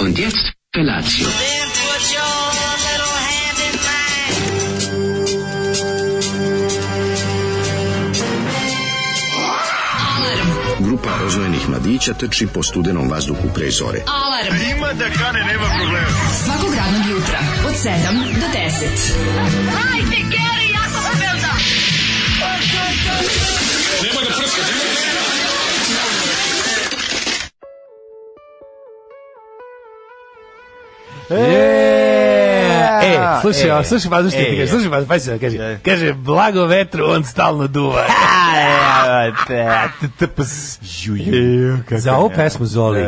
Und jetzt Felatio. Then put your little hand in mine. Grupa rozvojenih mladića trči po studenom vazduhu pre zore. Alarm. Ima da kane, nema problema. Svakog radnog jutra, od 7 do 10. E, E, slušaj, e, e, slušaj, pa slušaj, e, ti e. kaže, slušaj, pa pa se kaže, Da. kaže, blago vetru, on stalno duva. E, Za E. ovu pesmu Zoli.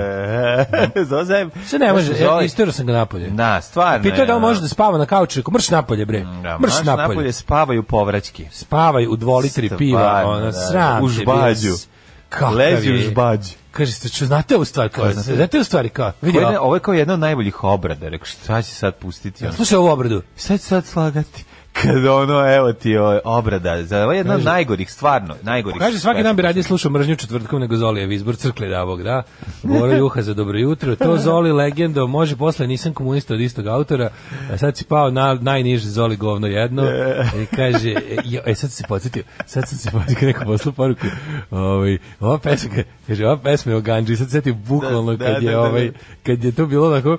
Zozem. Sve ne može, ja istero sam ga napolje. ovaj- Da, stvarno. Pitao je da ono. on može da spava na kauču, rekao, mrš napolje, bre. Mm, Da, Mrš napolje. spavaju povraćki. Spavaj u dvolitri Stvarno, piva, ona da, sram. u te, žbađu. bil si. Kakav Lezi u je. žbađu. Kaže, ste ču, znate ovu stvar, kao, znate? znate ovu stvari, kao, vidi, Ovo je- ovo. Ovo je kao jedna od najboljih obrada. Rekao, šta će sad pustiti? Ono? slušaj ovu obradu. Šta će sad slagati? Kad ono, evo ti o, obrada. Za, ovo je jedna od Kaže- najgorih, stvarno, najgorih. Kaže svaki dan bi radije slušao mržnju četvrtkom nego Zolijev izbor crkle davog, da. Bora Juha za dobro jutro. To Zoli legendo, može posle nisam komunista od istog autora. A sad si pao na najniže Zoli govno jedno. I kaže, e, jo, e sad sam se podsjetio, sad sam se podsjetio neko poslu poruku. Ovaj, ova pesma, kaže, ova pesma je o Ganđi. Sad se sjetio bukvalno Da, kad da, je, da, da. ovaj, kad je to bilo tako,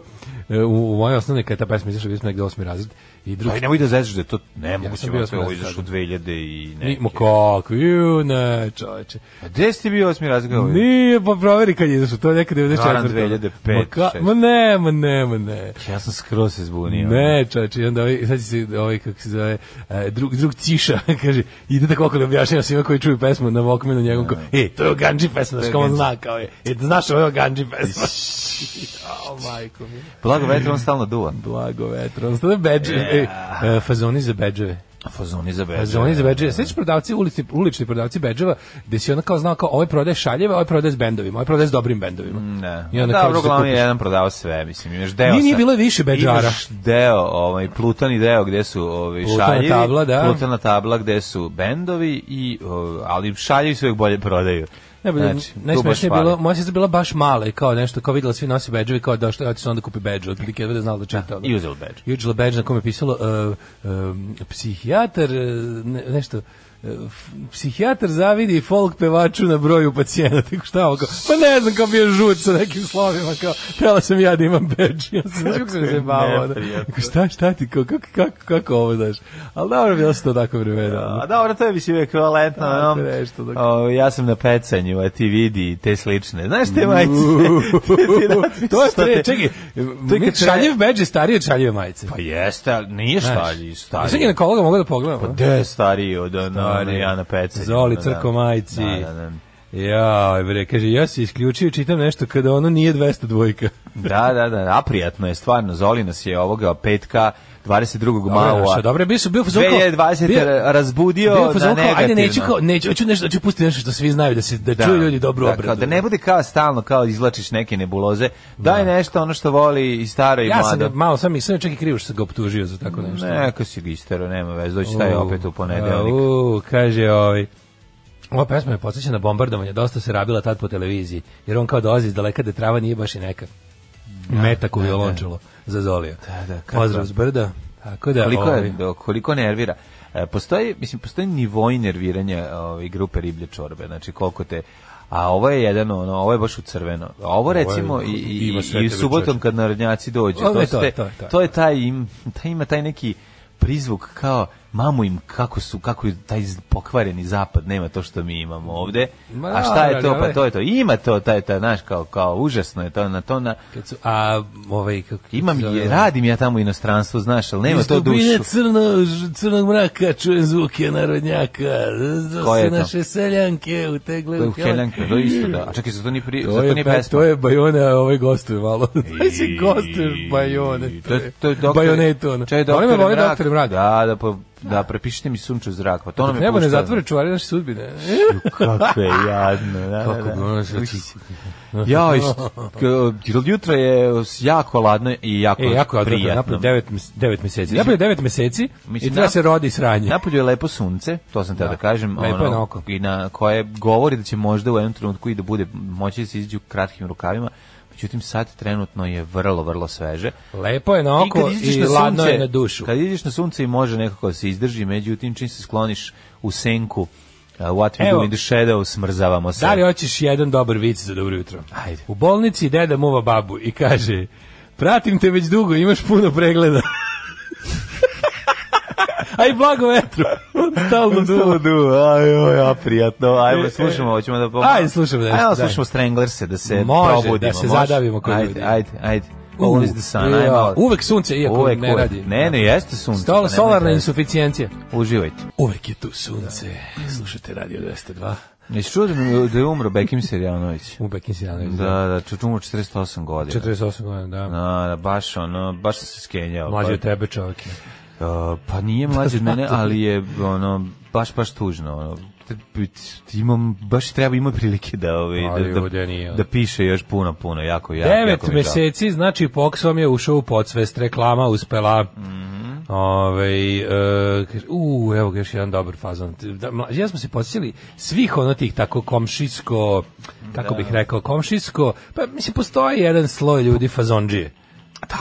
e, u, u mojoj osnovne, kad je ta pesma izašla, bili smo negde osmi razred. I drugi, Aj, nemoj da zezaš da je to nemoguće. sam Ja bio to je ovo osmi razred. izašlo 2000 i Ni- ne. ma kako, ju, ne, čoveče. A gde si ti bio osmi razred? Kako je? Nije, pa proveri kad je izašao, to je nekad 94. Naravno, 2005, Ma ka- šest. Ma ne, ma ne, ma ne. Ja sam skroz se zbunio. Ne, čači, onda ovaj, sad će se, ovaj, kako se zove, e, drug, drug Ciša, kaže, ide tako okolo objašnjava svima koji čuju pesmu na Walkmanu njegovom, kao, e, to je Ganji pesma, znaš kao on zna, kao je, e, znaš ovo je Ganji pesma. o, majko mi, Blago vetra, on stalno duva. blago vetro, on stane beđe, e, e, fazoni za beđeve. Fazoni za beđe. Fazoni za beđeve. Sveći prodavci, ulični, ulični prodavci beđeva, gde si ona kao znao kao, ovaj prodaje šaljeve, ovaj prodaje s bendovima, ovaj prodaje s dobrim bendovima. Ne. I onda da, kao dobro, da se uglavnom je kupiš. jedan prodavao sve, mislim, imaš deo. Nije, sa- nije bilo više bedžara. Imaš deo, ovaj, plutani deo gde su ovaj, Plutana šaljevi. tabla, da. Plutana tabla gde su bendovi, i, o, ali šaljevi se uvijek bolje prodaju. Ne, bilo, Znači, znači, tu baš najsmešnije je fali. bilo, moja sestra bila baš mala i kao nešto, kao videla svi nosi bedževi, kao došla, ja onda kupi bedž, otprilike jedva da znala da čita. ono. i uzela bedž. I uzela bedž na kome je pisalo uh, um, psihijatar, uh, ne, nešto, uh, f- psihijatar zavidi folk pevaču na broju pacijenata. Tako šta ovo kao, pa ne znam kao bio žut sa nekim slovima, kao, trebala sam ja da imam bedž. Ja sam znaš kako sam se bavao. Da. neprijatno. ono. Kao, Šta, šta ti, kao, kako, kako, kako ovo, znaš. Ali dobro, bilo se to tako vremena. ono. A dobro, to je mislim ekvivalentno. Tako onom, nešto, dok- o, ja sam na pecanju, a ti vidi i te slične. Znaš te majice? Ti natpiš to je šta stre, te- čekaj, To je kad te- šaljiv bedž je stariji od šaljive majice. Pa jeste, ali nije šalji, Znaš, Sve stari. ginekologa mogu da pogledam. Pa Gde je stariji od ona, Stari. Jana Pecanju? Zoli ono, da. crko majici. Da, da, da. Ja, bre, kaže, ja se isključio, čitam nešto kada ono nije 200 dvojka. Da, da, da, a prijatno je stvarno. Zoli nas je ovoga petka 22. Dobro, maja. dobro, bio su bio fazon kao- 2020. bio- razbudio bio na fazon kao, negativno. Ajde, neću kao, neću, hoću nešto, hoću pustiti nešto što svi znaju da se da, čuju ljudi dobru da, obradu. kao Da ne bude kao stalno, kao izlačiš neke nebuloze. Daj nešto ono što voli i staro i Ja sam mlado. ga, malo sam i sam čak i krivo što sam ga optužio za tako nešto. Neka si gistero, nema veze, doći taj opet u ponedeljnik. U, kaže ovaj Ova pesma me podsjeća na bombardovanje, dosta se rabila tad po televiziji, jer on kao dolazi iz daleka da trava nije baš i neka. Metak u violončelo za Zolija. Da, da, kako? Pozdrav s brda. Tako da, Koliko, ovaj, je, koliko nervira. E, Postoji, mislim, postoji nivo nerviranja ove, grupe riblje čorbe, znači koliko te A ovo je jedan, ono, ovo je baš u crveno. A ovo recimo i, i, ima sve i, i te subotom večeri. kad narodnjaci dođu, Ovo to, je su to, te- to je to. to je taj, im, taj ima taj neki prizvuk kao mamu im kako su kako je taj pokvareni zapad nema to što mi imamo ovde Ma a šta je da, to ali pa ovaj- to je to ima to taj taj znaš kao kao užasno je to na to na kad su, a ovaj, kako imam se zove, i radim ja tamo u inostranstvu znaš al nema Iz to dubine dušu crno, ž- crnog mraka čujem zvuke narodnjaka. Ko Zdrav je se to? naše seljanke utegle To je u u Heljanka, to je isto da. A čekaj, za to ni pri, To za to je, ni pe, pesma. to je Bajone, a ovaj gostuje malo. Znači se gostuje Bajone. To je, to je doktor, Bajonetu, ono. Čekaj, Oni doktor me vole Mrak. doktore Mrak. Da, da, pa, da, prepišite mi sunču zrak. Pa to nam je Nebo ne pušteno. zatvore čuvari naše E, sudbine. Kako je jadno. Da, Kako da, bi da. ono sve čist- Jao, jutro je jako ladno i jako E, jako je odvratno, prijatno. napolje 9, 9 meseci. Napolje 9 meseci Mislim, i treba nap- se rodi sranje. Napolju je lepo sunce, to sam teo da, kažem, ono, lepo je na oko. i na koje govori da će možda u jednom trenutku i da bude moći da se izađu kratkim rukavima. Međutim, sad trenutno je vrlo, vrlo sveže. Lepo je na oko kad i, izađeš na ladno sunce- je na dušu. Kad ideš na sunce i može nekako da se izdrži, međutim, čim se skloniš u senku, uh, what we Evo. do in the shadow, smrzavamo se. Da li hoćeš jedan dobar vic za dobro jutro? Ajde. U bolnici deda muva babu i kaže pratim te već dugo, imaš puno pregleda. Aj blago vetru. Stalno duva. du, aj, aj, prijatno. Ajmo, slušamo, hoćemo da pomoći. E, Ajde, slušamo nešto, Ajmo, daj. slušamo Stranglerse, da se Može, da probudimo. se može? zadavimo kod ajde, ljudi. Ajde, ajde. Always the sun, ajmo. Uvek sunce, iako Uvek, ne uvek. radi. Ne, ne, jeste sunce. Stola, nemojte solarna reći. insuficijencija. Uživajte. Uvek je tu sunce. Slušajte Radio 202. Jesi čuo da mi- da je umro Bekim Serjanović? U Bekin Sinanović. Da, da, ču- umro 48 godina. 48 godina, da. Da, da, baš ono, baš sam se skenjao. Mlađe Pa- od tebe čovjek. je. Uh, pa nije mlađi od mene, ali je ono baš baš tužno. Ono. Te- bit- Imam baš treba ima prilike da ovaj Ali da, ovdje nije, da, ono. da piše još puno puno jako jako. jako mi Devet je žao. meseci, znači Pox vam je ušao u podsvest, reklama uspela. Mhm. Ovaj e, kaže, u, evo ga još jedan dobar fazon. Da, mla- ja smo se podsjetili svih ono tih tako komšijsko, kako bih rekao, komšijsko, pa mislim, postoji jedan sloj ljudi fazondžije.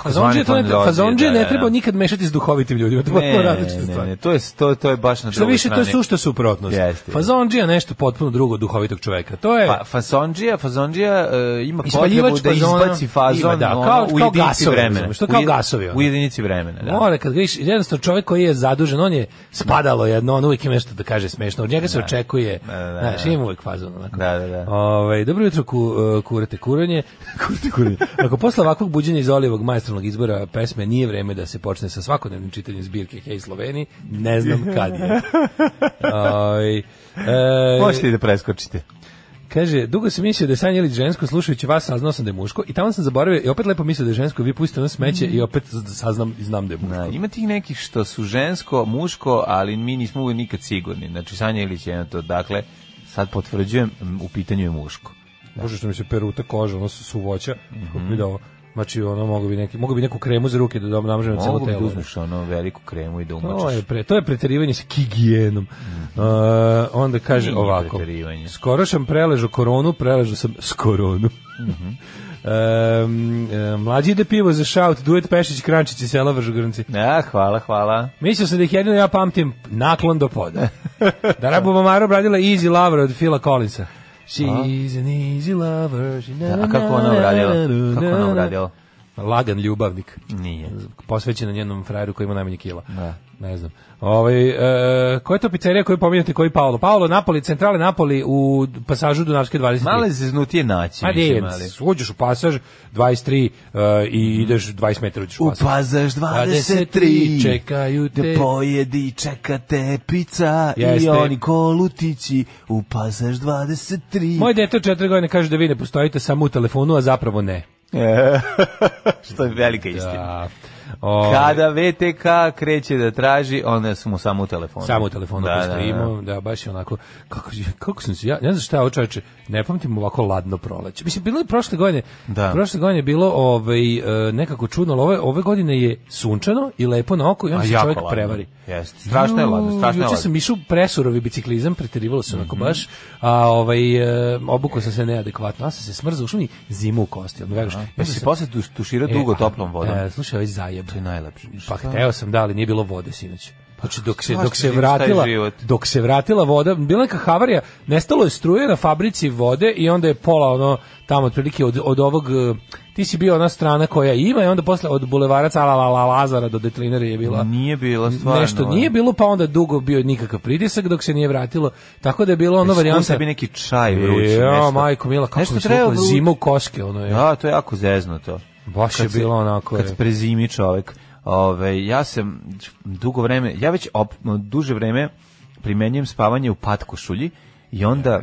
Fazondžije, to ne, fazondžije, fazondžije da, ne da, treba da. nikad mešati s duhovitim ljudima, to je Ne, različite ne, stvari. ne, ne, to je to, to je baš na Što drugoj više, to je strani. sušta suprotnost. Jeste. Fazondžija je nešto potpuno drugo od duhovitog čoveka. To je... Pa, fasondžija, fasondžija e, ima potrebu Ispaljivač da fazona izbaci fazon ima, da, ono, kao- u kao jedinici gasovi, vremena. razumeš, što kao U jed- gasovi, ono. U jedinici vremena, da. Mora, kad vidiš, jednostavno čovjek koji je zadužen, on je spadalo jedno, on uvijek ima nešto da kaže smešno, od njega se očekuje, Da, da, da, znaš, da. ima uvijek fazon onako. Da, da, da. Ovaj, dobro jutro, ku, uh, kurate kuranje. kurate kuranje. Ako posle ovakvog buđenja iz olivog majstornog izbora pesme nije vreme da se počne sa svakodnevnim čitanjem zbirke Hej Sloveni, ne znam kad je. Ovaj, e, Možete i da preskočite. Kaže, dugo sam mislio da je Sanja Ilić žensko, slušajući vas saznao sam da je muško i tamo sam zaboravio i opet lepo mislio da je žensko, vi pustite ono smeće i opet saznam i znam da je muško. Da, ima tih nekih što su žensko, muško, ali mi nismo uvijek nikad sigurni. Znači, Sanja Ilić je na to. Dakle, sad potvrđujem, m, u pitanju je muško. Bože što mi se peruta koža, ono su suvoća. Mhm. Mm da ovo, znači ono mogu bi neki, mogu bi neku kremu za ruke da dam namžem na celo Mogu bi telo. da uzmeš ono veliku kremu i da To je, umočiš. pre, to je preterivanje sa higijenom. Uh, onda kaže Mhm. Nije ovako. preterivanje. Skoro sam preležao koronu, preležao sam s koronu. Mhm. Em, e, mlađi ide pivo za šaut, duet Pešić, Krančić i Sela Vržgornci. Ja, hvala, hvala. Mislio sam da ih jedino ja pamtim naklon do poda. da Rabu Mamaro obradila Easy Lover od Phila Collinsa. She's an easy lover. she na- Da, a kako ona na- uradila? na- Kako na- ona na- uradila? Lagan ljubavnik. Nije. Posvećena njenom frajeru koji ima najmanje kila. Da. Ne znam. Ovaj e, koja je to pizzerija koju pominjate, koji Paolo? Paolo Napoli, centrale Napoli u pasažu Dunavske 23. Male zeznutije naći, Ma mislim, di, ali... uđeš u pasaž 23 e, i ideš 20 metara uđeš u U pasaž. pazaš 23, 23 čekaju te. pa, Da pojedi čekate pica I Jeste. oni kolutići U pazaš 23 Moje dete od četiri godine kaže da vi ne postojite samo u telefonu, a zapravo ne. Što je velika istina Da. O, Kada VTK kreće da traži, onda su mu samo u telefonu. Samo u telefonu da, da, da. baš je onako, kako, kako sam se, ja ne znam šta je ovo čoveče, ne pamtim ovako ladno proleće. Mislim, bilo je prošle godine, Da. prošle godine je bilo ovaj, e, nekako čudno, ali ove, ove godine je sunčano i lepo na oko i A onda se Pa jako čovjek ladno. prevari. Jeste. Strašno je ladno, Ju, strašno je Juče ladno. Mhm. sam išao presurovi biciklizam, preterivalo se onako baš, a ovaj, e, obukao sam se neadekvatno, a sam se smrzao, ušao mi zima u kosti, ono, veruješ. Ja Pa sam si se- posle tuš- tuširao dugo E, a, toplom vodom. E, slušaj, ovaj zajeb. To je najlepše. Pa Šta? hteo sam da, ali nije bilo vode sinoć. Znači dok se šta dok ćeš se ti, šta je vratila život? dok se vratila voda, bila je neka havarija, nestalo je struje na fabrici vode i onda je pola ono tamo otprilike od, od ovog eh, ti si bio ona strana koja ima i onda posle od bulevara Cala la, la, Lazara do Detlinere je bila Nije bila Mm, stvarno. ono, nešto nije bilo pa onda dugo bio nikakav pritisak dok se nije vratilo tako da je bilo ono Skuo varijanta sebi E, neki čaj vrući. Ja, nešto. majko mila, kako Nešto mi se treba lupilo, vruće. zima u koske, ono je. Da, to je jako zezno to. Baš je se- bilo onako, e. je. Kad prezimi čovek. Ove, ja sam dugo vreme, ja već op, duže vreme primenjujem spavanje u patkošulji i onda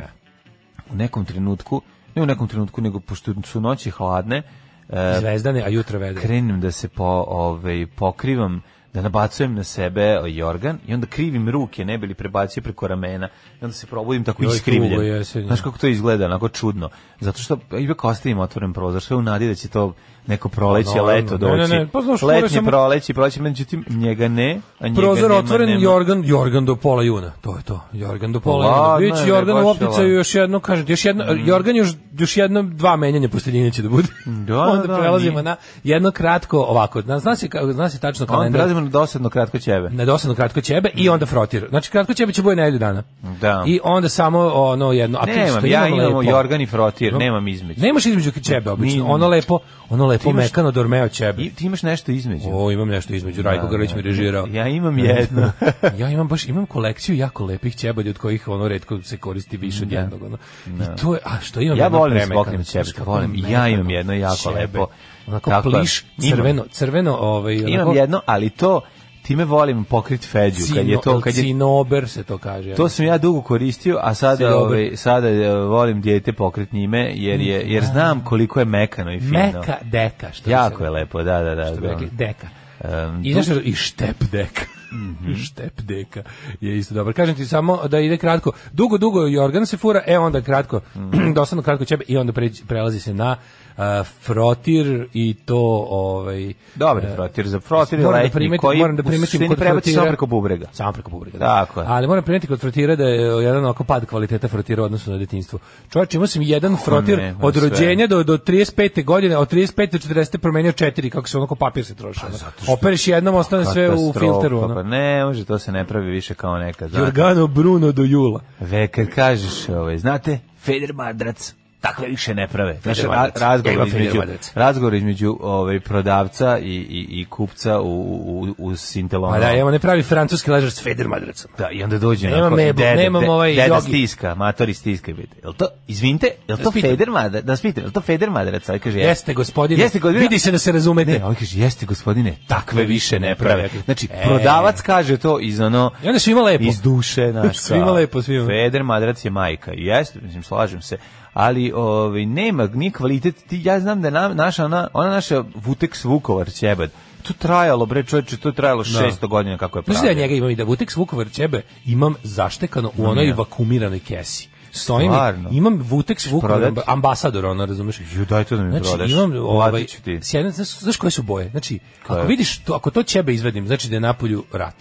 u nekom trenutku, ne u nekom trenutku, nego pošto su noći hladne, e, Zvezdane, a jutro vedre. krenem da se po, ove, ovaj, pokrivam da nabacujem na sebe jorgan i onda krivim ruke, ne bili prebacio preko ramena i onda se probudim tako Joj, tugo iskrivljen. jesenje. Znaš kako to izgleda, onako čudno. Zato što ipak ostavim otvoren prozor, sve u nadi da će to neko proleće, Pa, naravno. leto Ne, ne, doći. ne, pa znaš, Letnje fore samo- proleće, proleće, međutim njega ne, a njega Prozor nema, otvoren, nema. Jorgan, Jorgan do pola juna. To je to. Jorgan do pola Ladno juna. Biće je, Mm. Jorgan u baš je opticaju ladno. još jedno, kažem, ti, još jedno, Jorgan još, još jedno dva menjanja posteljine će da bude. Da, Onda da, prelazimo nije. na jedno kratko ovako. Zna, zna, se, ka- zna se tačno A onda kalendar. prelazimo na dosadno kratko ćebe. na dosadno kratko ćebe i onda frotir. Znači kratko ćebe će boje nedelju dana. Da. I onda samo ono jedno. A tu Nemam, što ja imamo imam lepo. jorgan i frotir, nemam između. Nemaš između ćebe obično. Ni- Ono lepo, ono lepo imaš- mekano dormeo ćebe. I, ti imaš nešto između. O, imam nešto između, Rajko Da, Grlić da. mi režirao. Ja imam jedno. ja imam baš, imam kolekciju jako lepih ćebelja od kojih ono redko se koristi više od jednog. Ono. I to je, a što imam? Ja jedno volim premekano, smokvinu znaš ćebelju, kako volim. mekano Ja imam jedno jako ćebe. lepo. Onako Tako je. pliš, Imam. crveno, crveno, ovaj, onako, Imam jedno, ali to time volim pokrit feđu kad je to cino- kad je Cinober se to kaže. to sam ja dugo koristio, a sada Cinober. ovaj sada eh, volim dijete pokrit njime jer je Mm. jer znam koliko je mekano i fino. Meka deka. Što bi Jako se- je lepo, da, da, da. Što bi da. rekli, deka. Em, Mhm. I, znaš, I štep deka. štep deka je isto dobar. Kažem ti samo da ide kratko. Dugo, dugo Jorgan se fura, e onda kratko, Mhm. dosadno kratko ćebe i onda pređi- prelazi se na a, frotir i to ovaj Dobar je e, frotir za frotir moram da letnji primetim- koji moram da primetim se ne kod prebaci samo frotira. preko bubrega. samo preko bubrega. Tako je. Ali moram primetiti kod frotira da je jedan onako pad kvaliteta frotira u odnosu na detinjstvo. Čovječ, imao sam jedan frotir ne, ma od sve. rođenja do, do 35. godine, od 35. do 40. promenio četiri, kako se onako papir se troši. ono. Opereš jednom, ostane sve u Pa Katastrofa, filteru. Pa Ono. ne, može, to se ne pravi više kao nekad. znate. Jorgano Bruno do jula. Ve, kad kažeš, ovaj, znate, Feder Madrac, takve više ne prave. Znaš, ra- Madrac. Evo razgovor, Feder između, Madrac. razgovor između ovaj, prodavca i, i, i kupca u, u, u Sintelonu. Pa da, imamo ne pravi francuski ležar s Federmadracom. Da, i onda dođe Nemam onako, mebel, deda, nemam de- ovaj deda jogi. stiska, matori stiska. Bit. Jel to, izvinite, jel to vas pitam. Feder Madrac? Da vas pitam, jel to Feder Madrac? Ovaj kaže, Jeste, gospodine. Jeste, gospodine. Vidi se da se razumete. Ne, ovaj kaže, jeste gospodine, takve više ne prave. Znači, E. prodavac kaže to iz ono... I onda svima lepo. Iz duše, znaš. Svima kao, lepo, svima. Feder Madrac je majka. I Jeste, mislim, slažem se. Ali ovaj nema ni kvalitet. Ti ja znam da je na, naša ona, ona naša Vutex Vukovar ćebad. To trajalo bre čoveče, to trajalo 600 godina kako je Znaš pravljeno. da ja njega imam i da Vutex Vukovar ćebe imam zaštekano u onoj vakumiranoj kesi. Stojim, i- Stvarno? imam Vutex Vukovar, prodati? amb- ambasador, ono, razumeš? Ju, daj to da mi prodaš. Znači, imam, ovaj, Platit ću ti. s jedne, znaš, znaš koje su boje? Znači, je? ako vidiš, to, ako to ćebe izvedim, znači da je napolju rat.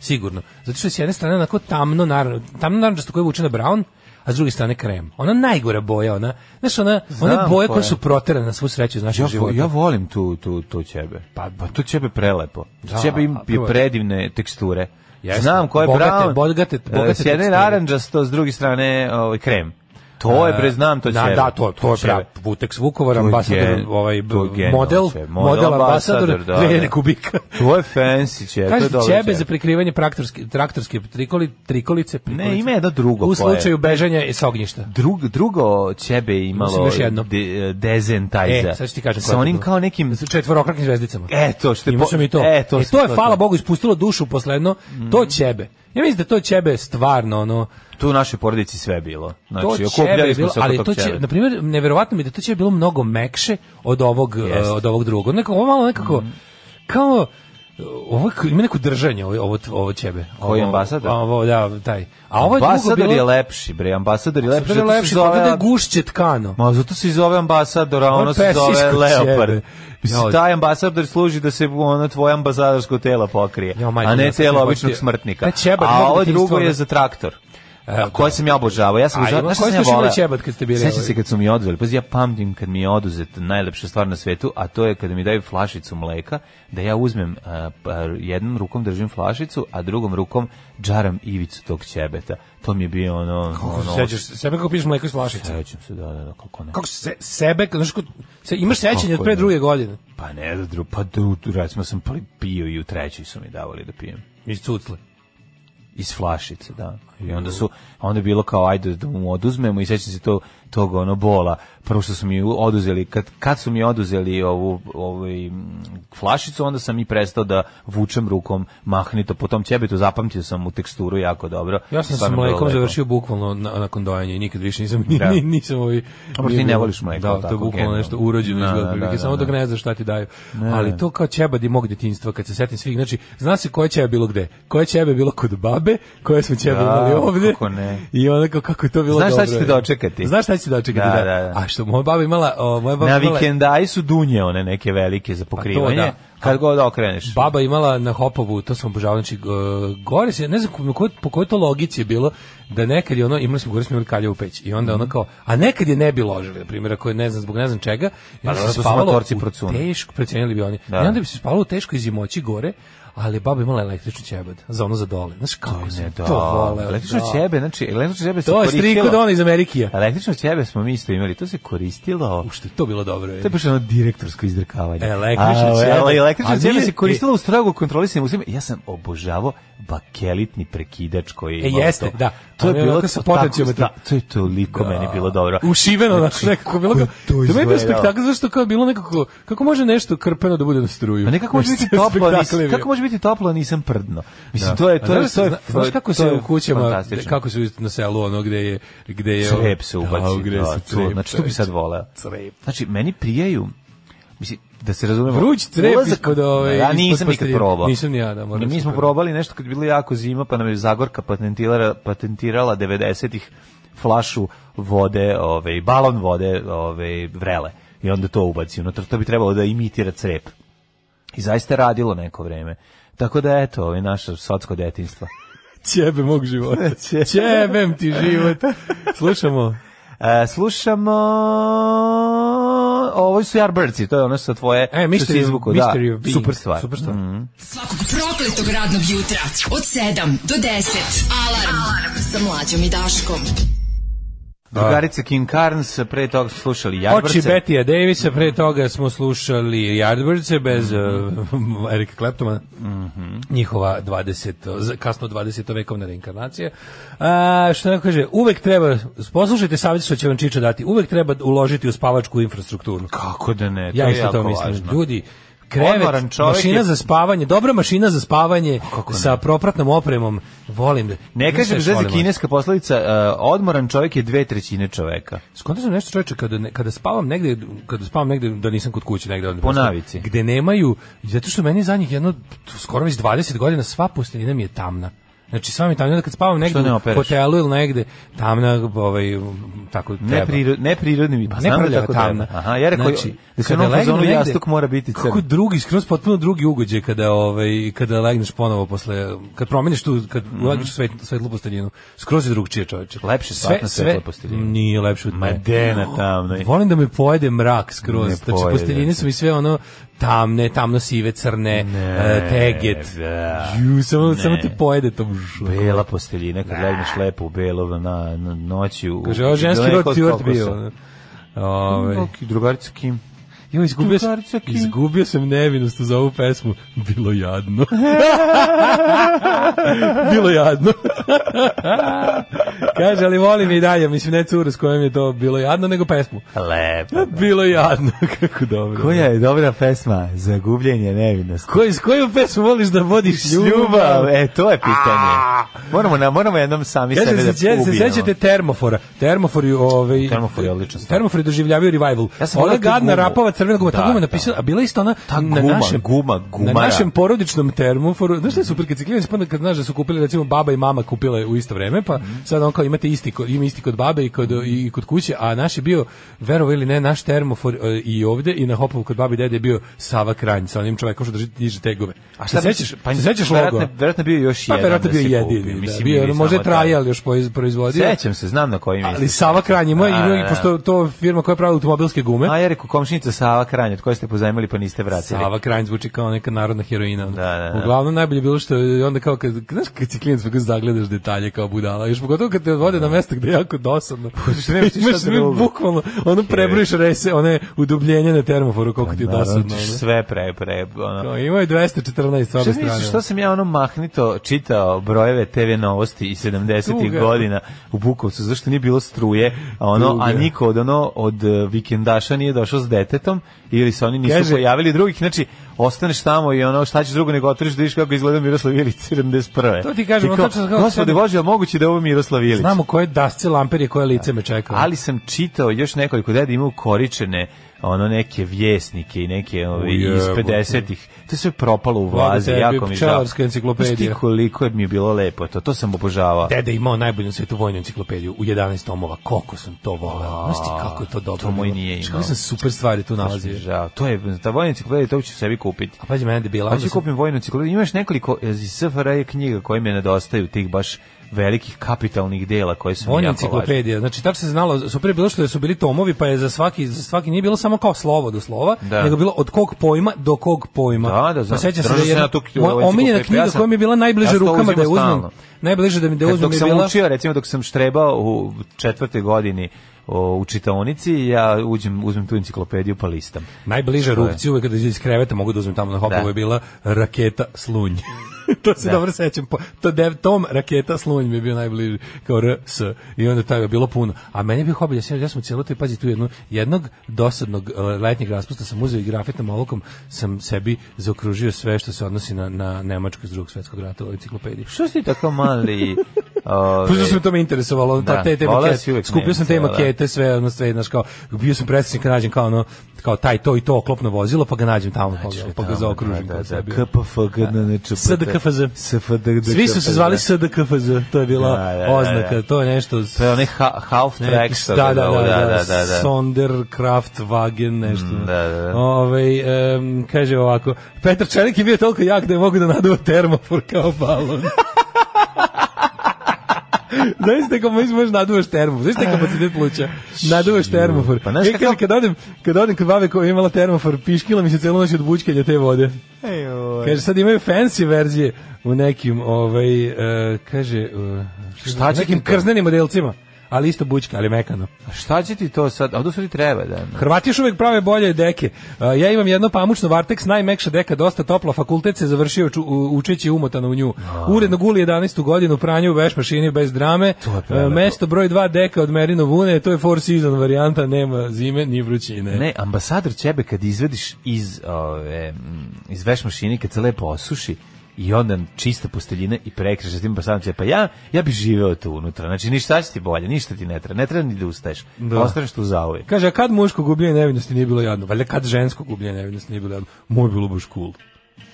Sigurno. Zato što je s jedne strane onako tamno, naravno, tamno naranđasto koje vuče na brown, a s druge strane krem. Ona najgora boja, ona, znaš, ona, one Znam boje koja. koje su proterane na svu sreću znači, iz našeg Ja, vo- života. ja volim tu, tu, tu ćebe. Pa, pa tu ćebe prelepo. Da, ćebe im a je prvo- predivne teksture. Jeste. Znam ko je Bogate- brown. bogate- e, bogate S jedne teksture. naranđasto, s druge strane ovaj, krem. To je, pre, znam, to Da, ćebe. Da, to, to je ćebe. prav Vutex Vukovar, To je ambasador, gen- ovaj, b- to je genijalno model, ćebe. Model model ambasador, ambasador, da, 2000 da. kubika. To je fancy ćebe. to je Kaže dobro ćebe za prikrivanje traktorske, traktorske trikoli, trikolice, prikolice. Ne, ima jedno drugo U koje je. slučaju bežanja sa ognjišta. Drug, drugo ćebe je imalo Mislim, još jedno. de, dezentajza. E, sad ću ti kažem. koje Sa je to onim bilo. kao nekim... Sa četvorokrakim zvezdicama. E, to što je Imao po- sam i to. e, to sam- je, to- hvala Bogu, ispustilo dušu posledno. To ćebe. Ja mislim da to ćebe stvarno, ono, Tu u našoj porodici sve je bilo. Znači, to ćebe okupljali je smo bilo, se oko ali tog to će, ćebeta. na primjer, neverovatno mi je da to će bilo mnogo mekše od ovog, e, Jeste. Mhm. od ovog drugog. Neko, ovo malo nekako, kao, e, ovo je k- ima neko držanje ovo ovo, ovo ćebe. Ovo- Koji ambasador? Ovo, da, taj. A ovo je drugo ambasador bilo... je lepši, bre, ambasador je lepši, Ambasador je zato se lepši, kao zove... da je gušće tkano. Ma zato se i zove ambasador, a Ovo je ono se zove persijsko leopard. ćebe. Mislim, Jao. taj ambasador služi da se ono tvoje ambasadorsko telo pokrije, Jao, majko, a ne ja sam telo se običnog uhvatio. smrtnika. Taj ćebad A mogu ovo ti drugo stvarno- je za traktor. E, koje sam ja obožavao. Ja sam A, obožavao, ima- znaš šta koje sam ja ste šibali voleo? ćebad kad ste bili, Sećam ovaj? se kad su mi oduzeli. Pazi, ja pamtim kad mi je oduzet najlepša stvar na svetu, a to je kada mi daju flašicu mleka, da ja uzmem a, pa, jednom rukom držim flašicu, a drugom rukom džaram ivicu tog ćebeta. To mi je bio ono... Kako se ono- E. sećaš, sebe kako piješ mleko iz flašice. Sećam se, da, da, da, kako ne. Kako se, sebe, znaš, kako- se, imaš sećanje Kako od pre ne? druge godine. Pa ne, da dru, pa dru, dru- recimo sam pli- pio i u trećoj su mi davali da pijem. Iz cucle. Iz flašice, da. I onda su onda je bilo kao ajde da mu oduzmemo i sećam se to tog ono bola. Prvo što su mi oduzeli kad kad su mi oduzeli ovu ovaj mm, flašicu, onda sam i prestao da vučem rukom mahnito po tom ćebetu, zapamtio sam mu teksturu jako dobro. Ja sam sa Stvarno bilo mlekom lepo. završio bukvalno na, nakon dojenja i nikad više nisam ni, Da. ni, nisam ovaj Dobro, ti nije ne bilo- voliš mleko, Da, to tako, je bukvalno generalno. nešto urođeno Da, iz da, da, godine, samo da, dok da. ne znaš šta ti daju. Ali to kao ćebad i mog detinjstva kad se setim svih, znači zna se koje ćebe bilo gde. Koje ćebe je bilo kod babe, koje smo ćebe Da, imali ovde. kako ne. I onako kako je to bilo Znaš šta dobro. ćete dočekati? Znaš šta ćete dočekati, Da, da. da, da. A što moja baba imala, o, moja baba Na imala- vikendaj su dunje one neke velike za pokrivanje. da. Kad god okreneš. Baba imala na Hopovu, to sam obožavao, znači g- gore se, ne znam ko- ko- po kojoj to logici je bilo, da nekad je ono, imali smo gore smo imali kaljevu peć i onda Mhm. ono kao, a nekad je ne bi ložili, na primjer, ako je ne znam zbog ne znam čega, i onda dobro, se to Pa su spavalo motorci u procune. teško, precenili bi oni, Da. i onda bi se spavalo u teškoj zimoći gore, ali baba imala električni ćebad, za ono za dole, znaš kako Ne, se da. to voleo. Električno da. ćebe, znači električno ćebe se E. To je koristilo. striko da ono iz Amerikija. Električno ćebe smo mi isto imali, to se koristilo. Ušte, to bilo dobro. je. To je baš ono direktorsko izdrkavanje. Električno A, ćebe. ali Električno A ćebe nije- se koristilo u strogo kontrolisanim uslovima. Ja sam obožavao bakelitni prekidač koji je E, imao jeste, to. da. To je Ono je bilo onako sa tako- potencijometrom. da, to je toliko meni bilo dobro. ušiveno znači nekako bilo kao to to mi je bio izgledalo. spektakl zašto kao je bilo nekako kako može nešto krpeno da bude na struju Pa nekako može biti toplo, a nisam, kako može biti toplo, a nisam prdno. Mislim, to je, to je, to je, Znaš- znaš kako to se je u kućama fantastično. kako se na selu ono gde je gde je ono- crep se ubaci. Da, gde da, se to, crep, znači, to bi sad voleo. Crep. Znači, meni prijaju, mislim, da se razumemo. Vruć crep ulazak- ispod ove- Ja ispod nisam nikad postelje. probao. Nisam ni ja, da, moram Mi se smo probati. probali nešto kad je bilo jako zima, pa nam je Zagorka patentirala, patentirala 90-ih flašu vode, ovaj, balon vode ovaj, vrele. I onda to ubaci unutra. To bi trebalo da imitira crep. I zaista je radilo neko vreme. Tako da, eto, ovaj, naše socko detinstvo. ćebe mog života ćebem ti život slušamo E, slušamo ovo su Yardbirdsi, to je ono sa tvoje E, Mystery što si of- izvukao, Mystery of da, Being. super stvar. Super stvar. Mhm. Svakog prokletog radnog jutra od 7 do 10. Alarm, Alarm. sa mlađom i Daškom. Drugarica Kim Carnes, pre toga su slušali Oči Yardbirdse. Betija Davisa, pre toga smo slušali Yardbirdse bez Mhm. uh, Erika Kleptoma, njihova 20, z- kasno 20. vekovna reinkarnacija. A, što neko kaže, uvek treba, poslušajte savjet što će vam Čiča dati, uvek treba uložiti u spavačku infrastrukturu. Kako da ne, to Ja je isto jako to mislim. važno. Ljudi, krevet, Odmoran čovjek mašina je- za spavanje, dobra mašina za spavanje sa propratnom opremom, volim. da- Znaš Ne šta kažem još da je volim? kineska poslavica, e, odmoran čovjek je dve trećine čoveka. Skonto sam nešto čoveče kada ne- kada spavam negde kada spavam negde da nisam kod kuće negde onda Po prosto, navici. Gde nemaju zato što meni zadnjih jedno skoro već 20 godina sva posteljina mi je tamna. Znači sva mi je tamna onda kad spavam negde ne u opereš? hotelu ili negde tamna ovaj tako treba. Nepriro- Neprirodni mi, Pa pa ne znam da prljava tako tamna. tamna. Aha, ja rekao, da se kada onom legnem fazonu negde, jastuk mora biti crn. Kako drugi, skroz potpuno drugi ugođaj kada, ovaj, kada legneš ponovo posle, kad promeniš tu, kad legneš u svet, svetlu posteljinu. Skroz je drugčije čoveče. Mhm. Lepše Sve- spati na sve- svetloj posteljini. Nije lepše od Ma mene. de na tamnoj. Volim da me pojede mrak skroz. Ne znači, pojede. posteljine su mi sve ono tamne, tamno sive, crne, eh, teget. da. Ju, samo, Ne. samo te pojede to. Žu. Bela posteljina, kad legneš lepo u belo na, na noći. U, Kaže, ovo ženski daleko rod od Stewart kokosa. bio. ono. Ove. Ok, Drugarica Kim. Jo, izgubio sam, Drugarica Kim. izgubio sam nevinost za ovu pesmu. Bilo jadno. Bilo jadno. Kaže, ali volim je i dalje. Mislim, ne curu s kojom je to bilo jadno, nego pesmu. Lepo. Bilo jadno. Kako dobro. Koja je dobra pesma za gubljenje nevinosti? Koji, s koju pesmu voliš da vodiš ljubav? Ljubav, e, to je pitanje. Moramo, na, moramo jednom sami Kaže, sebe da se, se, se ubijemo. sećate termofora. Termofori, ovaj, Termofor je odlična stvar. termofori doživljavaju revival. Ja Ja sam sam ona voleo tu gadna gumu. rapava crvena guma, Da, ta guma je da. napisana, a bila je isto ona Ta na guma, našem, guma, na gumara. našem porodičnom termoforu. Znaš šta je super, kad se klinac, pa kad znaš da su kupili, recimo, baba i mama kupile u isto vreme, pa sad on kao imate isti, kod- ima isti kod babe i kod, i kod kuće, a naš je bio, verovo ili ne, naš termofor e, i ovde i na hopovu kod babi i dede je bio Sava Kranj sa onim čovekom što drži, diže tegove. se A šta sećaš? misliš? Pa se sećaš verovatno- logo? verovatno bio još Pa jedan verovatno da bio se kupi, jedini, da, mislim, bio, ili je, možda je samo taj. trajal još poiz- proizvodio. Sećam se, znam na koji misliš. Ali Sava Kranj ima, A, da, ima da. i pošto to firma koja pravi automobilske gume. A ja rekao, komšinica Sava Kranj, od koje ste pozajmili pa niste vratili. Sava Kranj zvuči kao neka narodna heroina. ono. Da, da, da. Uglavnom najbolje je bilo što je onda kao kad znaš kad si klinac pa kad zagledaš detalje kao budala, još pogotovo kad te odvode na mesto gde je jako dosadno. Pa što nemaš ti šta Imaš drugo. bukvalno, ono prebrojiš rese, one udubljenje na termoforu, koliko ti je Pa Naravno, dosadno. ćeš ono. sve pre, pre, ono. Kao, Imao je 214 s Šta obe strane. misliš, što sam ja ono mahnito čitao brojeve TV novosti iz 70-ih Tuga. godina u Bukovcu, zašto nije bilo struje, a ono, a Tuga. niko od ono, od e, vikendaša nije došao s detetom, ili se oni nisu Kaže- pojavili drugih, znači, ostaneš tamo i ono, šta ćeš drugo nego otvoriš da vidiš kako izgleda Miroslav Ilić 71. To ti kažem, I ono kao, tačno sam kao Gospode sebi- Bože, a moguće da je ovo Miroslav Ilić. Znamo koje dasce lampere i koje lice me čeka. ono. Ali sam čitao još nekoliko deda imaju koričene ono neke vjesnike i neke ove, iz jebote. 50-ih. To je sve propalo u Hvala vazi, tebi, jako mi žao. pčelarska enciklopedija. Znaš ti koliko je mi je bilo lepo, to, to sam obožavao. Deda je imao najbolju na svetu vojnu enciklopediju u 11 tomova. Koliko sam to volao. Znaš ti kako je to dobro? to moj bilo? nije Znaš imao. Kako sam super stvari tu Baš mi je nalazio. žao. To je, ta vojna enciklopedija, to ću sebi kupiti. A pađi mene debila. Hoću onda sam- kupim vojnu enciklopediju. Imaš nekoliko iz SFRA knjiga koje mi nedostaju, tih baš velikih kapitalnih dela koje su mi Vojna jako važne. enciklopedija. Znači tako se znalo, super je bilo što su bili tomovi, pa je za svaki za svaki nije bilo samo kao slovo do slova, Da. nego je bilo od kog pojma do kog pojma. Da, da, znam. Pa sećam se Držao da sam je jedna- ja tu knjigu, moja ovaj omiljena enciklopediju. knjiga Ja sam- koja mi je bila najbliže ja sam to rukama da je uzimao uzmem. stalno. Najbliže da mi da Kad uzmem dok je sam bila učio, recimo dok sam štrebao u četvrtoj godini o, u čitaonici, ja uđem, uzmem tu enciklopediju pa listam. Najbliža rupcija uvek kada iz kreveta mogu da uzmem tamo na hopovu Da. je bila raketa slunj. to se Da. dobro sećam. Po- To dev, tom raketa slunj mi je bio najbliži kao RS. I onda toga je bilo puno. A meni je bio hobi, ja sam, ja sam cijelo to, pazi tu jednu, jednog dosadnog e, letnjeg raspusta sam uzeo i grafitnom olovkom sam sebi zaokružio sve što se odnosi na, na Nemačku iz drugog svetskog rata u enciklopediji. Što si tako mali... ove, Pošto Pa što me to me interesovalo, ono, ta, Da, te, te voleo si makete, uvek skupio sam te Nemce, da. makete, sve, ono, sve, znaš, kao, bio sam predsjednik kad nađem kao, ono, kao taj, to i to oklopno vozilo, pa ga nađem tamo, pa, ga- pa ga zaokružim. Da, kao da, da, sebi. KPFG, NNČPT. SDKFZ. SFDKFZ. Svi su se zvali SDKFZ, to je bila Da, da, da, da. oznaka, to je nešto... s- To je onaj ha- half track. što da, da, bi da, bilo, da, Sonderkraft Wagen, nešto. da, da, da. Ovaj, em, kaže ovako, Petar Čelik je bio toliko jak da je mogu da naduva termofor kao balon. Znaš te kako možeš naduvaš termofor, znaš te kapacitet pluća, naduvaš termofor. Pa znaš E, kakav- kaže, kad odem, kad odem kod babe koja je imala termofor, piškila mi se celu noć od bučkelja te vode. Ejoj. Kaže, sad imaju fancy verzije u nekim, ovaj, e, kaže, e, Šta u će nekim ti to? krznenim modelcima, ali isto bučka, ali mekano. A Šta će ti to sad? A u stvari treba, da. Hrvati još uvek prave bolje deke. A, ja imam jedno pamučno Vartex, najmekša deka, dosta topla, fakultet se završio ču, u- učeći umotano u nju. Uredno guli 11. godinu, pranje u veš mašini bez drame. je prelepo. A, Mesto broj 2 deka od Merino Vune, to je four season varijanta, nema zime ni vrućine. Ne, ambasador ćebe kad izvediš iz, ove, mm, iz veš mašini, kad se lepo osuši, i onda čista posteljina i prekrižeš s tim ambasadom ćebe. Pa ja, ja bi živeo tu unutra. Znači, ništa će ti bolje, ništa ti ne treba. Ne treba ni da ustaješ. Da. Ostaneš tu zauvijek. Kaže, a kad muško gubljenje nevinosti nije bilo jadno? Valjda kad žensko gubljenje nevinosti nije bilo jadno? Moj bilo baš cool.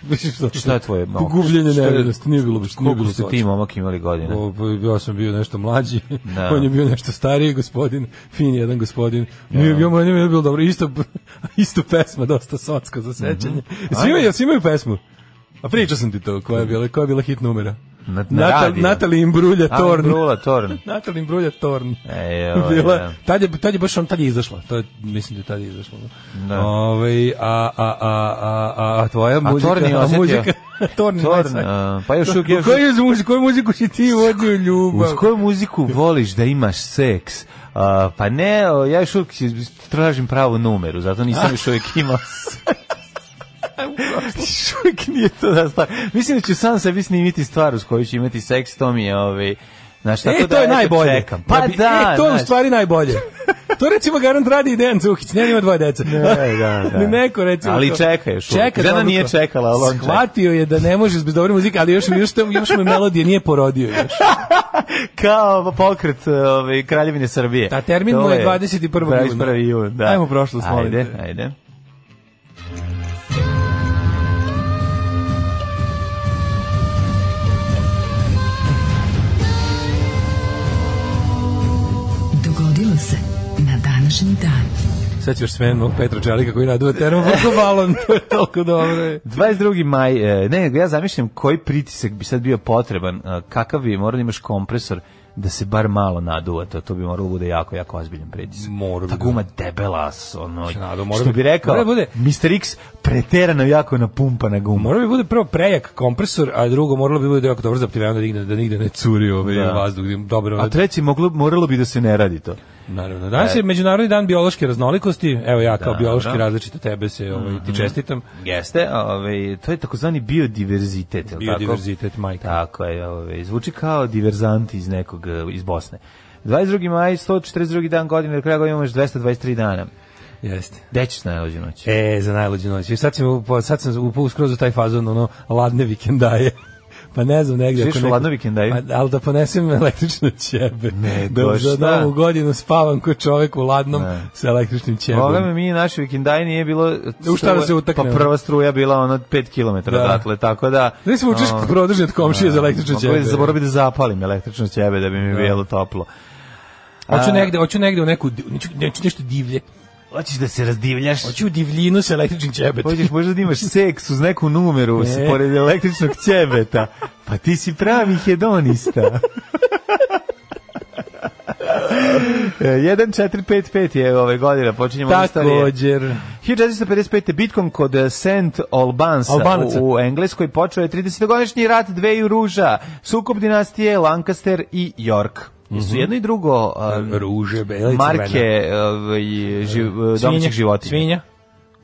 Mislim, šta, Šta je tvoje? no, Gubljenje šta je- nevinosti nije bilo baš nije Koliko bilo ste svačije. ti momak imali godina? O, pa ja sam bio nešto mlađi, Da. on je bio nešto stariji gospodin, fin jedan gospodin. Nije bio, meni je bilo dobro, isto, isto pesma, dosta socka za sećanje. Mhm. Svi imaju, svi imaju pesmu. A pričao sam ti to, koja je bila, koja je bila hit numera. Na- na Natal- radiju. Natali Imbrulja A, Torn. Brula, Torn. Natal Imbrulja Torn. E, ovo, Bila, da. tad, je, tad je baš on, tad je izašla. To je, mislim da je tad je izašla. Da. Ovaj, a, a, a, a, a, a tvoja A muzika... Torn je osetio. muzika- Torn, je Torn, najsvaki. a, pa još uvijek- još Koju muziku, koju muziku si ti vodio ljubav? Uz koju muziku voliš da imaš seks? A, pa ne, o, ja još uvijek tražim pravu numeru, zato nisam još uvijek imao seks. Još uvijek nije to da sta- Mislim da ću sam sebi snimiti stvar uz koju ću imati seks, to mi je ovaj... Znaš, tako E, da, to je eto, najbolje. Čekam. Pa Ja bi- da, E, to je u znaš. stvari najbolje. To recimo garant radi i Dejan Cukić, ne ima dvoje dece. Ne, da, da. Ni Neko recimo. Ali to. čeka još uvijek. Čeka Žena dobro. nije čekala, ali on čeka. Shvatio je da ne može bez dobre muzike, ali još, još, još mu je melodije nije porodio još. Kao pokret ovaj, Kraljevine Srbije. A termin To mu je 21. juna. 21. juna, da. Ajmo prošlost, molim Ajde, te. ajde. Dogodilo se na današnji dan. Sad ćeš sve mnog Petra Čelika koji naduva termoforko balon, to je toliko dobro. 22. maj, e, ne, ja zamišljam koji pritisak bi sad bio potreban, e, kakav bi morao da imaš kompresor da se bar malo naduva, to, to bi moralo bude jako, jako ozbiljan pritisak. Mora bi Ta da. guma debela, s- ono, Se nadu, mora što bi- bi rekao, mora da bude- Mr. X preterano jako napumpana guma. Moralo bi bude prvo prejak kompresor, a drugo moralo bi bude jako dobro zaptiveno da nigde, da nigde ne curi ovaj Da. vazduh. Da im dobro, A treći, moglo, moralo bi da se ne radi to. Naravno. Danas je Međunarodni dan biološke raznolikosti. Evo ja kao E. Da, biološki da. Mhm. različit od tebe se ovaj, ti čestitam. Jeste, ovaj, to je takozvani biodiverzitet. je li tako? Biodiverzitet, majka. Tako je, ovaj, zvuči kao diverzanti iz nekog, eh, iz Bosne. 22. maj, 142. dan godine, do kraja godine imaš 223 dana. Jeste. Gde ćeš najlođu noć? E, za najluđu noć. I sad, sam, upo- sad sam upao skroz u taj fazon, ono, ladne vikendaje. Pa ne znam negde. Živiš ako u neko- ladno vikendaju? Pa, ali da ponesem električne ćebe. Ne, to da za šta? novu godinu spavam ko čovek u ladnom Ne. sa električnim ćebom. Boga mi, mi naši vikendaj nije bilo... U šta da se utaknemo? Pa prva struja bila ono 5 km Da. odatle, tako da... Znaš se učeš o, prodržnje od komšije za električne mogu ćebe. da Zaboravim da zapalim električno ćebe da bi mi bilo toplo. Hoću A- negde, hoću negde u neku, di- neću, neću nešto divlje. Hoćeš da se razdivljaš? Hoću u divljinu sa električnim ćebetom. Hoćeš možda da imaš seks uz neku numeru s- Ne. pored električnog ćebeta. Pa ti si pravi hedonista. E, 1455 je ove godine, počinjemo od istorije. Također. 1455. bitkom kod eh, St. Albansa Albanaca. u, u Engleskoj počeo je 30-godišnji rat dveju ruža, sukob dinastije Lancaster i York. Mhm. Jesu jedno i drugo em, Ruže, bela i crvena. marke ovaj, živ, domaćih životinja. Svinja.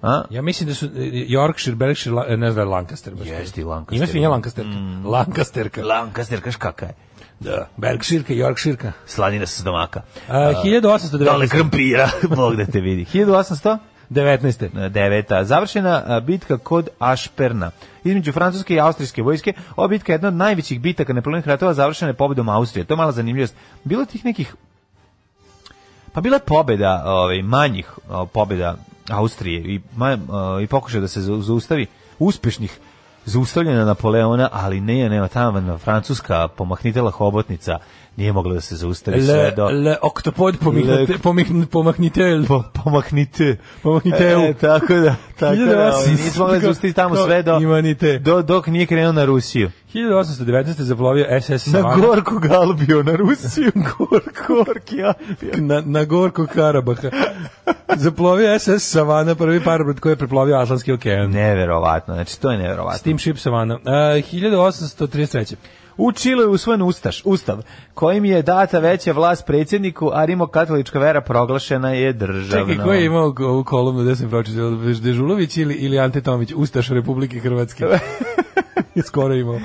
A? Ja mislim da su e, Yorkshire, Berkshire, La- e, ne znam, Lancaster. baš. Jeste i Lancaster. Mm. Ima svinja Lancasterka. Lancasterka. Lancaster, kaš kaka je? Da. Berkshireka, Yorkshireka. Slanina sa stomaka. A, 1819. Dole krompira, Bog da te vidi. 1800? 19. deveta. Završena a, bitka kod Ašperna. Između francuske i austrijske vojske, ova bitka je jedna od najvećih bitaka Napoleonih ratova završena je pobedom Austrije. To je mala zanimljivost. Bilo je tih nekih Pa bila je pobeda ovaj, manjih o, pobeda Austrije i, ma, o, i pokušaj da se zau- zaustavi uspešnih zaustavljena Napoleona, ali ne, nema tamo francuska pomahnitela hobotnica nije mogla da se zaustavi sve Le, do... le oktopod pomihnite, Le- pomihn, pomahnitel. Po, pomahnite. Pomahnite u. E, tako da, tako da, ovaj, 1800 nismo mogli zustiti tamo kao sve do, imanite. do, dok nije krenuo na Rusiju. 1819. zaplovio SS Na Savana. Gorku ga albio, na Rusiju, Gor, Gorki albio. na, na gorku Karabaha. Zaplovio SS Savana, prvi parobrod koji je preplovio Atlantski okean. Neverovatno, znači to je neverovatno. Steamship Savana. Uh, 1833. U Čilu je usvojen ustaš, ustav, kojim je data veća vlast predsjedniku, a rimokatolička vera proglašena je državnom. Čekaj, ko je imao ono. ko- ovu kolumnu gde sam pročitao? Dežulović ili, ili Ante Tomić, Ustaš Republike Hrvatske? Je Skoro imao. Uh,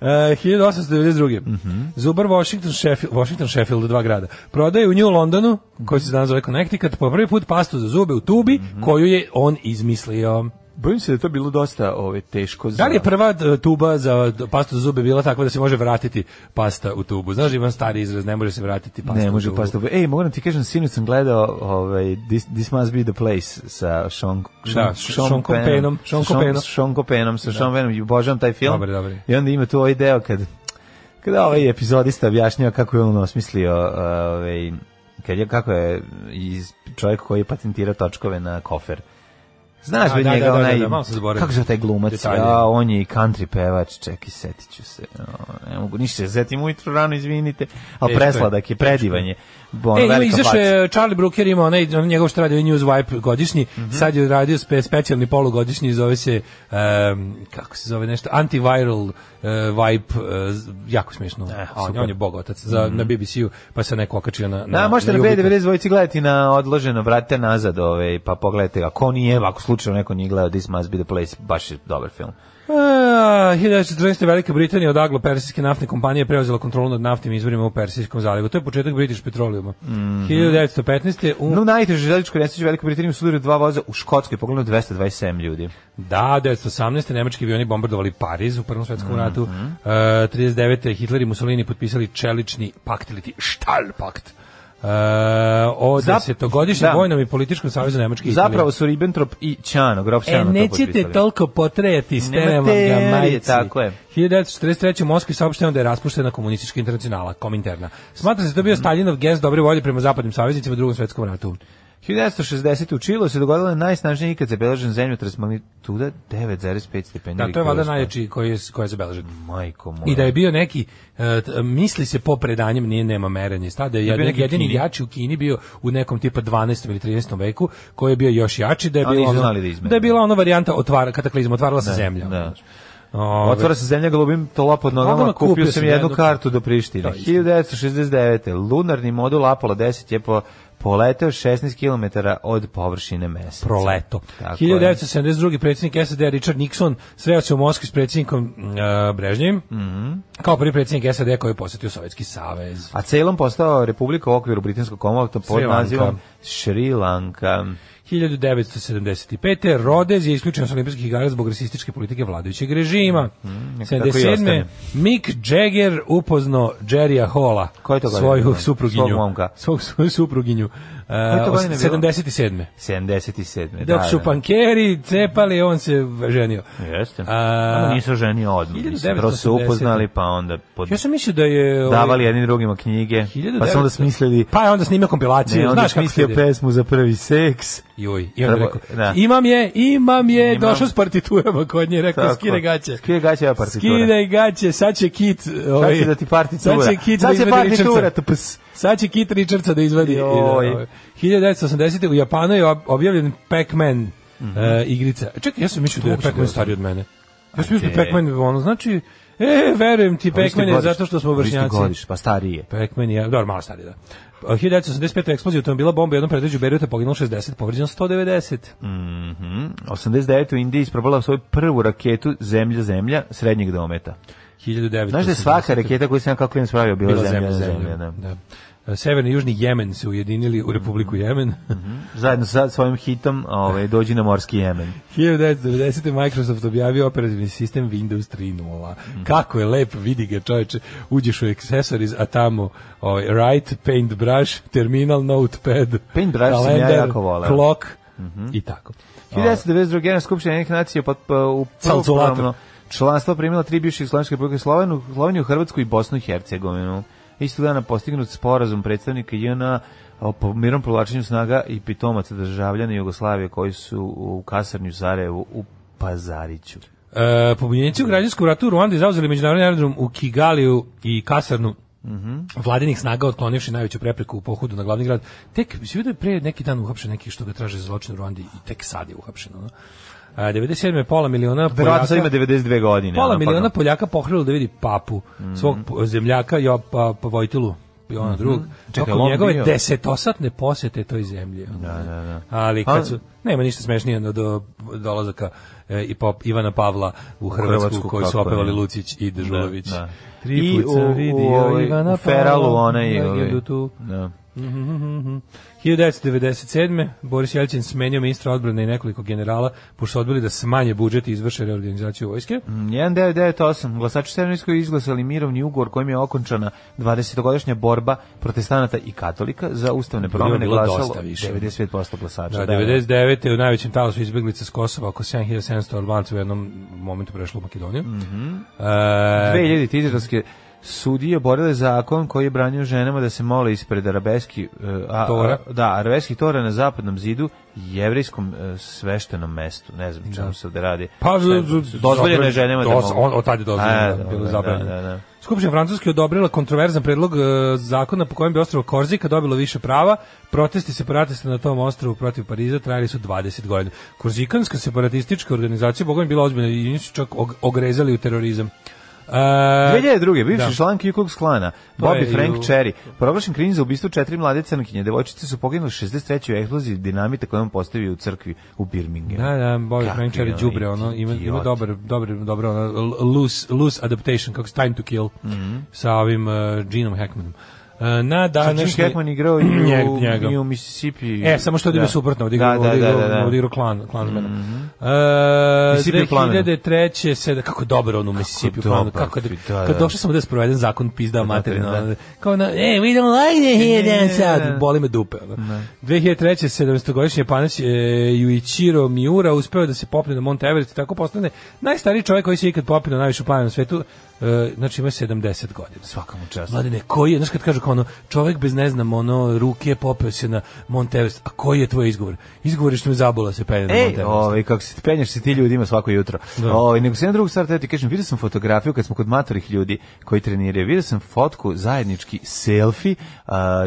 1892. Mhm. Zubar Washington, Sheffield, Washington Sheffield, dva grada. Prodaje u New Londonu, koji se danas zove Connecticut, po prvi put pastu za zube u tubi, Mhm. koju je on izmislio. Bojim se da je to bilo dosta ove, teško. Za... Da li je prva e, tuba za d- pastu za zube bila takva da se može vratiti pasta u tubu? Znaš, imam stari izraz, ne može se vratiti pasta Ne u može tubu. pasta. Ej, moram ti kažem, sinoć sam gledao ovaj, this, this Must Be The Place sa Sean, Da, s- Sean Pennom, Sean Sean, Sean, Pennom. Sean Pennom, sa Sean Pennom, i obožavam taj film. Dobar, dobar. I onda ima tu ovaj deo kad, kada ovaj epizodista objašnjava kako je on osmislio ovaj, kad je, kako je iz čovjek koji patentira točkove na kofer. Znaš A, bi da, njega da, da, onaj... da, da, malo sam zaboravio. Kako se taj glumac? Detalje. Ja, on je i country pevač, čekaj, setit ću se. O, ne mogu ništa, se setim ujutru rano, izvinite. Ali Teško je, presladak je, predivan je. Bon, E, ima, Ono velika izašao faca. Mhm. je Charlie Brooker, ima onaj, on njegov što radio Newswipe godišnji, sad je radio spe, specijalni polugodišnji, zove se, em, kako se zove nešto, antiviral e, vibe, e, z- jako smiješno. Eh, on, super. Mhm. on je bogotac za, na BBC-u, pa se neko okačio na, na Da, možete na na Jupiter. B92 dvojici gledati na odloženo, vratite nazad, ovaj, pa pogledajte ga. Ko nije, ako slučajno neko nije gledao This Must Be The Place, baš je dobar film. E, 1914. Velika Britanija odaglo persijske naftne kompanije preuzela kontrolu nad naftnim izvorima u Persijskom zalivu. To je početak British Petroleuma. Mhm. 1915. U... No, najteže želječko nesreće u Velikoj Britaniji sudaru dva voza u Škotskoj, pogledano 227 ljudi. Da, 1918. nemački avioni bombardovali Pariz u Prvom svetskom ratu. E, 39. Hitler i Mussolini potpisali čelični pakt ili ti Stahlpakt. E, o Zap- desetogodišnjem da. vojnom i političkom savjezu Nemačke i Italije. Zapravo su Ribbentrop i Ćano, grof E, Ćano to nećete potpisali. toliko potrejati, stenem vam Nema ga teorije, majci. tako je. 1943. u Moskvi saopšteno da je raspuštena komunistička Mhm. internacionala, kominterna. Smatra se da je bio Staljinov gest dobre volje prema zapadnim saveznicima u drugom svetskom ratu. 1960. u Čilu se dogodila najsnažnija ikad zabeležen zemljotres magnituda 9,5 stepeni. Da, to je valjda Richtera. najjači koji je, koji je zabeležen. Majko moja. I da je bio neki, e, t- misli se po predanjem, nije nema merenje sta, da je, Da je bio jedin- neki u jedini Kini. jači u Kini bio u nekom tipa 12. ili 13. veku, koji je bio još jači, da je, A bilo nisu ono, znali da izmere. da je bila ona varijanta otvara, kataklizma, otvarala se Da, zemlja. da. Ove, Otvara se zemlja golubim tola pod nogama, Nogama kupio, sam jednu kartu do Prištine. Da, isto. 1969. Lunarni modul Apollo 10 je po, poleteo 16 km od površine meseca. proleto. Tako je. 1972. predsjednik SAD Richard Nixon sreo se u Moskvi s predsjednikom uh, Brežnjevim, Mhm. kao prvi predsjednik SAD koji je posjetio Sovjetski savez. A Ceylon postao republika u okviru britanskog komovata pod Sri Lanka. nazivom Šri Lanka. 1975. Rodez je isključen s olimpijskih igara zbog rasističke politike vladajućeg režima. neka tako Mhm, i 77. ostane. Mick Jagger upoznao Jerrya Hola, Ko je to godine svoju bio? supruginju. Svog momka. Svog- svoju supruginju. Uh, je to godine bilo? 77. 77. Dok su pankeri cepali, on se ženio. Jeste. A- A, nisu ženi odmah. mislim. Prvo su 1980. upoznali, pa onda pod... Ja sam mislio da je... ovaj, davali jednim drugima knjige, pa su onda 1900. smislili Pa je onda snimio kompilaciju, Ne, on je znaš kako se smislio ide. pesmu za prvi seks. Joj, i onda Prvo, rekao, da. imam je, imam je, Imam. došao s partiturama kod nje, rekao, skine gaće. Skide gaće ova partitura. Skidaj gaće, sad će kit... Ovaj, Sad će da ti partitura. Sad će kit da Sad će izvadi partitura. pa Richardsa. tps. Sad će kit Richardsa da izvadi. i da, Joj. ovaj. 1980. u Japanu je ob- objavljen Pac-Man Mhm. e, igrica. Čekaj, ja sam mislio da je Uopšte Pac-Man ne stariji od mene. Ja sam mislio da te. je Pac-Man, ono, znači, e, verujem ti, Pa Vi ste Pac-Man je godište. zato što smo Vi ste vršnjaci. godište, pa starije. Pac-Man je, dobro, malo stari, da. A, 1985. eksplozija automobila bomba u jednom predređu Beiruta poginulo 60, povređeno 190. Mhm. 89. u Indiji isprobala svoju prvu raketu zemlja-zemlja srednjeg dometa. 1980. Znaš da je svaka raketa koju sam ja kao klinac pravio bila, bila zemlja, zemlja-zemlja. zemlja, da. E, Severni i Južni Jemen se ujedinili u Republiku Mhm. Jemen. Zajedno sa svojim hitom ovaj, dođi na morski Jemen. 1990. Microsoft objavio operativni sistem Windows 3.0. Mhm. Kako je lep, vidi ga čoveče, uđeš u accessories, a tamo ovaj, right, paintbrush, terminal, notepad, Paintbrush sam ja kalendar, jako voleo. Mhm. clock i tako. 1992. Generalna skupština jednih nacija pod, pa, u Calculator. prvopravno članstvo primila tri bivše Jugoslovenske republike Sloveniju, Sloveniju, Hrvatsku i Bosnu i Hercegovinu. Isto dana postignut sporazum predstavnika JNA o po- mirnom povlačenju snaga i pitomaca državljana Jugoslavije koji su u kasarni u Sarajevu u Pazariću. E, pobunjenici u građanskom ratu u Ruandi zauzeli međunarodni aerodrom u Kigaliju i kasarnu vladinih snaga otklonivši najveću prepreku u pohodu na glavni grad. Tek, si vidio da je pre neki dan uhapšen neki što ga traže za zločin u Ruandi i tek sad je uhapšen. Ono. E, 97. je pola miliona Verovatno Poljaka, sad ima 92 godine. pola ono, pa miliona ga- Poljaka pohrlilo da vidi papu, svog po- zemljaka i pa, pa Vojtilu i ono drug. Mhm. Čekaj, Tokom on njegove bio? desetosatne posete toj zemlji. ono. Ali Pa- kad su, nema ništa smešnije od do, dolazaka e, i pop, Ivana Pavla u Hrvatsku, Hrvatsku, koji su kako opevali ne. Lucić i Dežulović. Da, da. Tri put sam vidio ovaj- Ivana u Feralu Pavla, onaj... legendu ovaj, tu. Da. 1997. Boris Jelcin smenio ministra odbrane i nekoliko generala, pošto su odbili da smanje budžet i izvrše reorganizaciju Mhm. vojske. 1998. Glasači u Severnijskoj izglasali mirovni ugovor kojim je okončana 20-godišnja borba protestanata i katolika za ustavne Pa bilo je promjene bilo glasalo dosta više. 95% glasača. Da, 99. u najvećem talasu izbjeglica s Kosova, oko 7700 Albanca u jednom momentu prešlo u Makedoniju. Mm e, 2000 izraelske sudije borile zakon koji je branio ženama da se mole ispred arabeski e, a, Tora. a- da arabeski tora na zapadnom zidu i jevrejskom e, sveštenom mestu ne znam čemu se ovde radi pa, Šta je- dozvoljeno je ženama da dos- on, mogu od tad je dozvoljeno, A, da, bilo da, je da, zabranjeno. da, da. Skupština Francuske odobrila kontroverzan predlog e, zakona po kojem bi ostrvo Korzika dobilo više prava. Protesti separatista na tom ostrovu protiv Pariza trajali su 20 godina. Korzikanska separatistička organizacija, bogom je bila ozbiljna i nisu čak og- ogrezali u terorizam. E, 2002. bivši Da. član Ku Klux Klana, To je Bobby Frank i u- Cherry, proglašen krivim za ubistvo četiri mlade crnkinje. Devojčice su poginule u 63. u eksploziji dinamita koju je on postavio u crkvi u Birminghamu. Da, da, Bobby Kakvi Frančar je ono đubre, ono ima ima idioti. dobar, dobar, dobar ono, l- loose loose adaptation kako se Time to Kill sa ovim uh, Genom Hackmanom. Uh, na A Jim današnji Hackman igrao i Njeg- u, njega. i u Mississippi. E, samo što odigrao suprotno, odigrao, da, da, odigrao, da, da, da. odigrao klan, klansmena. E, Mississippi u Planu. 2003. se, kako je dobro on u Mississippi u planu, dobar, kako, da, da, da. kad došao sam da sproveden zakon pizda materina, da. ono, kao na, e, we don't like it here, Ne, dan ne, sad, ne. boli me dupe. Ono. 2003. 17-godišnji Japanac e, Yuichiro Miura uspeo da se popne na Mount Everest i tako postane najstariji čovjek koji se ikad popio na najvišu planinu na svetu, e, znači ima 70 godina. Svaka mu čast. Mladine, koji je, znaš kad kažu rekao ono, čovek bez ne znam, ono, ruke popeo se na Mount Everest. A koji je tvoj izgovor? Izgovor je što me zabola se penje na Mount Ej, Everest. ovaj kako se penješ se ti ljudima svako jutro. Da. Ovaj nego se na drugu stvar teo ti kažem, vidio sam fotografiju kad smo kod matorih ljudi koji treniraju. Vidio sam fotku zajednički selfi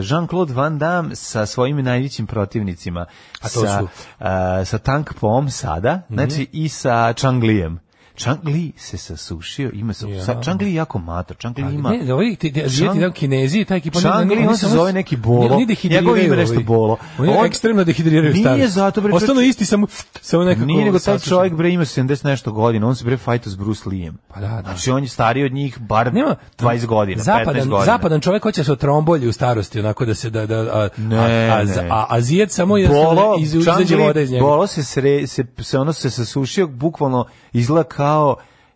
Jean-Claude Van Damme sa svojim najvećim protivnicima. A to sa, su? Mhm. a, sa Tank Pom sada, znači i sa Changlijem. Changli se sasušio, ima se. Ja. Ja. Changli je jako mator, Changli ima. Ne, da ovi ti ti- Chang- Azijati, da, Kinezi, ta ekipa... oni- Chang oni- Li, oni on se samo- zove neki Bolo. Oni- Oni dehidriraju. Njegovo ime ovi. nešto Bolo. Oni On- ekstremno dehidriraju Nije stari. zato, bre, Ostanu čovječe- isti, samo, samo nekako... Nije nego taj sasušeni. čovjek bre ima 70 nešto godina, on se bre fajta s Bruce Leeem. Pa da, da. Znači on je stariji od njih bar Nema 20 godina, zapadan, 15 godina. Zapadan čovjek hoće se otrombolji u starosti, onako da se da da a, Ne, a, a, ne. a, a zijet samo je Bolo, iz, Chang izađe Li- voda iz njega. Bolo se, sre, se, se ono se sasušio, bukvalno izgleda kao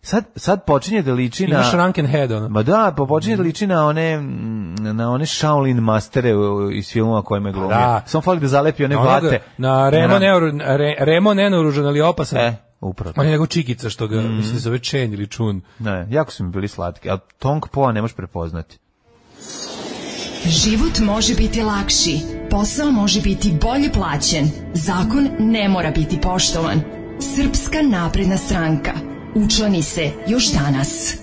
Sad, sad počinje da liči na... Imaš Rankin Head, ono. Ma da, pa počinje da liči na one, mm, na one Shaolin mastere u- iz filmova kojima je glumio. da. Samo fali da zalepi one Na onoga- vate. Ono Na Remo, Neoru- Re, Remo nenaoružan, ali opasan. E, Mm. upravo. On je nego čikica što ga, mislim da se zove Čen ili Čun. Ne, jako su mi bili slatki, a Tong Poa ne možeš prepoznati. Život može biti lakši, posao može biti bolje plaćen, zakon ne mora biti poštovan. Srpska napredna stranka. Učlani se još danas.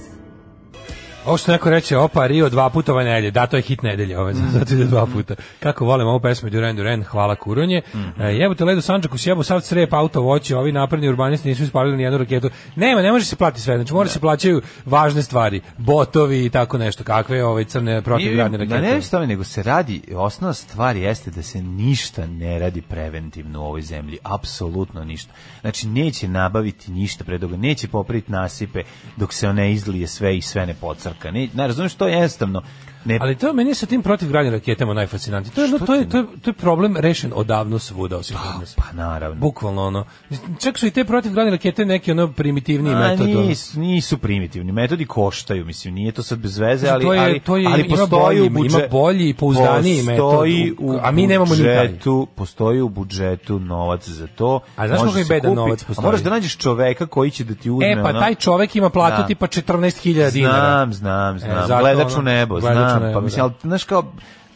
Ovo što neko reče, opa, Rio dva puta ova nedelja. Da, to je hit nedelje, ove, Mm. zato ide dva puta. Kako volim ovu pesmu Duran Duran, hvala kuronje. Mm-hmm. Mm. E, jebote, ledu Sanđaku, sjebo sav crep, auto voće, ovi napredni urbanisti nisu ispalili ni jednu raketu. Nema, ne može se platiti sve, znači mora se plaćaju važne stvari, botovi i tako nešto, kakve ove crne protivgradne Da rakete. ne reći tome, nego se radi, osnovna stvar jeste da se ništa ne radi preventivno u ovoj zemlji, apsolutno ništa. Znači, neće nabaviti ništa predoga, neće popraviti nasipe dok se ne izlije sve i sve ne pocrka. Ne, ne razumiješ, to je jednostavno. Ne, Ali to je meni sa tim protivgradnim raketama najfascinantnije. To je, ono, Što to je, ti- to je, to je problem rešen odavno svuda osim kod nas. pa naravno. Bukvalno ono. Čak su i te protivgradne rakete neki ono primitivniji metod. ono. A, nisu, nisu primitivni, metodi koštaju, mislim, nije to sad bez veze, Znači, ali, to je- ali, to je- ali ima postoji bolji- u budžetu. ima bolji i pouzdaniji metod, Postoji u- u a mi nemamo ni taj. budžetu, Postoji u budžetu novac za to. A znaš može koliko je se bedan kupiti, novac postoji? A moraš da nađeš čoveka koji će da ti uzme... E, pa ono- taj čovek ima platu Da. tipa 14.000 dinara. Znam, znam, znam. E, zato gledač u ono- nebo, gledač u znam. nebo, pa mislim, da. ali, znaš kao,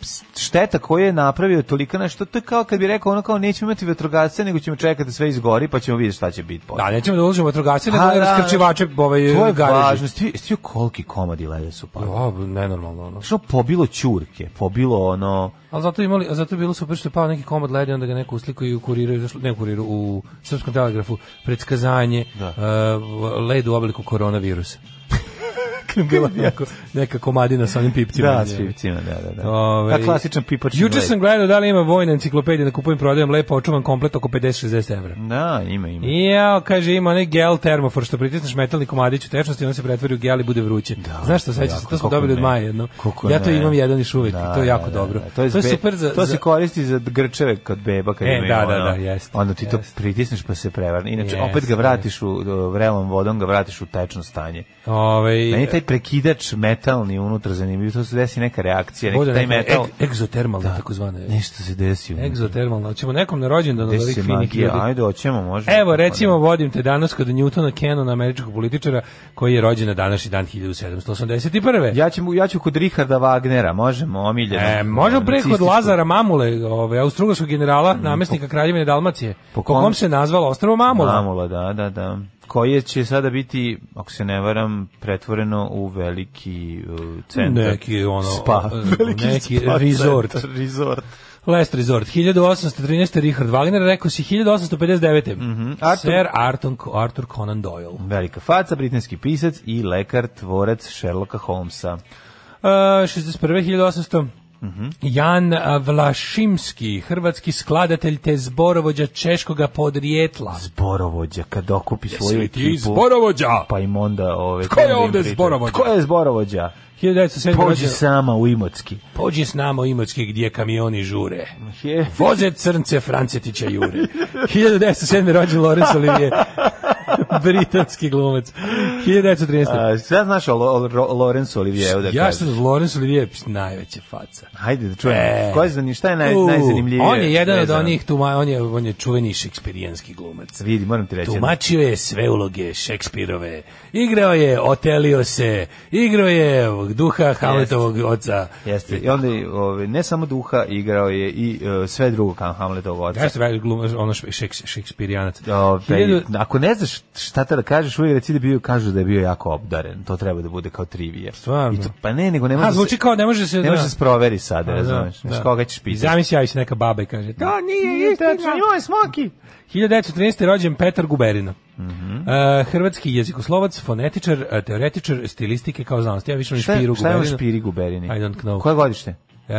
ps- šteta koju je napravio je tolika nešto, to je kao kad bi rekao ono kao nećemo imati vetrogasce, nego ćemo čekati da sve izgori, pa ćemo vidjeti šta će biti posle. Da, nećemo da uložimo vatrogasce, nego A, da, da, raskrčivače ovaj, To je garaži. važno. Sti, sti koliki komadi leda su pali. O, nenormalno ono. Što pobilo ćurke, pobilo ono... Ali zato imali, a zato je bilo super što je pao neki komad ledi, onda ga neko uslikuje i u kuriru, izašlo- ne u kuriru, u Srpskom telegrafu, predskazanje Da. e, led u obliku koronavirusa. Bila neka, neka komadina sa onim pipcima. Da, na s njemu. pivcima, da, da, da. Ovaj, Ta klasičan pipačni Juče led. sam gledao da li ima vojna enciklopedija da kupujem, prodajem, lepo očuvam komplet oko 50-60 evra. Da, ima, ima. Ja, kaže, ima onaj gel termofor što pritisneš metalni komadić u tečnosti i on se pretvori u gel i bude vruće. Znaš što sećaš? se? jako, To smo kako dobili od ne. Maje jedno. Kako Ja to ne. imam jedan još uvek i to je jako da, dobro. da, To je, zbe- super za... To za- se koristi za grčeve kod beba kad E, imaju da, da, ono, da, jeste, Onda ti to jeste. pritisneš pa se prevarne. Inače, Jeste, opet ga vratiš u o, vrelom vodom, ga vratiš u tečno stanje. Ovaj, Meni je taj prekidač metalni unutra zanimljiv, to se desi neka reakcija, neki bude taj neka metal. eg- egzotermalna, takozvana. je. Nešto se desi unutra. Egzotermalna. Hoćemo nekom na rođendan od Desi ovih se finih magija, ljudi. ajde, pa hoćemo, može. Evo, recimo, vodim te danas kod Newtona Kennona, američkog političara, koji je rođen na današnji dan 1781. Ja ću, ja ću kod Richarda Wagnera, možemo, omiljeno. E, možemo pre kod Nacističko. Lazara Mamule, ovaj, austrougarskog generala, namestnika kraljevine Dalmacije, po, po kom, kom- se nazvalo ostrovo Mamula. Mamula, da, da, da. Koje će sada biti, ako se ne varam, pretvoreno u veliki uh, centar. Neki, ono, spa. e, neki resort. centar, resort. Last Resort, 1813. Richard Wagner, rekao si 1859. Arthur- Sir Arthur, Arthur Conan Doyle. Velika faca, britanski pisac i lekar, tvorac Sherlocka Holmesa. Uh, 61. 1800. Jan a, Vlašimski, hrvatski skladatelj te zborovođa češkoga podrijetla. Zborovođa, kad okupi svoju li ti ekipu. zborovođa? Pa im onda... Ove, Tko je onda im ovde priča. zborovođa? Tko je zborovođa? 1907. Pođi rođen- sama u Imotski. Pođi s nama u Imotski gdje kamioni žure. Je. Voze crnce Francetića Jure. 1907. rođen Lorenz Olivier. Britanski glumac. 1913. A, šta znaš o, Lo- o Ro- Lorenzu Olivieru da Ja kažeš? što Lorenz Olivier pš, najveća faca. Hajde da čujem. E. Ko je zani, šta je naj, U, najzanimljivije? On je jedan od vezano? onih, tuma, on, je, on je čuveni šekspirijanski glumac. Vidi, moram ti reći. Tumačio je sve uloge Šekspirove. Igrao je Otelio se, igrao je duha Hamletovog oca. Jeste. I onda je, ovaj, ne samo duha, igrao je i e, sve drugo kao Hamletovog oca. Jeste veliki glumac, ono šek- šek- šekspirijanac. Ove, Hiljadu- Ovaj, ako ne znaš šta te da kažeš, uvijek reci da bio, kažu da je bio jako obdaren. To treba da bude kao trivije. Stvarno? I to, pa ne, nego ne može A, zvuči kao, ne može se... Ne da. može se sproveri sada, Da, razumeš? Da, da. Koga ćeš I pitati? zamisli, javi se neka baba i kaže, to nije tačno, istina. joj, smoki! 1913. je rođen Petar Guberino. Mhm. E, hrvatski jezikoslovac, fonetičar, e, teoretičar, stilistike kao znanosti. Ja više volim Šta je, špiru šta je Guberina. ovo špiri guberini? I don't know. Koje godište? E,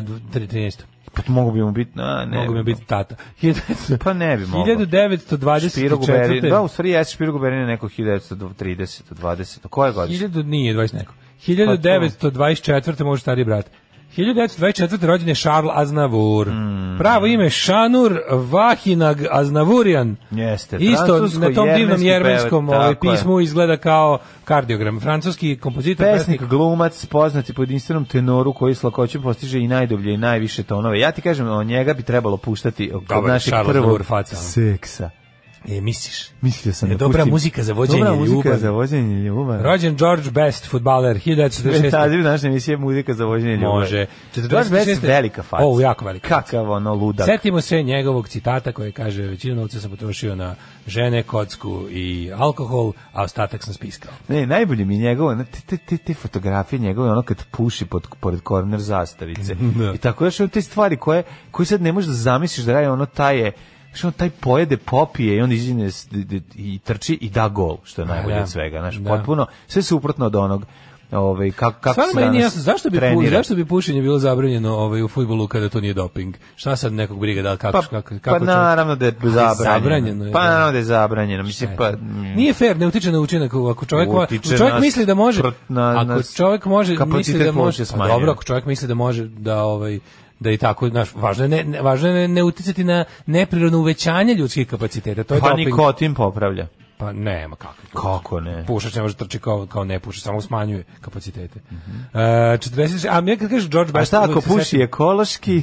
dv- tre- 13. Pa mogu bi mu biti, a, ne. Mogu bi mi biti tata. 1900 Pa ne bi mogao. 1924. Špiro Guberini, da, u stvari jeste Špiro Guberini neko 1930, 20. Koje godište? 1000 nije 20 Pa neko. 1924. može stariji brat. 1924. rođen je Charles Aznavour. Hmm. Pravo ime Šanur Vahinag Aznavurian. Jeste, Isto na tom divnom francusko-jermenski jermenskom pevač, ovaj, tako je. pismu izgleda kao kardiogram. Francuski kompozitor, pesnik, Pesnik, glumac, poznati po jedinstvenom tenoru koji s lakoćem postiže i najdublje i najviše tonove. Ja ti kažem, o njega bi trebalo puštati kod Dobar, našeg Charles prvog Aznavour faca. seksa. E, misliš? Mislio sam E, da dobra pustim. muzika za vođenje Dobra muzika ljubavi. za vođenje ljubavi. Rođen George Best, futbaler, 1946. Saziv naše emisije muzika za vođenje ljubavi. Može. George Best je 46. velika faca. O, jako velika faca. Kakav ono ludak. Setimo se njegovog citata koji kaže većinu novca sam potrošio na žene, kocku i alkohol, a ostatak sam spiskao. Ne, najbolje mi je njegovo, na- te, te, te, te fotografije njegove, ono kad puši pod, pored korner zastavice. I tako još ono te stvari koje, koje sad ne možeš da zamisliš da radi ono taj je, znaš, ono taj pojede, popije i onda iđe s- d- d- i trči i da gol, što je najbolje da. od svega. Znaš, Da. potpuno, sve suprotno od onog Ovaj kako kako Stvarno se meni nije danas jasno, zašto bi, pu, trenira. zašto bi pušenje bilo zabranjeno ovaj, u futbolu kada to nije doping? Šta sad nekog briga da li kako, pa, kako, pa kako će- naravno da je zabranjeno. zabranjeno je, pa da. naravno da je zabranjeno. Mislim, pa, mm. Nije fair, ne utiče na učinak ako čovjek vo- Utiče čovjek na misli da može sprt- na- na ako čovjek može misli kapacitet da pluća može pa smanjuje. dobro ako čovjek misli da može da ovaj da i tako znaš važno je ne, ne važno je ne uticati na neprirodno uvećanje ljudskih kapaciteta to je pa doping. nikotin popravlja. pa nema kakve Kako ne? pušač ne može trči kao kao ne puši samo smanjuje kapacitete mm -hmm. e, 46 a mi kad kažeš George Mhm. A Best šta uvek ako se puši setim- ekološki?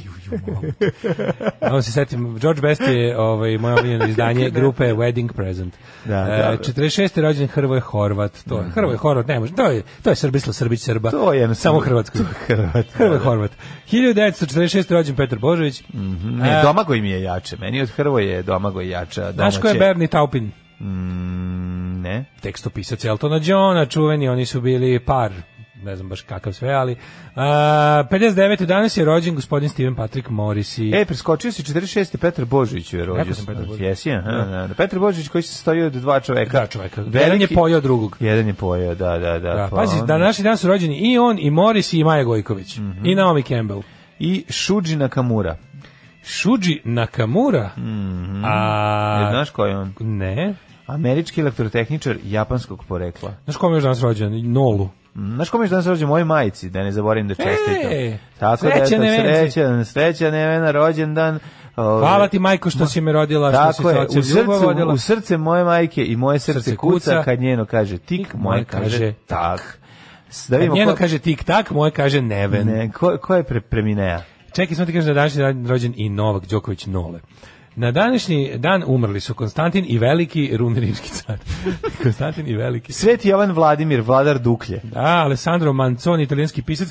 A on se setim, George Best je ovaj, moje omiljeno izdanje grupe Wedding Present. Da, E, da. 46. je rođen Hrvoje Horvat. To, je Hrvoje Horvat, ne može, to je, to je Srbislav Srbić Srba. To je Samo Hrvatsko. To je Pa Hrvat, da, Hrvoje da. Horvat. 1946. je rođen Petar Božović. Ne, Domagoj mi je jače. Meni od Hrvoje je Domagoj jača. E. Znaš ko je domaće. Bernie Taupin? Mm, Ne. Tekstopisac Eltona Johna, čuveni, oni su bili par ne znam baš kakav sve, ali a, 59. danas je rođen gospodin Steven Patrick Morrissey. E, preskočio si 46. Petar Božić je rođen. Rekao sam Petar Božić. Jesi, aha, da, da. Petar Božić koji se stoji od dva čoveka. Dva čoveka. Jedan je pojeo drugog. Jedan je pojeo, da, da, da. Da, pa pazi, onda- Mhm. da naši dan su rođeni i on, i Morris, i Maja Gojković, i Naomi Campbell. I Šuđi Nakamura. Shuji Nakamura, Ne a... znaš ko Mhm. je on? Ne. Američki elektrotehničar japanskog porekla. Znaš kom je još danas rođen? Nolu. Mm, Znaš kome je danas rođen? Moj majici, da ne zaboravim da čestitam. Ej, Tako da, srećan eto, Nevenci. srećan, srećan, nevena, rođendan. Ove, Hvala ti, majko, što si me rodila, što si Tako se je, u ocem ljubav srce, vodila. u srce moje majke i moje srce, Srce kuca, kuca, kad njeno kaže tik, moje kaže tak. S- Da vidimo Njeno ko, kaže tik-tak, moje kaže neven. ne, ko, ko je pre, preminea. Čekaj, samo ti kažem da je današnji dan rođen i Novak Đoković Nole. Na današnji dan umrli su Konstantin i veliki rumni rimski car. Konstantin i veliki. Sveti Jovan Vladimir, vladar Duklje. Da, Alessandro Manzoni, italijanski pisac.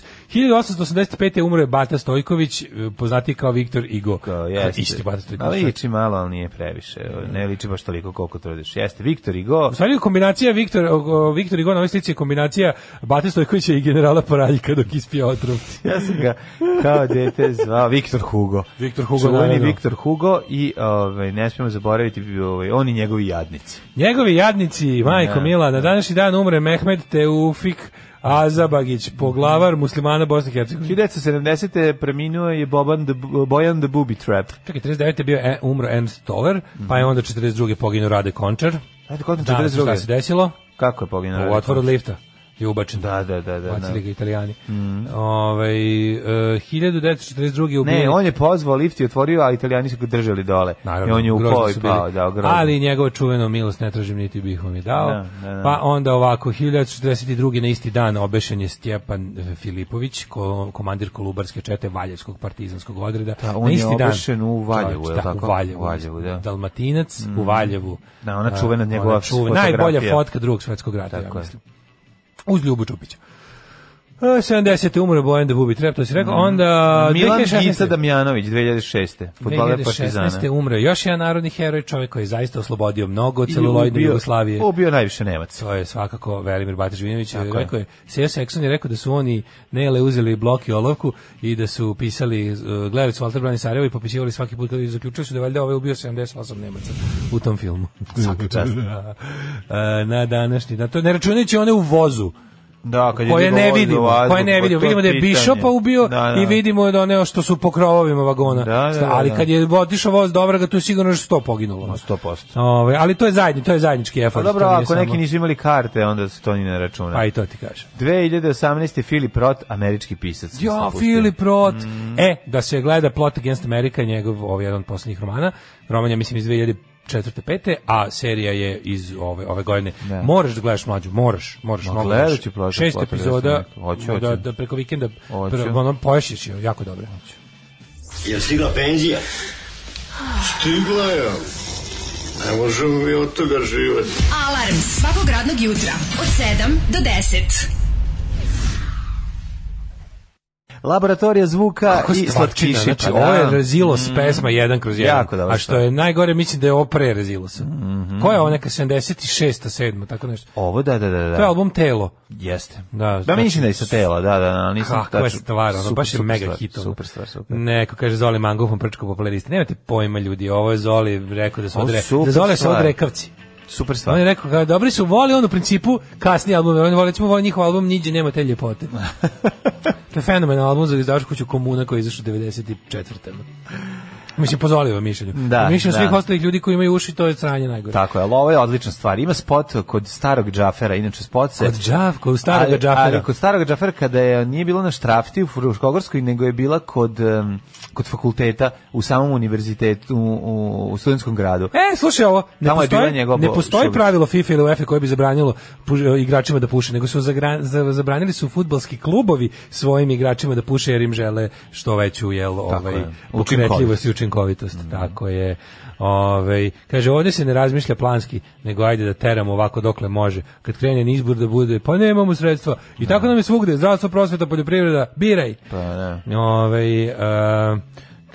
1885. umro je Bata Stojković, eh, poznatiji kao Viktor Igo. Kao, jeste. Isti Bata Ali Stojković. liči malo, ali nije previše. Ne liči baš toliko koliko trudiš. Jeste, Viktor Igo. U stvari kombinacija Viktor, o, o, Viktor Igo na ovoj slici je kombinacija Bate Stojkovića i generala Poraljka dok ispije otrov. Ja sam ga kao dete zvao Viktor Hugo. Viktor Hugo, Čuveni naravno. Viktor Hugo i ovaj, ne smijemo zaboraviti ovaj, on i njegovi jadnici. Njegovi jadnici, majko Da. Mila, na današnji dan umre Mehmed Teufik Azabagić, poglavar muslimana Bosne i Hercegovine. 1970. preminuo je Boban the, Bojan the Booby Trap. Čekaj, 39. je bio e, umro Ernst Toller, pa je onda 42. poginuo Rade Končar. Ajde, kod Danas šta 42. se desilo? Kako je poginuo? U otvoru od lifta. je ubačen. Da, da, da, Mm. da, da. Bacili ga italijani. Ovaj, e, 1942. je ubijen. Ne, on je pozvao lift i otvorio, a italijani su ga držali dole. I on je upao grozni i su bili. pao, da, grozni. Ali njegovo čuveno milost ne tražim niti bih vam je dao. Da, da, da. Pa onda ovako, 1942. na isti dan obešen je Stjepan e, Filipović, ko, komandir Kolubarske čete Valjevskog partizanskog odreda. Da, on na je isti obešen u Valjevu, Čovječ, je li da, tako? U Valjevu, U Valjevu, da. Mm. Dalmatinac u Valjevu. Da, ona A, čuvena njegova fotografija. Najbolja fotka drugog svetskog rata, Tako ja je. mislim. Uz Ljubu Čupića. E, 70. umro Bojan da Bubi Trep, to si rekao. Onda... Mm, Milan 2016. Gica Damjanović, 2006. Futbaler Partizana. 2016. umre još jedan narodni heroj, čovjek koji je zaista oslobodio mnogo od celuloidne I ubio- Jugoslavije. Ubio najviše Nemaca. To je svakako Velimir Batić Vinović. Tako je. Rekao je, Sejo Sekson je rekao da su oni Nele uzeli blok i olovku i da su pisali, uh, gledali su Walter Brani Sarajevo i popisivali svaki put kada zaključili su da je valjda ovaj ubio 78 Nemaca u tom filmu. Svaka čast. na današnji dan. To ne računajući one u vozu Da, kad je koje digao ne voz u vidimo, vazduh, koje ne pa vidimo. to je Vidimo da je pitanje. Bišopa ubio Da, da. i vidimo da one što su po krovovima vagona. Da, da, da, ali da. kad je otišao voz do obraga, tu je sigurno još 100 poginulo. 100%. Ovaj, ali to je zajedni, to je zajednički Pa efort. dobro, to nije ako neki samo- nisu imali karte, onda se to ni ne računa. Pa i to ti kažem. 2018. Filip Roth, američki pisac. sam Ja, pustio. Philip Roth. E, da se gleda Plot Against America, njegov ovaj jedan od poslednjih romana. Roman je, mislim, iz 2004. pete, a serija je iz ove, ove godine. Da. Moraš da gledaš mlađu, moraš, moraš. Ma, mnogo gledat moraš. ću Plot- Šest Plot Against epizoda, America. Hoću, hoću. da, da preko vikenda, Hoću. pr- ono, poješiš je, jako dobro. Jel stigla penzija? Stigla je. Ne možemo mi od toga živati. Alarm svakog radnog jutra od 7 do 10. Laboratorija zvuka Kako i stvarčina, slatkiši. Znači, ovo je Rezilos pesma jedan kroz jedan. Mm. Jako Mhm. dobra A što stvar. je najgore, mislim da je ovo pre Rezilosa. Koja je ovo neka 76. 7. tako nešto. Ovo, da, da, da. da. To je album Telo. Jeste. Da, da znači- mislim da je sa tela, da, da, da, nisam Kakva je tačno- stvar, ono, super, baš je super mega stvar, hit. ono. Super stvar, super. Neko kaže Zoli Mangufom prčko populariste. Nemate pojma ljudi, ovo je Zoli rekao da su Ovo odre, super da Zoli su stvar. odrekavci. Super stvar. Pa On je rekao kao, dobri su, voli on u principu kasni album, on voli, recimo voli njihov album Niđe nema te ljepote. to je fenomenal album za izdavačku kuću Komuna koji je izašao 94. Mislim, pozvali vam mišljenju. Da, U mišljenju da. svih ostalih ljudi koji imaju uši, to je sranje najgore. Tako je, ali ovo je odlična stvar. Ima spot kod starog Džafera, inače spot se... Od Džavka, u starog ali- Džafera. Ali kod starog Džafera, kada je, nije bila na štrafti u Fruškogorskoj, nego je bila kod, em, kod fakulteta u samom univerzitetu u, u, u studentskom gradu. E, slušaj ovo, ne Tamo je bila postoji, njegova ne postoji šubica. pravilo FIFA ili UEFA koje bi zabranilo puš- e, igračima da puše, nego su zagra- za- zabranili su fudbalski klubovi svojim igračima da puše jer im žele što veću jel ovaj je. pokretljivost i učinkovitost. Tako je. Ovaj kaže ovdje se ne razmišlja planski, nego ajde da teramo ovako dokle može. Kad krene na izbor da bude, pa nemamo sredstva. I tako nam je svugde, zdravstvo, prosveta, poljoprivreda, biraj. da. Ovaj, a,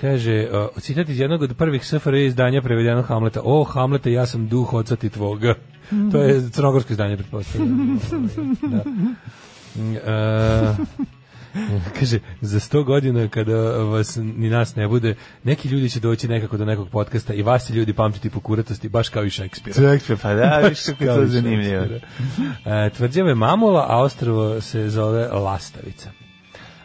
kaže, a, citat iz jednog od prvih SFRJ izdanja prevedenog Hamleta. O, Hamlete, ja sam duh oca ti tvoga. To je crnogorsko izdanje, pretpostavljam. Ovaj. Da. E, kaže, za sto godina kada vas ni nas ne bude, neki ljudi će doći nekako do nekog podcasta i vas će ljudi pamtiti po kuratosti, baš kao i Šekspira. Džafera, pa da, više kako je Kao to i zanimljivo. Šekspira. E, tvrđava je Mamula, a ostrovo se zove Lastavica.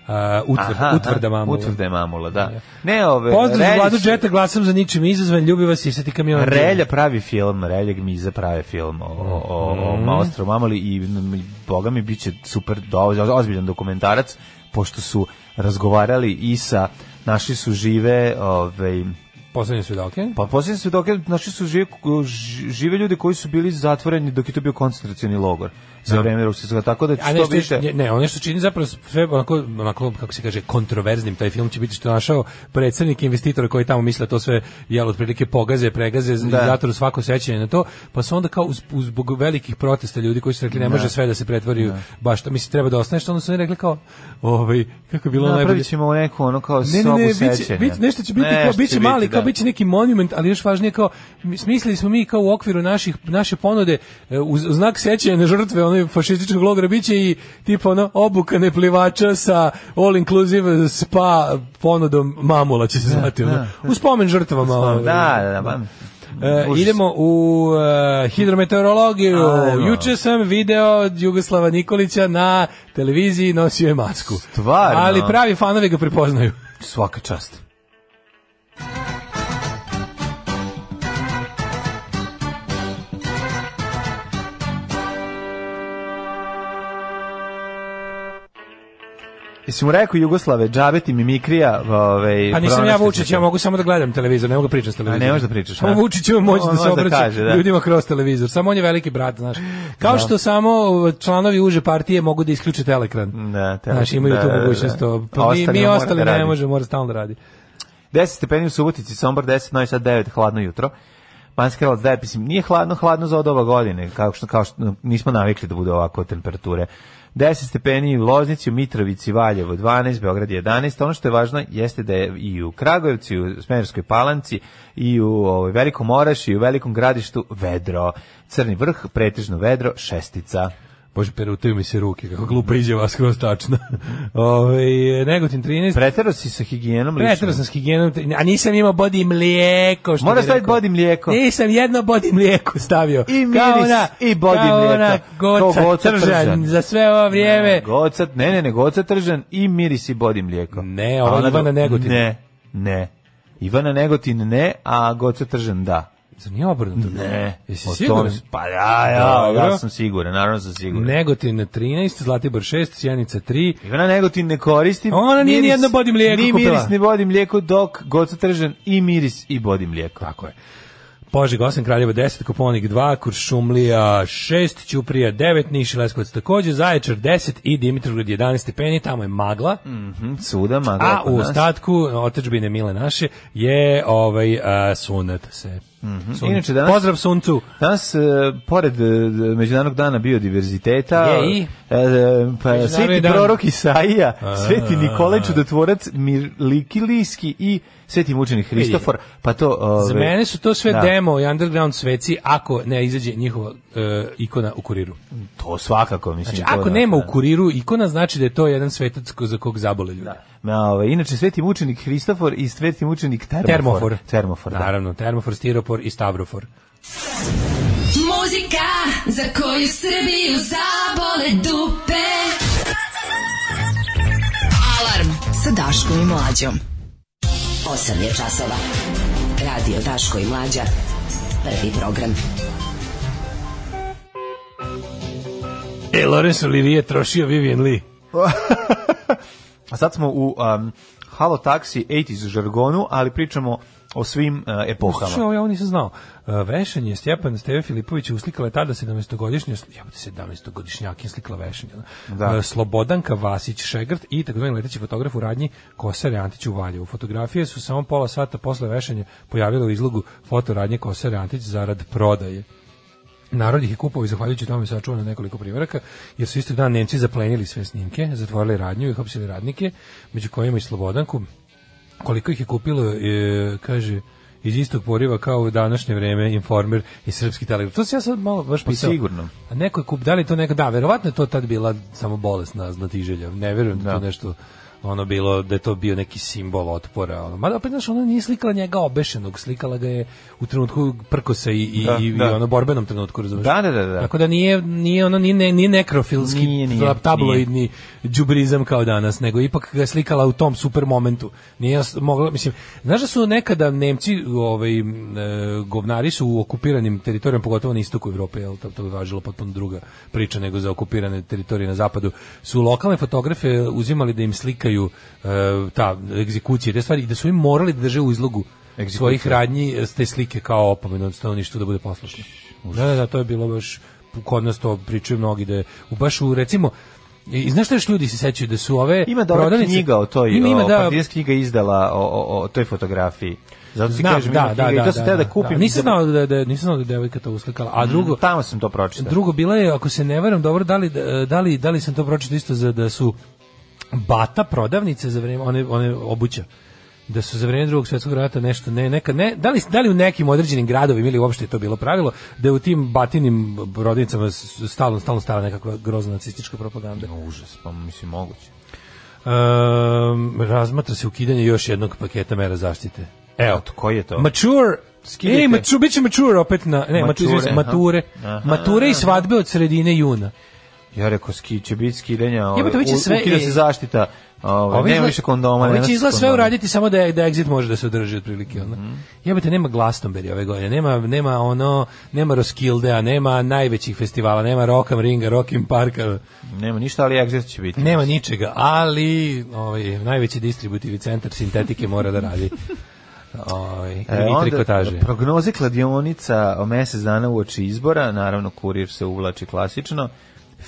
E, utvrda, Aha, utvrda aha, Mamula. Utvrda je mamula, da. Ne, ove, Pozdrav za Relj- Vladu Džeta, glasam za ničim izazvan, ljubi vas sisati kamion. Relja pravi film, Relja Gmiza pravi film o, o, o, o Mhm. Maostru Mamali i m, i boga mi bit će super do- ozbiljan dokumentarac, pošto su razgovarali i sa naši su žive ovaj Poslednje svedoke. pa posljednje svedoke naši su žive, ž- žive ljudi koji su bili zatvoreni dok je to bio koncentracioni logor za vreme vreme Drugog svjetskog, tako da A što nešto, više ne, ne, ono što čini zapravo sve onako, onako, kako se kaže, kontroverznim, taj film će biti što je našao predstavnik investitora koji tamo misle to sve, jel, otprilike pogaze, pregaze, da. zatoru svako sećanje na to, pa su onda kao uz, uz zbog velikih protesta ljudi koji su rekli ne može sve da se pretvori, u- baš to, mislim, treba da ostane, što onda su oni rekli kao, ovaj, kako je bilo najbolje, napravit ćemo neku ono kao Ne, ne, sobu ne, biće, sećanja. biće, nešto će biti, kao, Nešto biće će mali, biti, kao da. biće neki monument, ali još važnije kao, mi- smislili smo mi kao u okviru naših, naše ponude, e, uz u znak sećanja na žrtve onog fašističkog logora, biće i tipa ono, obuka neplivača sa all inclusive spa ponudom mamula će se zvati, ono, u spomen žrtvama. ovaj. Da, da, da. ba- E, Užas. idemo u e, hidrometeorologiju. Ajmo. Juče sam video od Jugoslava Nikolića na televiziji nosio je masku. Stvarno? Ali pravi fanovi ga prepoznaju. Svaka čast. Jesi mu rekao Jugoslave, džabe ti mimikrija, ovaj Pa nisam ja pronašli Vučić, ste. ja mogu samo da gledam televizor, ne mogu da pričam s televizorom. A, ne možeš da pričaš, Samo a? Vučić ima moć On da se može da obraća kaže, da. ljudima kroz televizor. Samo on je veliki brat, znaš. Kao što samo uh, članovi uže partije mogu da isključe telekran. Da, te, Znaš, imaju Mm, da, tu da, da. mogućnost. to. Pa mi, Ostali mi mora ostali da ne radi. možemo, mora stalno da radi. 10 stepeni u Subotici, Sombor 10, Novi Sad 9, hladno jutro. Banski Kralovac 9, mislim, nije hladno, hladno za od ova godine, kao što, kao što nismo navikli da bude ovako temperature. 10 stepeni u Loznici, u Mitrovici, Valjevo 12, Beograd 11. Ono što je važno jeste da je i u Kragujevci, i u Smerovskoj palanci, i u ovaj, Velikom Oraši, i u Velikom gradištu vedro. Crni vrh, pretežno vedro, šestica. Bože, perutaju mi se ruke, kako glupa izjava, skroz tačna. Ove, Negotin 13, Pretero si sa higijenom lično? Pretrao sam s higijenom, a nisam imao body mlijeko. Što Mora bi staviti rekao. bodi mlijeko. Nisam jedno body mlijeko stavio. Pa. I miris, Kao ona- i body kao mlijeko. ona goca, Kao goca tržan, tržan. za sve ovo vrijeme. Ne, gocat, ne, ne, ne, gocat tržan i miris i bodi mlijeko. Ne, ova A ona Ivana dru- Negotin. Ne, ne. Ivana Negotin ne, a gocat tržan da. Zar nije obrnuto? Ne. Jesi O tom siguran? s- Pa ja, ja, Dobro. ja sam siguran, naravno sam siguran. Negotin 13, Zlatibor 6, Sjenica 3, Ivana Negotin ne koristi. Ona nije miris- nijedno bodi mlijeko Ni kupila. miris, ni bodi mlijeko, dok gocat tržan i miris i bodi mlijeko. tako je. Požeg 8, Kraljevo 10, Koponik 2, Kuršumlija 6, Ćuprija 9, Niš i Leskovac takođe, Zaječar 10 i Dimitrovgrad 11 stepeni, tamo je magla. Mhm, Suda, magla A oko u nas. ostatku otadžbine mile naše je ovaj a, sunat se. Sunat. Mhm. Inače, danas- Pozdrav suncu. Danas, e, pored e, Međunarodnog dana biodiverziteta, Je i? e, e, pa, Međunarodni Sveti dan. prorok Isaija, Sveti Nikolaj Čudotvorac Mirlikilijski i Sveti mučenik Hristofor, pa to... Ove, Za mene su to sve Da. demo i underground sveci ako ne izađe njihova e, ikona u kuriru. To svakako, mislim. Znači, to ako da, nema da. u kuriru ikona, znači da je to jedan svetac ko- za kog zabole ljudi. Ma, ove, inače, Sveti mučenik Hristofor i Sveti mučenik Termofor. Termofor. Termofor, da. Naravno, termofor, stiropor i stavrofor. Muzika za koju Srbiju zabole dupe. Alarm sa Daškom i Mlađom. 8 je časova. Radio Daško i Mlađa. Prvi program. E, Lorenzo Olivier je trošio Vivian Lee. A sad smo u um, Halo Taxi 80s žargonu, ali pričamo o svim e, epohama. Što ja ovo nisam znao. E, Vešanje Stjepan Steve Filipović uslikala je tada 17-godišnja, ja 17-godišnjak je slikala vešanje. Da. E, Slobodanka Vasić Šegrt i takozvani leteći fotograf u radnji Kosare Antić u Valjevu. Fotografije su samo pola sata posle vešanja pojavile u izlogu fotoradnje Kosare Antić zarad prodaje. Narod ih je kupovao i zahvaljujući tome sačuvano nekoliko primjeraka, jer su isti dan Nemci zaplenili sve snimke, zatvorili radnju i hapsili radnike, među kojima i Slobodanku. Koliko ih je kupilo, e, kaže, iz istog poriva kao u današnje vreme Informer i Srpski telegraf. To se ja sad malo baš pitao. Pa sigurno. A neko je kup, da li je to neka, da, verovatno je to tad bila samo bolesna znatiželja. Ne verujem da, to Da. nešto ono bilo da je to bio neki simbol otpora ono mada opet znaš ona nije slikala njega obešenog slikala ga je u trenutku prkosa i i, Da, i, i da. ono borbenom trenutku razumiješ Da, da, da, da. tako da nije nije ono nije, ne- nije nekrofilski Nije, nije, tabloidni đubrizam kao danas nego ipak ga je slikala u tom super momentu nije os- mogla mislim znaš da su nekada Nemci ovaj e, govnari su u okupiranim teritorijama pogotovo na istoku Evrope jel to, to je važilo potpuno druga priča nego za okupirane teritorije na zapadu su lokalne fotografe uzimali da im slikaju e, ta egzekucije te stvari i da su im morali da drže u izlogu Egzekucije. svojih radnji e, s te slike kao opomenu od stanovništvu da bude poslušno. Da, da, da, to je bilo baš kod nas to pričaju mnogi da je u baš u recimo I i znaš šta još ljudi se sećaju da su ove Ima dobra prodavnice- knjiga o toj, ima, ima, o, pa da, partijska knjiga je izdala o, o, o toj fotografiji. Zato ti znam, kažem, da, ima knjiga da, i da, to sam da, teo da da, kupim. da. Nisam znao da, da, nisam znao da je devojka to uslikala, a drugo, Tamo sam to pročitao. Drugo bila je, ako se ne varam, dobro, da li, da li, da li sam to pročitao isto za da su bata prodavnice za vreme one one obuća da su za vreme drugog svjetskog rata nešto ne neka ne da li da li u nekim određenim gradovima ili uopšte je to bilo pravilo da je u tim batinim rodnicama s- stalno stalno stala nekakva grozna nacistička propaganda. Užas, pa mislim moguće. Ehm, razmatra se ukidanje još jednog paketa mera zaštite. Evo, Od koji je to? Mature. Skidajte. Ej, mature, bit će mature opet na... Ne, mature, Mature, mature, aha. mature, Aha. mature i svadbe od sredine juna. Ja rekao, ski, će biti skidanja, Jebote, ovaj, ovi će u- sve- ukida se zaštita, ovaj, nema izgleda- više kondoma. Ovi nema će se izgleda sve kondoma. Mhm. uraditi samo da, da exit može da se održi otprilike. Onda. Jebate, nema Glastonbury ove godine, nema, nema ono, nema Roskildea, nema najvećih festivala, nema Rock am Ringa, Rock in Parka, Nema ništa, ali exit će biti. nema ničega, ali ovaj, najveći distributivni centar sintetike mora da radi. Ovaj, E, i trikotaže. prognoze kladionica o mesec dana uoči izbora, naravno kurir se uvlači klasično,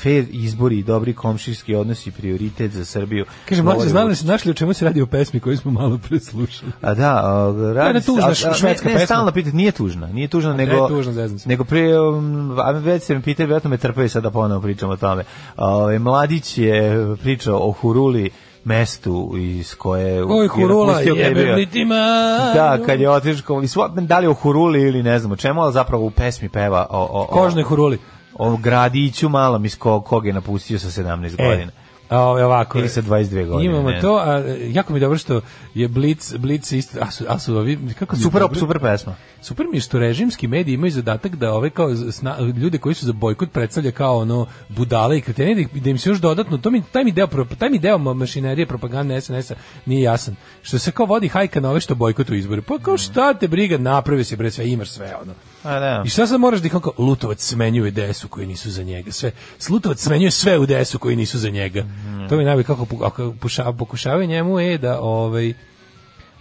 fair izbori i dobri komšijski odnosi prioritet za Srbiju. Kaže, mlađe, Govori znam Vučić. da se našli o čemu se radi u pesmi koju smo malo pre slušali. A da, a, jedna radi se- tužna a- a- š- švedska ne, ne, pesma. stalno pita, nije tužna, nije tužna, nego... je tužna, zezam se. Nego prije, um, a već se mi pitaju, vjerojatno me trpaju sada ponovo pričam o tome. Ove, mladić je pričao o Huruli, mestu iz koje... Oj, je hurula, napustio kad je bio- jebem li ti man. Da, kad je otišao, i sva- da li o Huruli ili ne znam o čemu, ali zapravo u pesmi peva o, o, o, Kožnoj huruli. o gradiću malom iz kog, kog je napustio sa 17 godina. E, ovaj, ovako. Ili sa 22 godine, Imamo ne. to, a e, jako mi je dobro što je Blitz, Blitz isto, a su, a su ovi, kako mi je Super, dobro- super pesma. Super mi je što režimski mediji imaju zadatak da ove kao sna- ljude koji su za bojkot predstavlja kao ono budale i kreteni, da, ih- da im se još dodatno, to mi, taj, mi deo, pro- taj mi deo ma- mašinerije propagande SNS-a nije jasan. Što se kao vodi hajka na ove što bojkotu izbore. Pa kao šta te briga, napravi se bre sve, imaš sve ono. A, da. I šta sad moraš da ih on kao, Lutovac smenjuje DS-u koji nisu za njega. Sve, Lutovac smenjuje sve u DS-u koji nisu za njega. To mi najbolje kako pu- ako puša- pokušavaju njemu je da ovaj,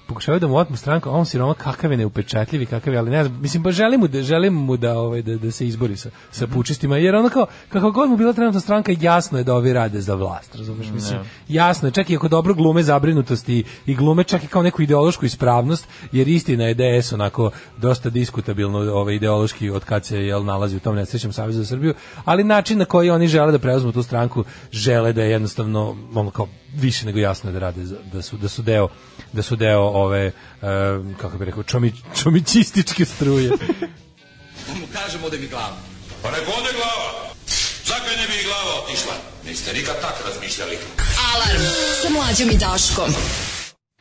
pokušavaju da mu otmu stranku, a on siroma kakav je neupečatljivi, kakav je, ali ne znam, mislim, pa želim mu da, želim mu da, ovaj, da, da se izbori sa, sa pučistima, jer ono kao, kako god mu bila trenutna stranka, jasno je da ovi rade za vlast, razumeš, mislim, jasno je, čak i ako dobro glume zabrinutost i, i glume čak i kao neku ideološku ispravnost, jer istina je DS onako dosta diskutabilno ovaj, ideološki od kad se jel, nalazi u tom nesrećnom Savezu za Srbiju, ali način na koji oni žele da preuzmu tu stranku, žele da je jednostavno, ono kao, više nego jasno je da rade, za- da su, da su deo da su deo ove, e, kako bih rekao, čomi, čomičističke struje. Pa nek ode glava. Zakaj ne bi i glava otišla? Niste nikad tak razmišljali. Alarm sa mlađom i Daškom.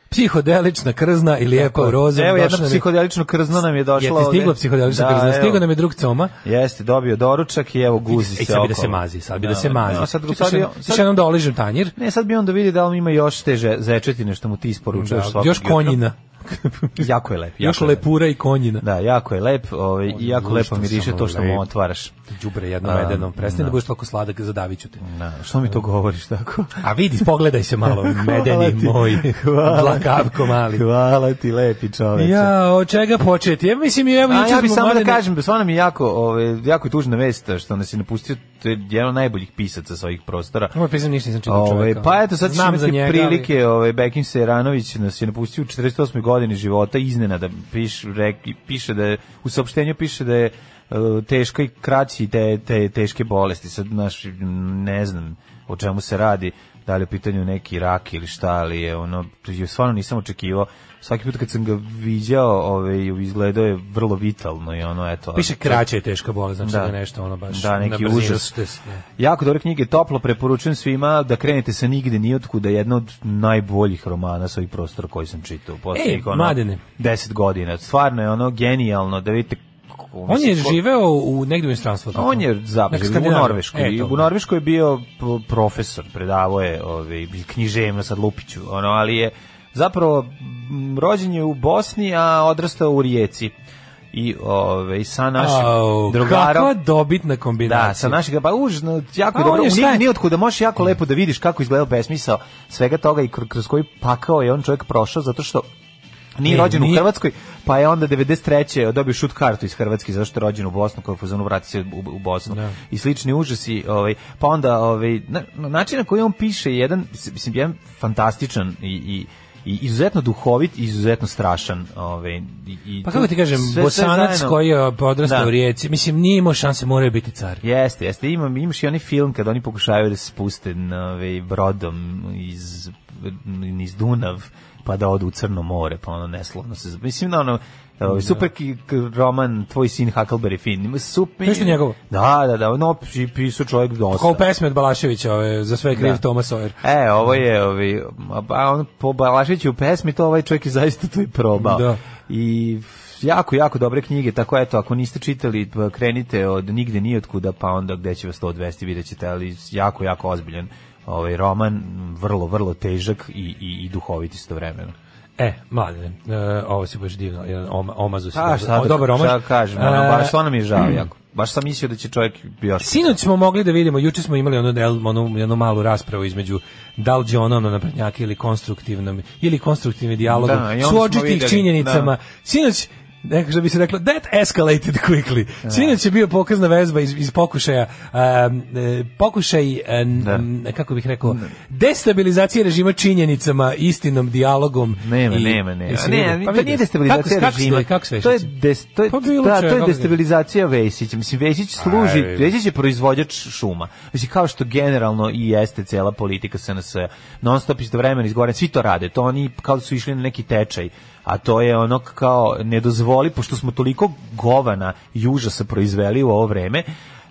Psihodelična krzna ili eko roza. Evo jedno došla nam je- psihodelično krzno nam je došlo Je ti stiglo ovde. psihodelična Da, krzna? evo. Stigao nam je drug coma. Jeste, dobio doručak i evo guzi se I sad bi da okolo. se mazi, sad bi da se Da, mazi. da, sad, Čekaj, sad, sad, sad- sad jednom da oližem tanjir. Ne, sad bi on da vidi da li ima još te že- zečetine što mu ti isporučuješ Da, svakog još jutra. konjina. Jako je lep. Još jako je lep. lepura i konjina. Da, jako je lep ovaj, i jako Ono, lepo što miriše sam to što mu lep. otvaraš. Đubre jedno A, medeno. Prestani da. da budeš toliko sladak, zadaviću te. Da, što mi to govoriš tako? A vidi, pogledaj se malo, medeni ti. moj, Hvala. dlakavko mali. Hvala ti, lepi čoveče. Ja, od čega početi? Ja mislim, evo, A juče ja bih smo samo da mladene- kažem, pa stvarno mi je jako, ovaj, jako je tužna vest što nas je napustio, to je jedan od najboljih pisaca sa ovih prostora. Ovo pisam ništa nisam čitao Ove, znači čoveka. pa eto, sad ćemo Znam za imati njega, ali- prilike, ove, Bekim Sejranović nas je napustio u 48. godini života, iznenada piš, rek, piše da je, u saopštenju piše da je e, teška i kraći te, te teške bolesti, sad naš, m, ne znam o čemu se radi, da li je u pitanju neki rak ili šta, ali je ono, je, stvarno nisam očekivao, svaki put kad sam ga viđao, ove, izgledao je vrlo vitalno i ono, eto. Piše kraći kraće je teška bolest, znači da. je nešto ono baš da, na neki brzinu užas. stisne. Jako dobre knjige, toplo preporučujem svima da krenete sa nigde ni otkuda, jedna od najboljih romana sa ovih prostora koji sam čitao. Poslednjih, ono, E, Mladene. 10 godina. Stvarno je ono genijalno da vidite kako- On je mislim, ko- živeo u negde u inostranstvu. tako? On je Neka zapravo u Skandinavija. Norveškoj. E, I to. u Norveškoj je bio p- profesor, predavao je ovaj književno sad Lupiću, ono, ali je zapravo m, rođen je u Bosni, a odrastao u Rijeci. I ovaj sa našim Au, drugarom Kakva dobitna kombinacija. da, sa našeg pa užno jako je A dobro. on je šta Ni je- ni otkud da možeš jako lepo da vidiš kako izgleda besmisao svega toga i kr- kroz koji pakao je on čovjek prošao zato što nije E, rođen u nije- Hrvatskoj, pa je onda 93. dobio šut kartu iz Hrvatske zato što je rođen u Bosnu, kao je u fazonu vrati se u, u Bosnu. Da. I slični užasi, ovaj, pa onda ovaj, na, na način na koji on piše je jedan, mislim, jedan fantastičan i, i i izuzetno duhovit, i izuzetno strašan. Ovaj, i, i Pa tu kako ti kažem, sve- sve Bosanac zajedno- koji je podrastao Da. u rijeci, mislim, nije imao šanse, moraju biti car. Jeste, jeste. Imam, imaš i onaj film kada oni pokušavaju da se spuste na, ovaj, brodom iz, iz Dunav pa da odu u Crno more, pa ono neslovno se... Mislim da ono, ovaj, super ki- k- roman Tvoj sin Huckleberry Finn. Ima super... Nešto njegovo? Da, da, da. No, pi- pisao čovjek dosta. Pa Kao u pesmi od Balaševića, ove, za sve je kriv Da. Thomas Sawyer. E, ovo je, ovi, pa a on po Balašiću u pesmi, to ovaj čovjek je zaista to i probao. Da. I jako, jako dobre knjige, tako eto, ako niste čitali, pa krenite od nigde nijotkuda, pa onda gde će vas to odvesti, vidjet ćete, ali jako, jako ozbiljan ovaj roman, vrlo, vrlo težak i, i, i duhovit istovremeno. E, mladine, e, ovo si baš divno, jedan oma, omazu si. Pa, dobro- šta o, da, dobar E, omaz. šta da kažem, ono, baš stvarno mi je žao jako. Baš sam mislio da će čovjek još... Sinoć smo mogli da vidimo, juče smo imali ono, del, ono jednu malu raspravu između da li će ono ono naprednjake ili konstruktivnom ili konstruktivnim dijalogom, Da, i onda da, smo suočiti ih videli, činjenicama. da. Sinoć nekako što bi se reklo, that escalated quickly. Sinoć je bio pokazna vezba iz, iz pokušaja, um, e, pokušaj, e, n- Da. m, kako bih rekao, destabilizacije režima činjenicama, istinom, dijalogom. Nema, i- nema, nema. Jesi vidio? Ne, Pa to vidi. nije destabilizacija Kako- kako režima. ste- Kako sve to je, des, to je, Pa bilo da, to čega. je destabilizacija Vesića. Mislim, Vesić služi, Aj. Vesić je proizvođač šuma. Mislim, kao što generalno i jeste cela politika SNS. Non stop istovremeno izgovoren, svi to rade. To oni kao da su išli na neki tečaj. A to je ono kao, ne dozvoli, pošto smo toliko govana i užasa proizveli u ovo vreme,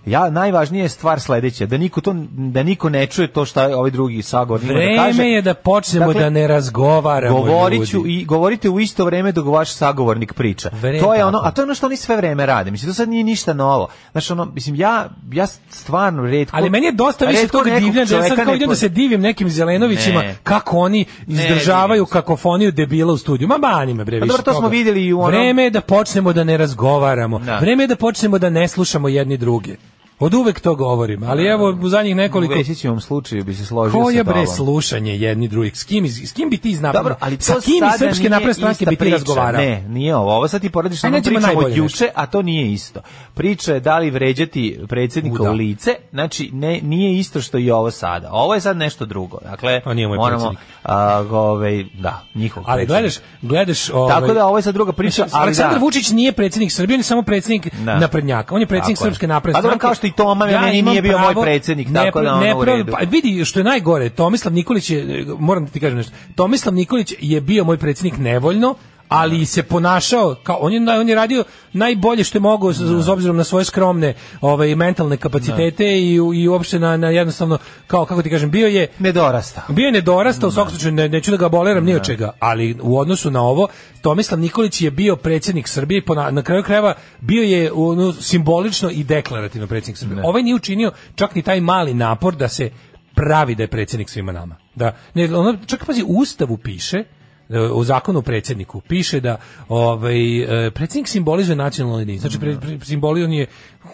Ja najvažnija je stvar sledeća, da niko to da niko ne čuje to šta je ovaj drugi sagovornik ima da kaže. Vreme je da počnemo Dakle, da ne razgovaramo. Govorit ću ljudi. i govorite u isto vreme dok vaš sagovornik priča. Vreme, to je tako. ono, a to je ono što oni sve vreme rade. Mislim to sad nije ništa novo. Znaš, ono, mislim ja ja stvarno retko Ali meni je dosta više retko toga nekog divlja, da ja sad čoveka kao ne idem da poz- se divim nekim Zelenovićima, Ne. kako oni izdržavaju kakofoniju debila u studiju. Ma bani me bre Pa više dobro, to smo toga. videli i u onom- Vreme je da počnemo da ne razgovaramo. Da. Vreme je da počnemo da ne slušamo jedni druge. Od uvek to govorim, ali evo u zadnjih nekoliko... U Vesićevom slučaju bi se složio Ko sa je bre tobom. slušanje jedni drugih? S kim, iz- s kim bi ti iz napada? Dobro, ali to Sa kim iz sada Srpske nije napredne stranke bi ista ti priča. razgovarao? Ne, nije ovo. Ovo sad ti poradiš sa Ajde, onom nađemo pričom od najbolje juče, a to nije isto. Priča je da li vređati predsjednika U, da. u lice, znači ne, nije isto što i ovo sada. Ovo je sad nešto drugo. Dakle, A nije moj moramo, predsjednik. a, ovaj, da, njihov Ali predsjednik. gledaš, gledaš... Ovaj, Tako da ovo je sad druga priča, Mislim, ali Aleksandar da. Vučić nije predsjednik Srbije, on je samo predsjednik Da. naprednjaka. On je predsjednik Tako je. Srpske napredne A dobro, stranke. kao što i Toma meni imam nije bio moj pravo- predsjednik, ne- tako da ono ne u pravo- redu. Pa vidi, što je najgore, Tomislav Nikolić je, moram da ti kažem nešto, Tomislav Nikolić je bio moj predsjednik nevoljno, ali se ponašao kao on je na- on je radio najbolje što je mogao s- uz obzirom na svoje skromne ovaj mentalne kapacitete i u- i uopšte na, na jednostavno kao kako ti kažem bio je Ne dorasta. bio je nedorasta, u svakom slučaju ne, neću da ga aboliram ni od čega, ali u odnosu na ovo, Tomislav Nikolić je bio predsjednik Srbije, i po na, na kraju krajeva bio je ono, simbolično i deklarativno predsjednik Srbije. Ovaj nije učinio čak ni taj mali napor da se pravi da je predsjednik svima nama. Da, ne, ono, čak pazi, u Ustavu piše, e, u zakonu o predsjedniku piše da ovaj e, predsjednik simbolizuje nacionalnu jedinicu. Znači pre, pre, simboli- on je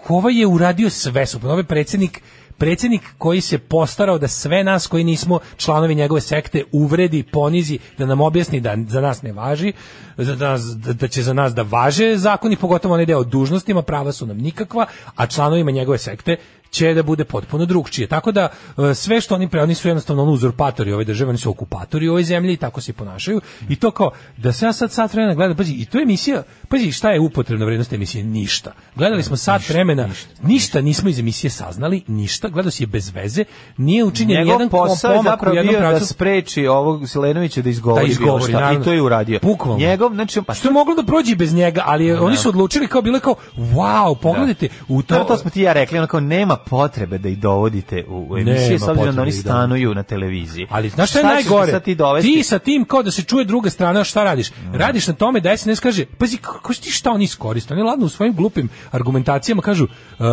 ovaj je uradio sve suprotno. Ovaj predsjednik predsjednik koji se postarao da sve nas koji nismo članovi njegove sekte uvredi, ponizi, da nam objasni da za nas ne važi, za nas, da- da će za nas da važe zakoni, pogotovo onaj deo o dužnostima, prava su nam nikakva, a članovima njegove sekte će da bude potpuno drugčije. Tako da e, sve što oni pre, oni su jednostavno ono uzurpatori ove države, oni su okupatori ove zemlje i tako se i ponašaju. I to kao, da se ja sad sat vremena gledam, pazi, i to je emisija, pazi, šta je upotrebna vrednost te emisije? Ništa. Gledali smo sat vremena, ništa nismo iz emisije saznali, ništa, gledao si je bez veze, nije učinjen Njegov jedan kom- posao je pomak u zapravo jednom bio da pravcu. spreči ovog Silenovića da izgovori, Da izgovori, bilo šta, naravno. i to je uradio. Bukvalno. Njegov, znači, pa Što je moglo da prođe i bez njega, ali je- oni su odlučili kao bilo je kao, wow, pogledajte, u To, to... to smo ti i ja rekli, onako nema potrebe da ih dovodite u, u emisije, Nema s obzirom potrebe da oni da ih stanuju na televiziji. Ali znaš šta je ćeš najgore? sad ti dovesti? Mm. sa tim kao da se čuje druga strana, šta radiš? Radiš na tome da SNS kaže, pazi kako si ti šta oni iskoriste. Oni ladno u svojim glupim argumentacijama kažu, e,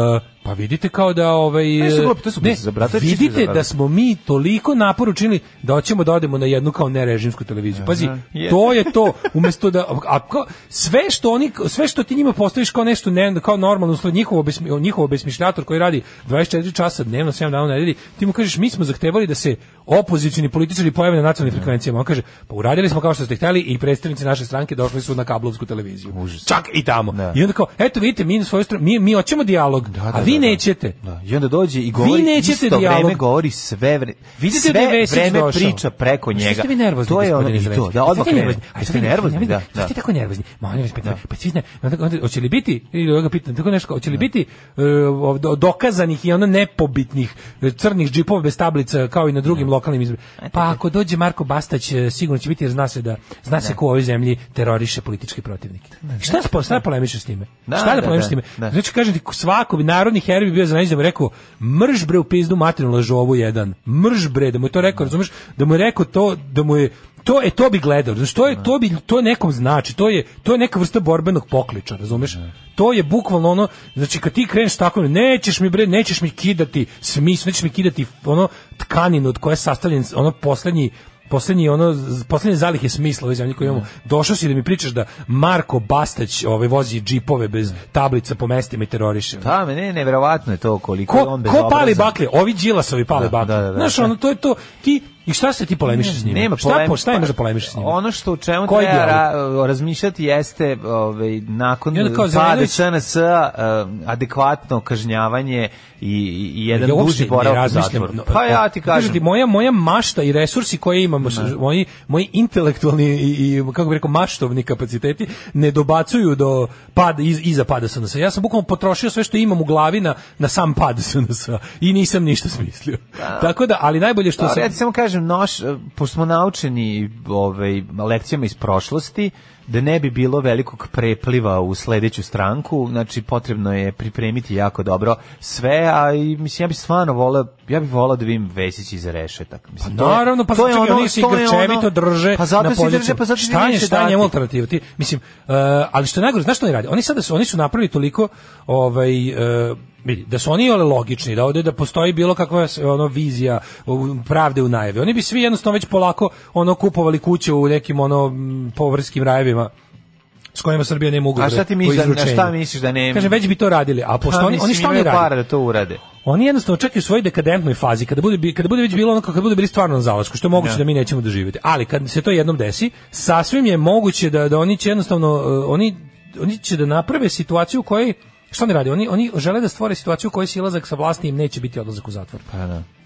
pa vidite kao da ovaj Pa nisu e, glupi, to su ne, bez zabrata, to je čisti vidite zabrat. da smo mi toliko napor učinili da hoćemo da odemo na jednu kao nerežimsku televiziju. Pazi, je. to je to umesto da a kao, sve što oni sve što ti njima postaviš kao nešto ne, kao normalno usled njihovo besmi, njihovo besmišljator koji radi 24 časa dnevno 7 dana u nedelji, ti mu kažeš mi smo zahtevali da se opozicioni političari pojave na nacionalnim frekvencijama. On kaže pa uradili smo kao što ste hteli i predstavnici naše stranke došli su na kablovsku televiziju. Čak i tamo. Da. I onda kao eto vidite mi na svoju stranu mi mi hoćemo dijalog, a vi nećete. Da, I onda dođe i govori Vi nećete isto vreme, dijalog. govori sve vreme. Vidite da je sve Vesić vreme došao. priča preko Pa što njega. Ste vi nervozni, to je ono i to, da odmah krene. Aj, Jeste nervozni, da. da. Jeste tako nervozni. Ma oni vas pitaju, pa svi ne, onda, onda, hoće li biti, ili ja ga pitam, tako nešto, kao, hoće li biti e, ov- do- dokazanih i ono nepobitnih e, crnih džipova bez tablica kao i na drugim lokalnim izborima. Pa ako dođe Marko Bastać, e, sigurno će biti jer zna se da zna se ko u ovoj zemlji teroriše političke protivnike. Šta spo, šta polemišeš s time? Da, šta da, da polemišeš s da, time? da. Znači kažem ti svako bi narodni heroj bi bio za da mu je rekao mrž bre u pizdu materinu lažovu jedan. Mrž bre da mu je to rekao, razumeš? Da mu je rekao to da mu je to e to bi gledao znači to je to bi to nekom znači to je to je neka vrsta borbenog pokliča razumeš to je bukvalno ono znači kad ti kreneš tako nećeš mi bre nećeš mi kidati smis nećeš mi kidati ono tkaninu od koje je sastavljen ono poslednji poslednji ono poslednje zalihe smisla u ovoj zemlji koju imamo. Došao si da mi pričaš da Marko Bastać ovaj vozi džipove bez tablica po mestima i teroriše. Da, me ne, neverovatno je to koliko je Ko, on ko bezobrazan. pali baklje? Ovi Đilasovi pale Da, baklje. da, da, da. Znaš, ono, to je to. Ti, I šta se ti polemišeš s njima? Nema šta, polem- po, šta imaš da polemišeš s njima? Ono što u čemu Koji treba dijalog? ra- razmišljati jeste ovaj, nakon I onda kao pada Zelenović- SNS e, adekvatno kažnjavanje i, i- i jedan ja uopšte duži ne boravak u razmišljam. zatvoru. No, e, Pa ja ti kažem kažem, ti, moja, moja mašta i resursi koje imamo, s- moji, moji intelektualni i, i, kako bih rekao, maštovni kapaciteti ne dobacuju do pada, iz, iza pada SNS. Ja sam bukvalno potrošio sve što imam u glavi na, na sam pad SNS i nisam ništa smislio. Tako da, ali najbolje što Da, sam... ja ti Pa, samo kažem, noš, eh, pošto smo naučeni ovaj, lekcijama iz prošlosti, da ne bi bilo velikog prepliva u sledeću stranku, znači potrebno je pripremiti jako dobro sve, a i mislim ja bi stvarno voleo, ja bih voleo da vidim Vesić iz rešetak. Mislim to je- Naravno, pa to je čekaj, ono- oni se to je grčevito ono- drže pa zato na se poziciji. drže, pa zato se šta je, neće šta je njemu dati. alternativa? Ti, mislim, e, ali što je najgore, znaš što oni radi? Oni sada su, oni su napravili toliko, ovaj, e, vidi, da su oni ole logični, da ovde da postoji bilo kakva s- ono vizija u- pravde u najavi. Oni bi svi jednostavno već polako ono kupovali kuće u nekim ono m, povrskim rajevima s kojima Srbija nema ugovore. A šta ti o misliš, da- na izručenju. šta misliš da nema? Kažem, već bi to radili, a pošto Pa, oni, oni mislim, šta oni imaju rade? para da to urade. Oni jednostavno čak i u svojoj dekadentnoj fazi, kada bude, bi- kada bude već bilo ono kada bude bili stvarno na zalasku, što je moguće Da. da mi nećemo doživjeti. Ali kad se to jednom desi, sasvim je moguće da, da oni će jednostavno, e, oni, oni će da naprave situaciju u kojoj, što oni rade? Oni, oni žele da stvore situaciju u kojoj silazak sa vlasti im neće biti odlazak u zatvor.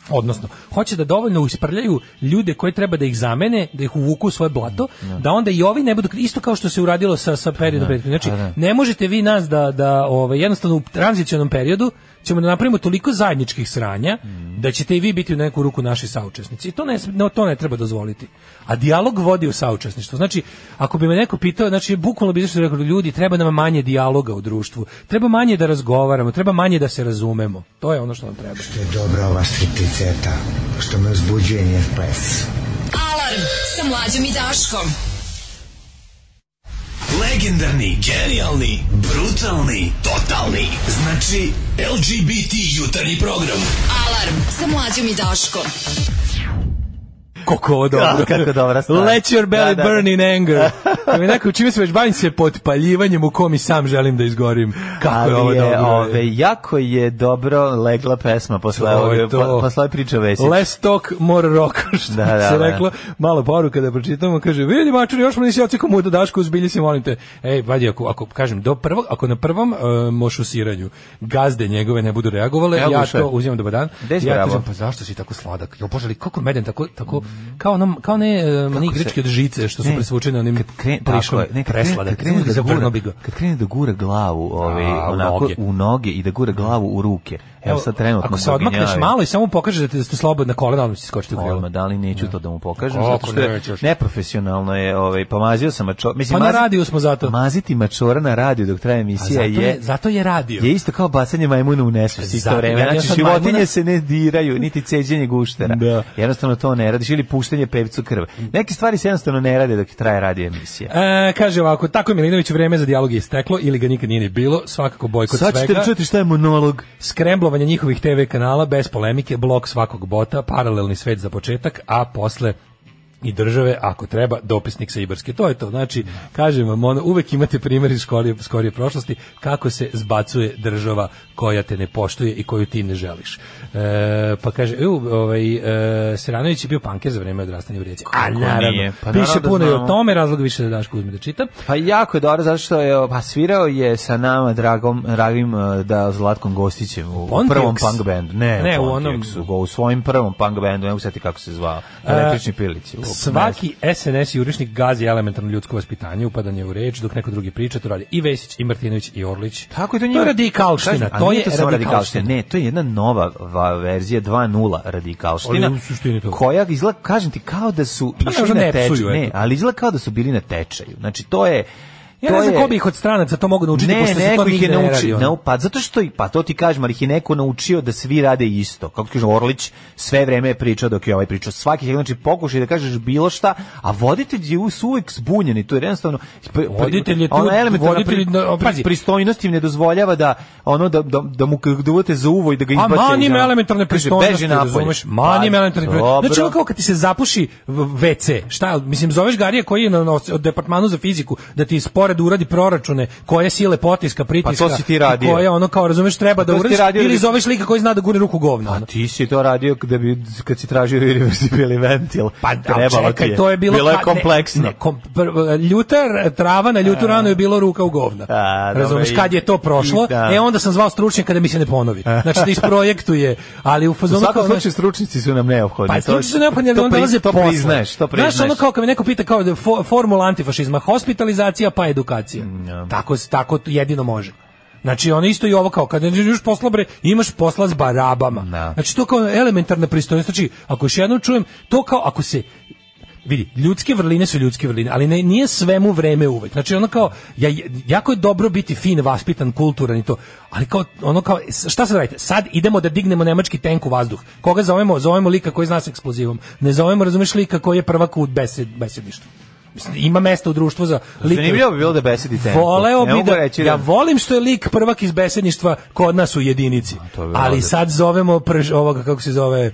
Odnosno, hoće da dovoljno usprljaju ljude koje treba da ih zamene, da ih uvuku u svoje blato, da onda i ovi ne budu, isto kao što se uradilo sa, sa periodom prethodnim. Znači, ne možete vi nas da, da ovaj, jednostavno u tranzicionom periodu ćemo da napravimo toliko zajedničkih sranja da ćete i vi biti u neku ruku naši saučesnici. I to ne, no, to ne treba dozvoliti. A dijalog vodi u saučesništvo. Znači, ako bi me neko pitao, znači, bukvalno bi izašao i rekao, ljudi, treba nam manje dijaloga u društvu, treba manje da razgovaramo, treba manje da se razumemo. To je ono što nam treba. Dobra ova stripticeta, što me uzbuđuje njen ples. Alarm sa mlađom i Daškom. Legendarni, genijalni, brutalni, totalni. Znači, LGBT jutarnji program. Alarm sa mlađom i Daškom. Koliko ovo dobro. Da, kako dobra stvar. Let your belly Da, da, burn da. in anger. Kad mi neko čime se već bavim se potpaljivanjem u kom i sam želim da izgorim. Kako je Ali ovo dobro. ove, jako je dobro legla pesma posle, To je ove, to. po- posle ove priče o Vesiću. Less talk, more rock, što Da, da, se da. reklo. Malo poruka da pročitamo, kaže, vidi mačuri, još mu nisi ocekao mu da dašku, uzbilji se, molim te. Ej, vadi, ako, ako, kažem, do prvog, ako na prvom uh, mošusiranju gazde njegove ne budu reagovale, Evo ja ga, šef. to uzimam dobar dan. Gde si ja bravo? kažem, pa zašto si tako sladak? Jo, bože, ali kako meden, tako, tako, kao, nam, kao ne, uh, ni Mm. se- grčke od žice, što su Ne, presvučene onim kad kre- tako prišom je, ne, kad krene- presladak. kad krene da Zavrno gura, bi ga. kad krene da gura glavu ovaj, A, u onako, noge. u noge i da gura glavu u ruke. Evo sad trenutno Ako se odmakneš gurinjavi. malo i samo pokažeš da, te- da ste slobodna kolena, odmah će skočiti u grilo. Odmah, da li neću to da mu pokažem, Kako zato što je nećeš? neprofesionalno je, ovaj, pa mazio sam mačora. Mislim, Pa na mazi- radiju smo zato. Maziti mačora na radiju dok traje A emisija zato je, je, zato je radio. je isto kao bacanje majmuna u nesvest isto Zato, vreme. ja- ja Znači, sad životinje majmuna- se ne diraju, niti ceđenje guštera. Da. Jednostavno to ne radiš ili puštanje pevcu krve. Neke stvari se jednostavno ne rade dok traje radio emisija. E, kaže ovako, tako je Milinović vreme za dijalog je isteklo ili ga nikad nije ni bilo, svakako bojkot Sad ćete svega, čuti šta je monolog. skremblovanje njihovih TV kanala bez polemike, blok svakog bota, paralelni svet za početak, a posle i države, ako treba, dopisnik sa Ibarske. To je to. Znači, kažem vam, ono, uvek imate primjer iz skorije, skorije prošlosti kako se zbacuje država koja te ne poštuje i koju ti ne želiš. E, pa kaže, u, ovaj, e, Seranović je bio panker za vreme odrastanja u Rijeci. A naravno, nije? Pa piše naravno da puno i o znamo. tome, razlog više da Daško uzme da čita. Pa jako je dobro zato što je pa svirao je sa nama dragom dragim eh, da Zlatkom Gostićem u Pontiacs? prvom punk bendu. Ne, Ne, ne u u onom- Pontiacsu, go- u svojim prvom punk bendu, ne mogu sjetiti kako se zvao. Električni pilići. u- Svaki SNS jurišnik gazi elementarno ljudsko vaspitanje, upadanje u reč, dok neko drugi priča, to radi i Vesić, i Martinović, i Orlić. Tako je to To njima. je radikalština, Kažem, a to nije je samo radikalština. Ne, to je jedna nova va, verzija 2.0 radikalština. Ali u suštini to. Koja izgleda, kažem ti, kao da su ne, išli možda na ne tečaju. psuju, Ne, eto. ali izgleda kao da su bili na tečaju. Znači, to je Ja To ne znam je- ko bi ih od stranaca to mogu naučiti, ne, pošto se to neko ih nigde je ne radi. naučio. ono. Ne, pa zato što i pa to ti kažem, ali ih je neko naučio da svi rade isto. Kako ti kažem, Orlić sve vreme je pričao dok je ovaj pričao. Svaki znači pokušaj da kažeš bilo šta, a voditelj je us- uvek zbunjen i to je jednostavno pri- pri- Voditelj je tu- ona elementarna voditelj pri- na- pri- pazi. pristojnost im ne dozvoljava da ono da da, da mu kada uvate za uvo i da ga A izbace. mani iz me ono. elementarne Kaže, beži pristojnosti, napolje. razumeš? Mani me Pa, elementarne pristojnosti. dobro. Znači, ovo kao kad ti se zapuši v- WC, šta, mislim, zoveš Garija koji je na, na, od departmanu za fiziku da ti spored uradi proračune koje sile potiska, pritiska, Pa si ti i radio. Pa koje ono kao, razumeš, treba to da si ti uradiš, radio da ili bi- Pa zoveš lika koji zna da gurne ruku u govno. A ono. ti si to radio da bi kad si tražio irreversibili ventil. Pa da, trebalo ti čekaj, to je bilo, bilo je kad- ne, kompleksno. Ne, kom, pr- ljuta r- trava na ljutu ranu je bilo ruka u govna. A, dobro, Razumeš i- kad je to prošlo? i da. E onda sam zvao stručnjaka da mi se ne ponovi. Znači da isprojektuje, ali u U fazonu svakom kao, znaš, slučaju znači stručnici su nam neophodni. ono- Pa To- stručni su neophodni, ali to onda pri- dolaze pa to posle. priznaš, to priznaš. Znaš, ono kao kad me neko pita kao da je fo, formula antifašizma, hospitalizacija pa edukacija. Mm, Tako, s- tako jedino može. Znači, ono isto i ovo kao, kada imaš posla, bre, imaš posla s barabama. Da. Znači, to kao elementarna pristojnost. Znači, ako još jednom čujem, to kao, ako se vidi, ljudske vrline su ljudske vrline, ali ne, nije svemu vreme uvek. Znači ono kao, ja, jako je dobro biti fin, vaspitan, kulturan i to, ali kao, ono kao, šta sad radite? Sad idemo da dignemo nemački tank u vazduh. Koga zovemo? Zovemo lika koji zna s eksplozivom. Ne zovemo, razumeš, lika koji je prvak u besed, besedništvu. Mislim, ima mesta u društvu za lika. Zanimljivo bi bilo da besedi tempo. Voleo Ne bi mogu da, reći ja volim što je lik prvak iz besedništva kod nas u jedinici. to je ali odlično. sad zovemo prž, ovoga kako se zove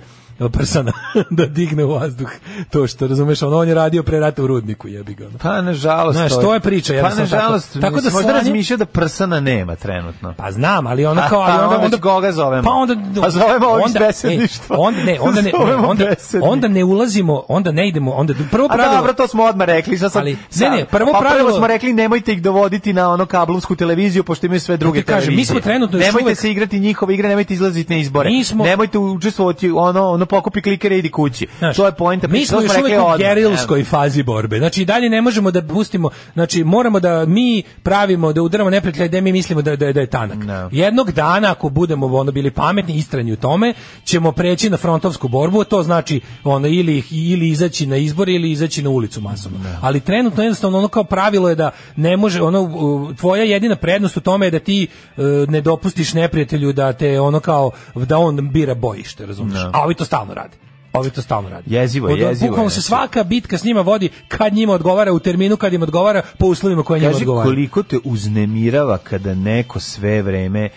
prsana da digne u vazduh to što razumeš ono on je radio pre rata u rudniku jebi ga ono. Pa nažalost. Znaš, to to je priča, Pa jednostavno tako. nažalost, Tako da mislim, možda slanje- razmišlja da prsana nema trenutno. pa znam ali ono kao A, ali pa onda onda onda koga zovemo? pa onda Pa zovemo ovih iz onda- besedništva. e, onda ne onda ne Zovemo onda, besednik. onda ne ulazimo onda ne idemo onda prvo A pravilo dobro, to smo odmah rekli. Sad, Pa, sad, Ali- sad- ne, ne, prvo pa prvo pravilo- smo rekli nemojte ih dovoditi na ono kablovsku televiziju, pošto imaju sve druge ti kažem, televizije. mi smo trenutno još Nemojte uvek- se igrati njihove igre, nemojte izlaziti na izbore. Mi smo- Nemojte učestvovati, ono, ono pokupi klikere i idi kući. Znaš, to je poenta. Mi priče, to smo još rekli uvijek u odmah. gerilskoj fazi borbe. Znači, i dalje ne možemo da pustimo, znači, moramo da mi pravimo, da udaramo neprijatelja gde mi mislimo da, da, da je tanak. Ne. Jednog dana, ako budemo ono bili pametni, istrani u tome, ćemo preći na frontovsku borbu, a to znači ono, ili, ili izaći na izbor ili izaći na ulicu masovno. Ali trenutno jednostavno ono kao pravilo je da ne može, ono, u- tvoja jedina prednost u tome je da ti e, ne dopustiš neprijatelju da te ono kao, da on bira bojište, razumiješ? A ovi to stalno rade. Ovi to stalno rade. Jezivo je, Od- jezivo je, Bukvalno se znači. svaka bitka s njima vodi kad njima odgovara u terminu, kad im odgovara po uslovima koje njima Kaži odgovara. koliko te uznemirava kada neko sve vreme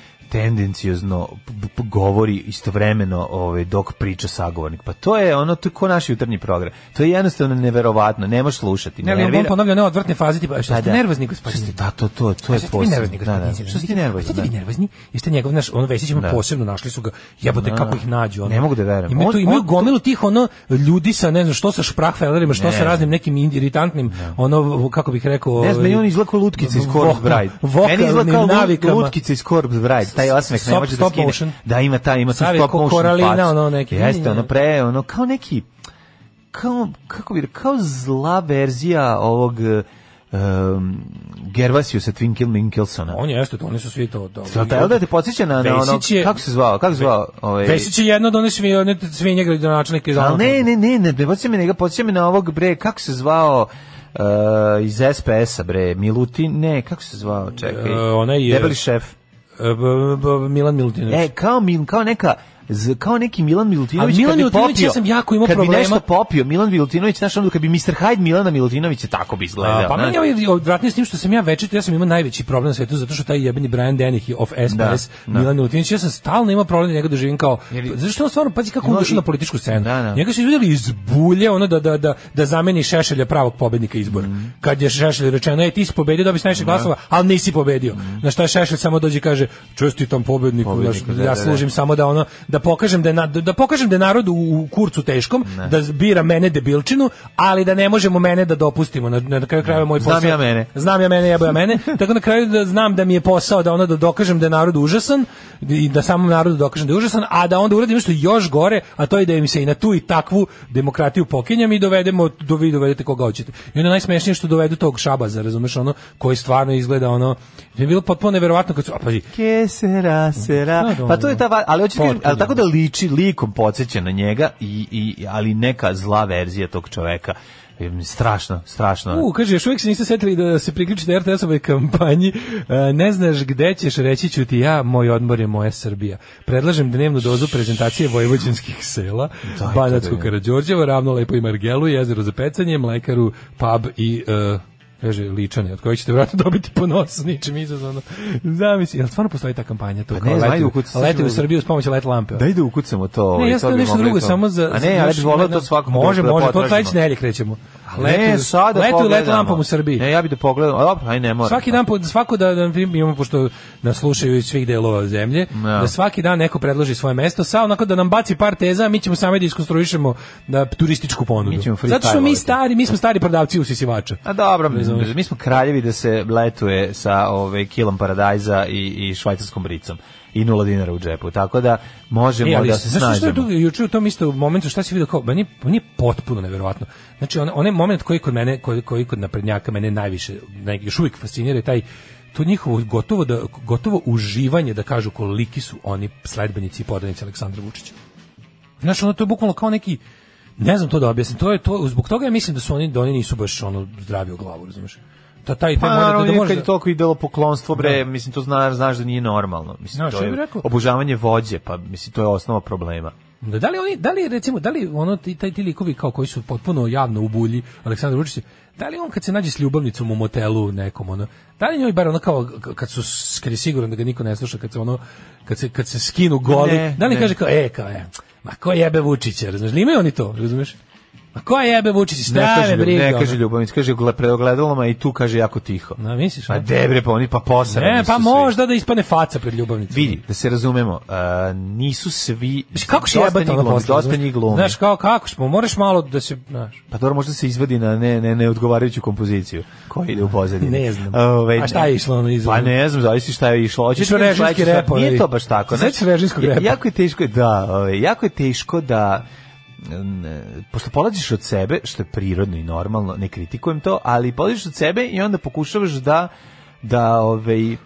tendencijozno p- p- govori istovremeno ovaj dok priča sagovornik. Pa to je ono to je ko naš jutarnji program. To je jednostavno neverovatno, ne možeš slušati. Ne, ali on nervira. ponavlja one odvratne faze tipa, što Pa ste da. nervozni, Što ste- gospodine? Da, to, to, to A je što ste vi posebno. nervozni, Da, da. gospodine? Pa Što ste nervozni? Što ste vi da. nervozni? Jeste njegov, znaš, on Vesić ima Da. posebno, našli su ga, jebote, Da. kako ih nađu. Ono. Ne mogu da verujem. Ima tu, On- imaju on- gomilu tih, ono, ljudi sa, ne znam, što sa šprahfelerima, što Ne. sa raznim nekim iritantnim, ono, kako bih rekao... Ne znam, meni on ovaj, izlako lutkice iz vo- Corpse Bride. Meni Vokalnim izlako navikama. lutkice iz Corpse Bride. Taj osmeh ne Stop- može da stop skine. motion. Da, ima taj, ima tu Savi, stop ko motion Koralina, facu. ono neki. Jeste, ono pre, ono kao neki, kao, kako bi, rekao, kao zla verzija ovog um, Gervasiju sa Twin Kill Minkelsona. On jeste, to oni su svi to... to Jel da, jel da te podsjeća na, na ono, Vesić je- kako se zvao, kako se zvao? Ovaj, Vesić je jedno od one svi, one svinje gradonačelnike iz Pa, Ali Alana. ne, ne, ne, ne, ne podsjeća me, nego podsjeća me na ovog, bre, kako se zvao, Uh, iz SPS-a, bre, Milutin, ne, kako se zvao, čekaj, E, onaj je- debeli šef. E, b- b- Milan Milutinović. E, kao, Mil, kao neka z- kao neki Milan Milutinović A Milan kad bi Milutinović, popio, ja sam jako imao kad problema. bi nešto popio Milan Milutinović znaš ono kad bi Mr. Hyde Milana Milutinovića tako bi izgledao A, pa meni znaš. je ovaj odvratnije s tim što sam ja večito, ja sam imao najveći problem na svetu zato što taj jebeni Brian Dennehy of SPS, da. Milan Milutinović, ja sam stalno imao problem da njega doživim kao, Jer- zato što on stvarno, pazi kako on Imao došao i- na političku scenu. Da, da. Njega su izvedeli iz bulje, ono da, da, da, da zameni Šešelja pravog pobednika izbora. Mm. Kad je Šešelj rečeno, ej ti si pobedio, dobiješ najviše glasova, ali nisi pobedio. Na šta Šešelj samo dođe i kaže, čestitam pobedniku, Mm. Pobedniku, znaš, da, ja da, da. služim samo da ono da pokažem da je na- da pokažem da je narod u, u kurcu teškom, da bira mene debilčinu, ali da ne možemo mene da dopustimo na na kraju krajeva moj Znam posao. ja mene. Znam ja mene, jebo ja mene. Tako na kraju da znam da mi je posao da ono da dokažem da je narod užasan i da samom narodu dokažem da je užasan, a da onda uradim nešto još gore, a to je da im se i na tu i takvu demokratiju pokinjam i dovedemo do vi dovedete koga hoćete. I onda najsmešnije je što dovedu tog šabaza, razumeš, ono koji stvarno izgleda ono je bilo potpuno neverovatno kad su a pazi, Ke sera, sera. Da, da, Pa to je ta va- ali hoćete Potpuno. ali tako da liči, likom podsjeća na njega, i, i, ali neka zla verzija tog čoveka. Em, Strašno, strašno. U, kaže, još uvijek se niste setili da se priključite RTS-ovoj kampanji. E, Ne znaš gde ćeš, reći ću ti ja, moj odmor je moja Srbija. Predlažem dnevnu dozu prezentacije vojvođanskih sela, Daj, to Banatsko da je. Karadžorđevo, Ravno Lepo i Margelu, Jezero za pecanje, Mlekaru, Pub i... e, kaže, ličane, od kojih ćete vratno dobiti po nosu, ničim izazvano. Zamisli, jel stvarno postoji ta kampanja? To, Pa ne kao znam, leti, ajde u- ukucaj, leti u sad ćemo- Srbiju s pomoću let lampe. ono? Da ide ukucamo to. ovaj, Ne, ja to sam bi nešto mogli drugo, to. samo za... A za- ne, ja još- bih volao to svakog Može, da može, to potražimo. sledeće nedelje krećemo. Ne, letu, sada letu pogledamo. lampom u Srbiji. Ne, ja bih da pogledam. A, Dobro, aj ne moram. Svaki dan, po- svako da, da imamo, pošto nas slušaju iz svih delova zemlje, Ja. da svaki dan neko predloži svoje mesto, sa onako da nam baci par teza, a mi ćemo sami da iskonstruišemo da, turističku ponudu. Mi ćemo Zato što mi freestyleovati. stari, mi smo stari prodavci usisivača. A dobro, mi, Razumeš? mi smo kraljevi da se letuje sa ovaj kilom paradajza i i švajcarskom bricom i nula dinara u džepu. Tako da možemo E, ali da se znaš što je snađemo. tu juče u tom istom momentu šta si video kao meni meni je potpuno neverovatno. Znači on onaj moment koji kod mene koji, koji kod naprednjaka mene najviše naj, još uvijek fascinira je taj to njihovo gotovo da gotovo uživanje da kažu koliki su oni sledbenici i podanici Aleksandra Vučića. Znaš, ono to je bukvalno kao neki ne znam to da objasnim. To je to zbog toga ja mislim da su oni da oni nisu baš ono zdravi u glavu, razumeš. Ta taj taj Pa moment naravno, da da, možda- kad je toliko idelo poklonstvo, bre, Da. mislim, to znaš, znaš da nije normalno. Mislim, Znaš, to ja je bih rekao- obožavanje vođe, pa mislim, to je osnova problema. Da, da li oni, da li recimo, da li ono ti taj ti likovi kao koji su potpuno javno u bulji Aleksandar Vučić, da li on kad se nađe s ljubavnicom u motelu nekom ono, da li njoj bar ono kao k- kad su s- kad je siguran da ga niko ne sluša, kad se ono kad se kad se skinu goli, Ne, da li ne. kaže kao e kao e, ma ko jebe Vučića, razumeš? Ili Imaju oni to, razumeš? Ma ko jebe Vučića, Ne stave kaže, briga. ne ono. kaže ljubavnic, kaže gle- preogledaloma i tu kaže jako tiho. Na, misliš? Pa a? debre, pa oni pa posarani Ne, su pa svi. možda da ispane faca pred ljubavnicom. Vidi, da se razumemo, a, nisu svi... Mislim, Kako se dosta jebati njih ono glumi, posle? Dosta razumeš? njih glumi. Znaš, kao kako smo, moraš malo da se, znaš. Pa dobro, možda se izvadi na ne, ne, neodgovarajuću kompoziciju koja ide u pozadini. Ne znam. Ovaj, A šta je išlo ono iza? Pa ne znam, zavisi šta je išlo. Hoćeš Išao da vidim režimski šta je- rep, Nije ovaj. to baš tako. Se znaš. sećaš režimskog Ja- repa? Jako je teško, da, ovaj, jako je teško da n- pošto polaziš od sebe, što je prirodno i normalno, ne kritikujem to, ali polaziš od sebe i onda pokušavaš da da ovaj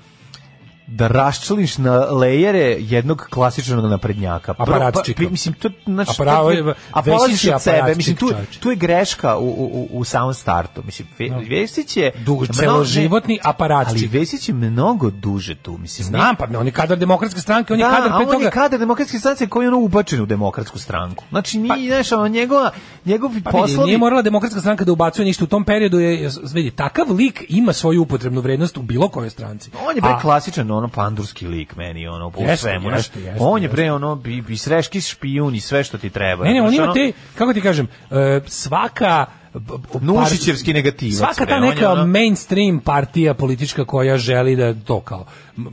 da raščlaniš na lejere jednog klasičnog naprednjaka. Prvo, pa, Aparatčika. pi- mislim, to, znači, Apara- to je- a Vesić polaziš je od sebe, aparatčik, mislim, tu, čoveče. tu je greška u, u, u- u samom startu. Mislim, Ve- Vesić je... Dugo, mno- celoživotni ne, Ali aparatčik. Vesić je mnogo duže tu, mislim. Znam, pa on je kadar demokratske stranke, on Da, je kadar a pre on je toga. kadar demokratske stranke koji je ono ubačen u demokratsku stranku. Znači, nije, znaš, ono, njegova, njegovi Pa vidi, poslovi... nije morala demokratska stranka da ubacuje ništa u tom periodu je vidi takav lik ima svoju upotrebnu vrednost u bilo kojoj stranci. On je bre A- klasičan ono pandurski lik meni ono po Jeste, svemu. znaš. jeste, jeste, on je bre ono bi, bi sreški špijun i sve što ti treba. Ne, ne, on znaš, ima ono- te kako ti kažem, e, svaka b- b- Nušićevski par- negativac, Svaka bre, ta on je neka ono- mainstream partija politička koja želi da to kao m-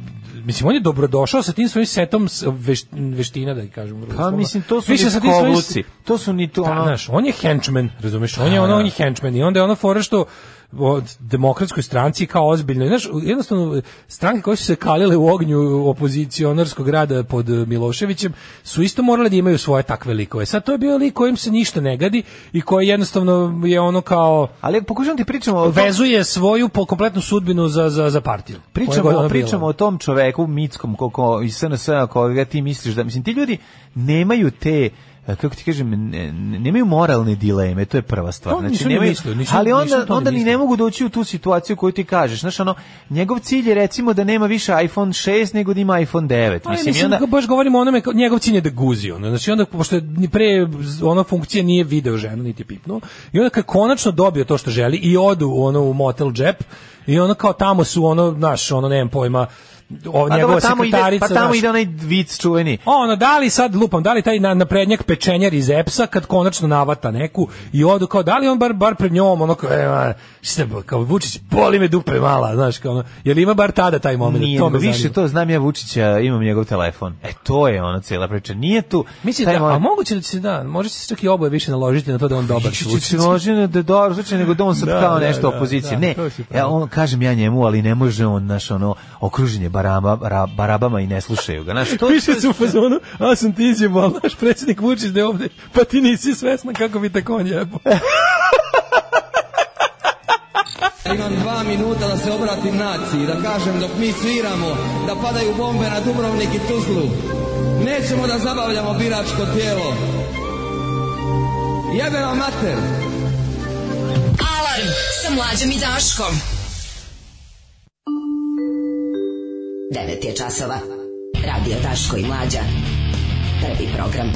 Mislim, on je dobrodošao sa tim svojim setom s- veš- veština, da ih kažem. Pa uslovno. mislim to su Više ni sa tim svojim- kovluci. To su ni to Da, ono. Pa, znaš, on je henchman, razumeš? On je ono, on je henchman i onda je ono fora što od demokratskoj stranci kao ozbiljno. Znaš, jednostavno, stranke koje su se kalile u ognju opozicionarskog rada pod eh, Miloševićem su isto morale da imaju svoje takve likove. Sad to je bio lik kojim se ništa ne gadi i koji jednostavno je ono kao Ali pokušam ti pričamo o tom- vezuje svoju po kompletnu sudbinu za, za, za partiju. Koja god Pričamo, ona bila. pričamo o tom čoveku mitskom ko, ko, iz SNS-a koga ti misliš da... Mislim, ti ljudi nemaju te e, kako ti kažem, ne- ne- nemaju moralne dileme, to je prva stvar. Znači, To nisam ni nemaju, mislio, nisam- ali onda, nisam to ni onda ni ne mislio. mogu doći u tu situaciju koju ti kažeš. Znaš, ono, njegov cilj je recimo da nema više iPhone 6 nego da ima iPhone 9. Pa mislim, Mislim, i mislim onda, da baš govorimo o onome, kao- njegov cilj je da guzi ono. Znači onda, pošto je ni pre ona funkcija nije video ženu, niti pipnuo, i onda kad konačno dobio to što želi i odu ono u motel džep, i ono kao tamo su ono, znaš, ono, nemam pojma, ovo, A dobro, njegova tamo ide, sekretarica, pa tamo znaš, ide onaj vic čuveni. ono, da li sad lupam, da li taj na, naprednjak pečenjar iz EPS-a kad konačno navata neku i odu kao, da li on bar, bar pred njom, ono kao, e, ma, šta, kao Vučić, boli me dupe mala, znaš, kao ono, je li ima bar tada taj moment? Nije, to nego me više zanima. to znam ja Vučića, imam njegov telefon. E to je ono cijela priča. Nije tu Mislim taj da, a moment- moguće da će se da, može se čak i oboje više naložiti na to da je on dobar Vučić Vučić. se Znači, loži na da je dobar slučaj, nego da on sad Da, kao da, nešto da, opozicije. da, Ne, to si pravo. ja, on, kažem ja njemu, ali ne može on, naš ono, okruženje baraba, ra- barabama i ne slušaju ga. Znaš, to, Više su u fazonu, a sam ti izjemo, ali naš predsjednik Vučić da je ovde, pa ti nisi svesna kako bi tako on jebo. Imam dva minuta da se obratim naciji, da kažem dok mi sviramo, da padaju bombe na Dubrovnik i Tuzlu. Nećemo da zabavljamo biračko tijelo. Jebe vam mater. Alarm sa mlađom i Daškom. 9 je časova. Radio Daško i Mlađa. Prvi program.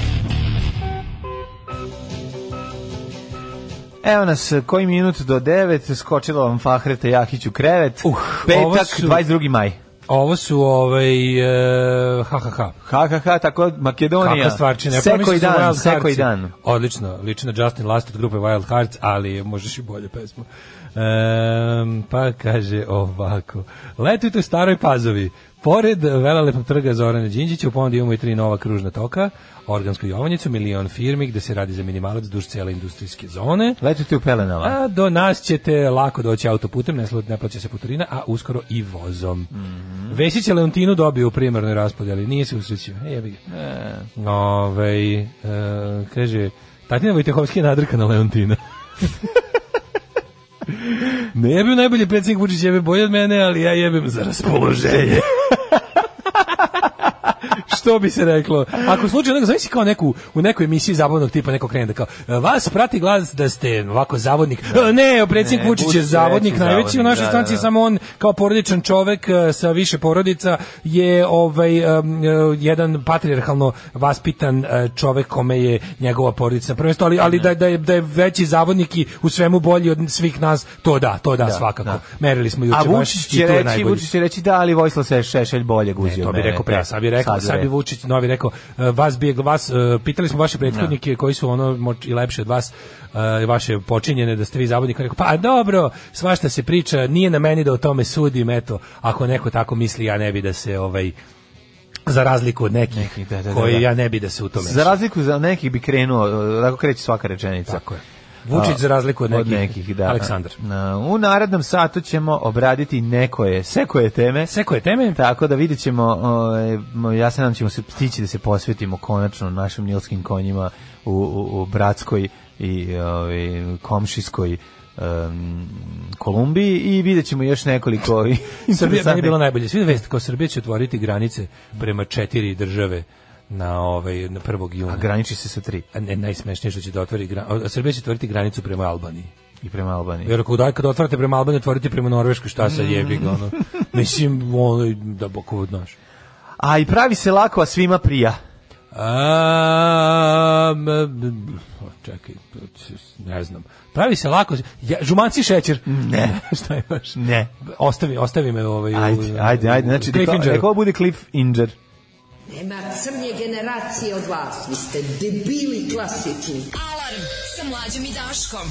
Evo nas, koji minut do 9, skočila vam Fahreta Jahić u krevet. Uh, ovo Petak, su- 22. maj. Ovo su ovaj e, ha ha ha. Ha, ha, ha, tako Makedonija. Kakva stvarčina. Ja Sve pomislio koji sam dan, Wild sve koji Hearts. dan. Odlično, liči na Justin Last od grupe Wild Hearts, ali je možeš i bolje pesmu. Ehm, pa kaže ovako. Letujte u staroj pazovi. Pored velelepog trga Zorana Đinđića u ponudu imamo i tri nova kružna toka, organsku jovanjicu, milion firmi gde se radi za minimalac duž cele industrijske zone. Letujte u pelenama. A do nas ćete lako doći autoputem, ne, slu- ne plaća se putarina, a uskoro i vozom. Vesić je Leontinu dobio u primarnoj raspodjeli, nije se usrećio. E, jebi ga. Ovaj, e, kaže, Tatjana Vojtehovski je nadrka na Leontina. ne jebim najbolje predsjednik Vučić jebe bolje od mene, ali ja jebim za raspoloženje. Što bi se reklo? Ako slučajno nego zavisi kao neku u nekoj emisiji zabavnog tipa neko krene da kao e, vas prati glas da ste ovako zavodnik. E, Ne, predsjednik Ne, Vučić Vučić je je zavodnik veći najveći u zavodnik, našoj da, stranci da, da. samo on kao porodičan čovek e, sa više porodica je ovaj em, e, jedan patrijarhalno vaspitan e, čovek kome je njegova porodica prvenstvo, ali, ali da, da, je, da je veći zavodnik i u svemu bolji od svih nas, to da, to da, svakako. da. Merili smo juče A baš Vučić i će, tu je reći, najbolji. Vučić će reći da, ali Vojislav se Šešelj bolje guzio E, to bi mene. rekao pre, sad bi Da, rekao, bi sad bi rekao. Vučić novi rekao, e, vas bi vas e, pitali smo vaše prethodnike koji su ono moć- i lepše od vas e, vaše počinjene da ste vi zavodnik, On je rekao pa dobro, svašta se priča, nije na meni da o tome sudim, eto, ako neko tako misli, ja ne bi da se ovaj za razliku od nekih, Nekih, da, da, da, koji da. ja ne bi da se u tome. Za razliku za nekih bi krenuo, e, tako kreće svaka rečenica. Tako je. Vučić za razliku od nekih, da. Aleksandar. Na, u narednom satu ćemo obraditi nekoje, sekoje teme. Sekoje teme? Tako da vidjet ćemo, ovaj, mo- ja se nam ćemo se stići da se posvetimo konačno našim nilskim konjima u, u, u Bratskoj i ovaj, komšijskoj em, Kolumbiji i vidjet ćemo još nekoliko Srbija meni je interesantnih- bilo najbolje. Svi vest kao Srbija će otvoriti granice prema četiri države na ovaj na 1. juna. A graniči se sa tri A ne, najsmešnije što će da otvori gra- a Srbija će otvoriti granicu prema Albaniji. i prema Albaniji. Jer ako da, kada otvarate prema Albaniji, otvorite prema Norveškoj, šta Mm. sa jebi ga, ono. Mislim, ono, da boku znaš. A i pravi se lako, a svima prija. A, m, m, čekaj, ne znam. Pravi se lako. Ja, žumanci šećer. Ne. šta je baš? Ne. Ostavi, ostavi me ovaj... u- Ajde, ajde, ajde. Znači, u neka, Cliffingeru. neka ovo bude Cliff Inger. Nema crnje generacije od vas. Vi ste debili klasični. Alarm sa mlađom i Daškom.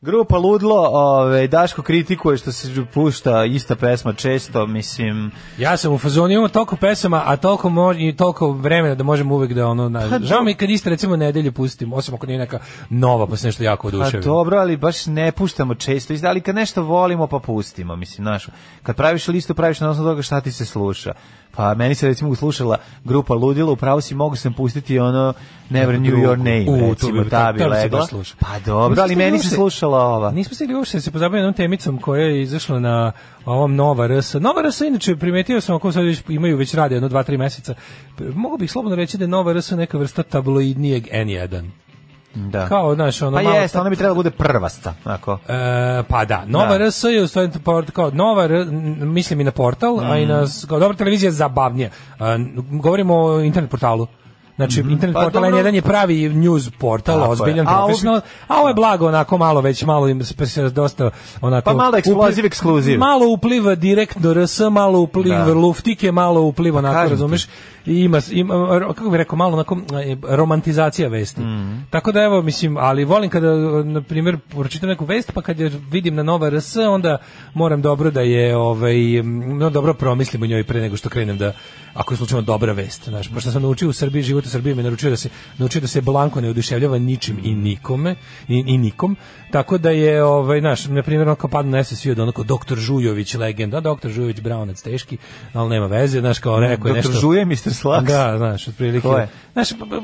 Grupa Ludlo, ove, Daško kritikuje što se pušta ista pesma često, mislim... Ja sam u fazonu, imamo toliko pesama, a toliko, mo- i toliko vremena da možemo uvek da ono... Na, Pa žao mi je kad isto recimo nedelju pustimo, osim ako nije neka nova, pa se nešto jako Pa oduševi. dobro, ali baš ne puštamo često, Izda- ali kad nešto volimo pa pustimo, mislim, znaš, kad praviš listu, praviš na osnovu toga šta ti se sluša. Pa meni se recimo slušala grupa Ludilo, upravo si mogu sam pustiti ono Never Knew Your Name, U, to recimo, bi- ta bi to bi se legla. baš slušalo. Pa dobro, ali Nismo meni se uopšte- slušala ova. Nismo stigli uopšte da se pozabaviti jednom temicom koja je izašla na ovom Nova RS. Nova RS, inače, primetio sam, ako sad već imaju već rade, jedno, dva, tri meseca, mogu bih slobodno reći da je Nova RS neka vrsta tabloidnijeg N1. Da. Kao, znaš, ono pa malo... jeste, ona bi trebala da bude prvasta, ako. E, pa da, Nova Da. RS je u stvari port, kao Nova R- n- mislim i na portal, a i Mhm. na s- kao dobra televizija je zabavnija. E, n- govorimo o internet portalu. Znači, internet Pa portal dobro. N1 je pravi news portal, Tako je. ozbiljan, A ovo bi- profesional, a ovo je blago, onako malo već, malo im se- se dosta, onako... Pa malo eksploziv, upli- ekskluziv. Malo upliva direktno RS, malo upliva Da. Pa luftike, malo upliva, onako, kažem ti. razumeš? I ima, ima ro- kako bih rekao, malo onako e, romantizacija vesti. Tako da evo, mislim, ali volim kada, e, na primjer, pročitam neku vest, pa kad je vidim na Nova RS, onda moram dobro da je, ovaj, m, no, dobro promislim o njoj pre nego što krenem da, ako je slučajno dobra vest, znaš, pošto sam naučio u Srbiji, život u Srbiji me naručio da se, naučio da se blanko ne oduševljava ničim i nikome, i, i nikom, tako da je, ovaj, znaš, na primjer, onako padne na SSV od onako doktor Žujović, legenda, doktor Žujović, braunac teški, ali nema veze, znaš, kao rekao je Dr. nešto... Žuje, Mr. Slaks. Da, znaš, otprilike. Ko je? Znaš, b- b- e,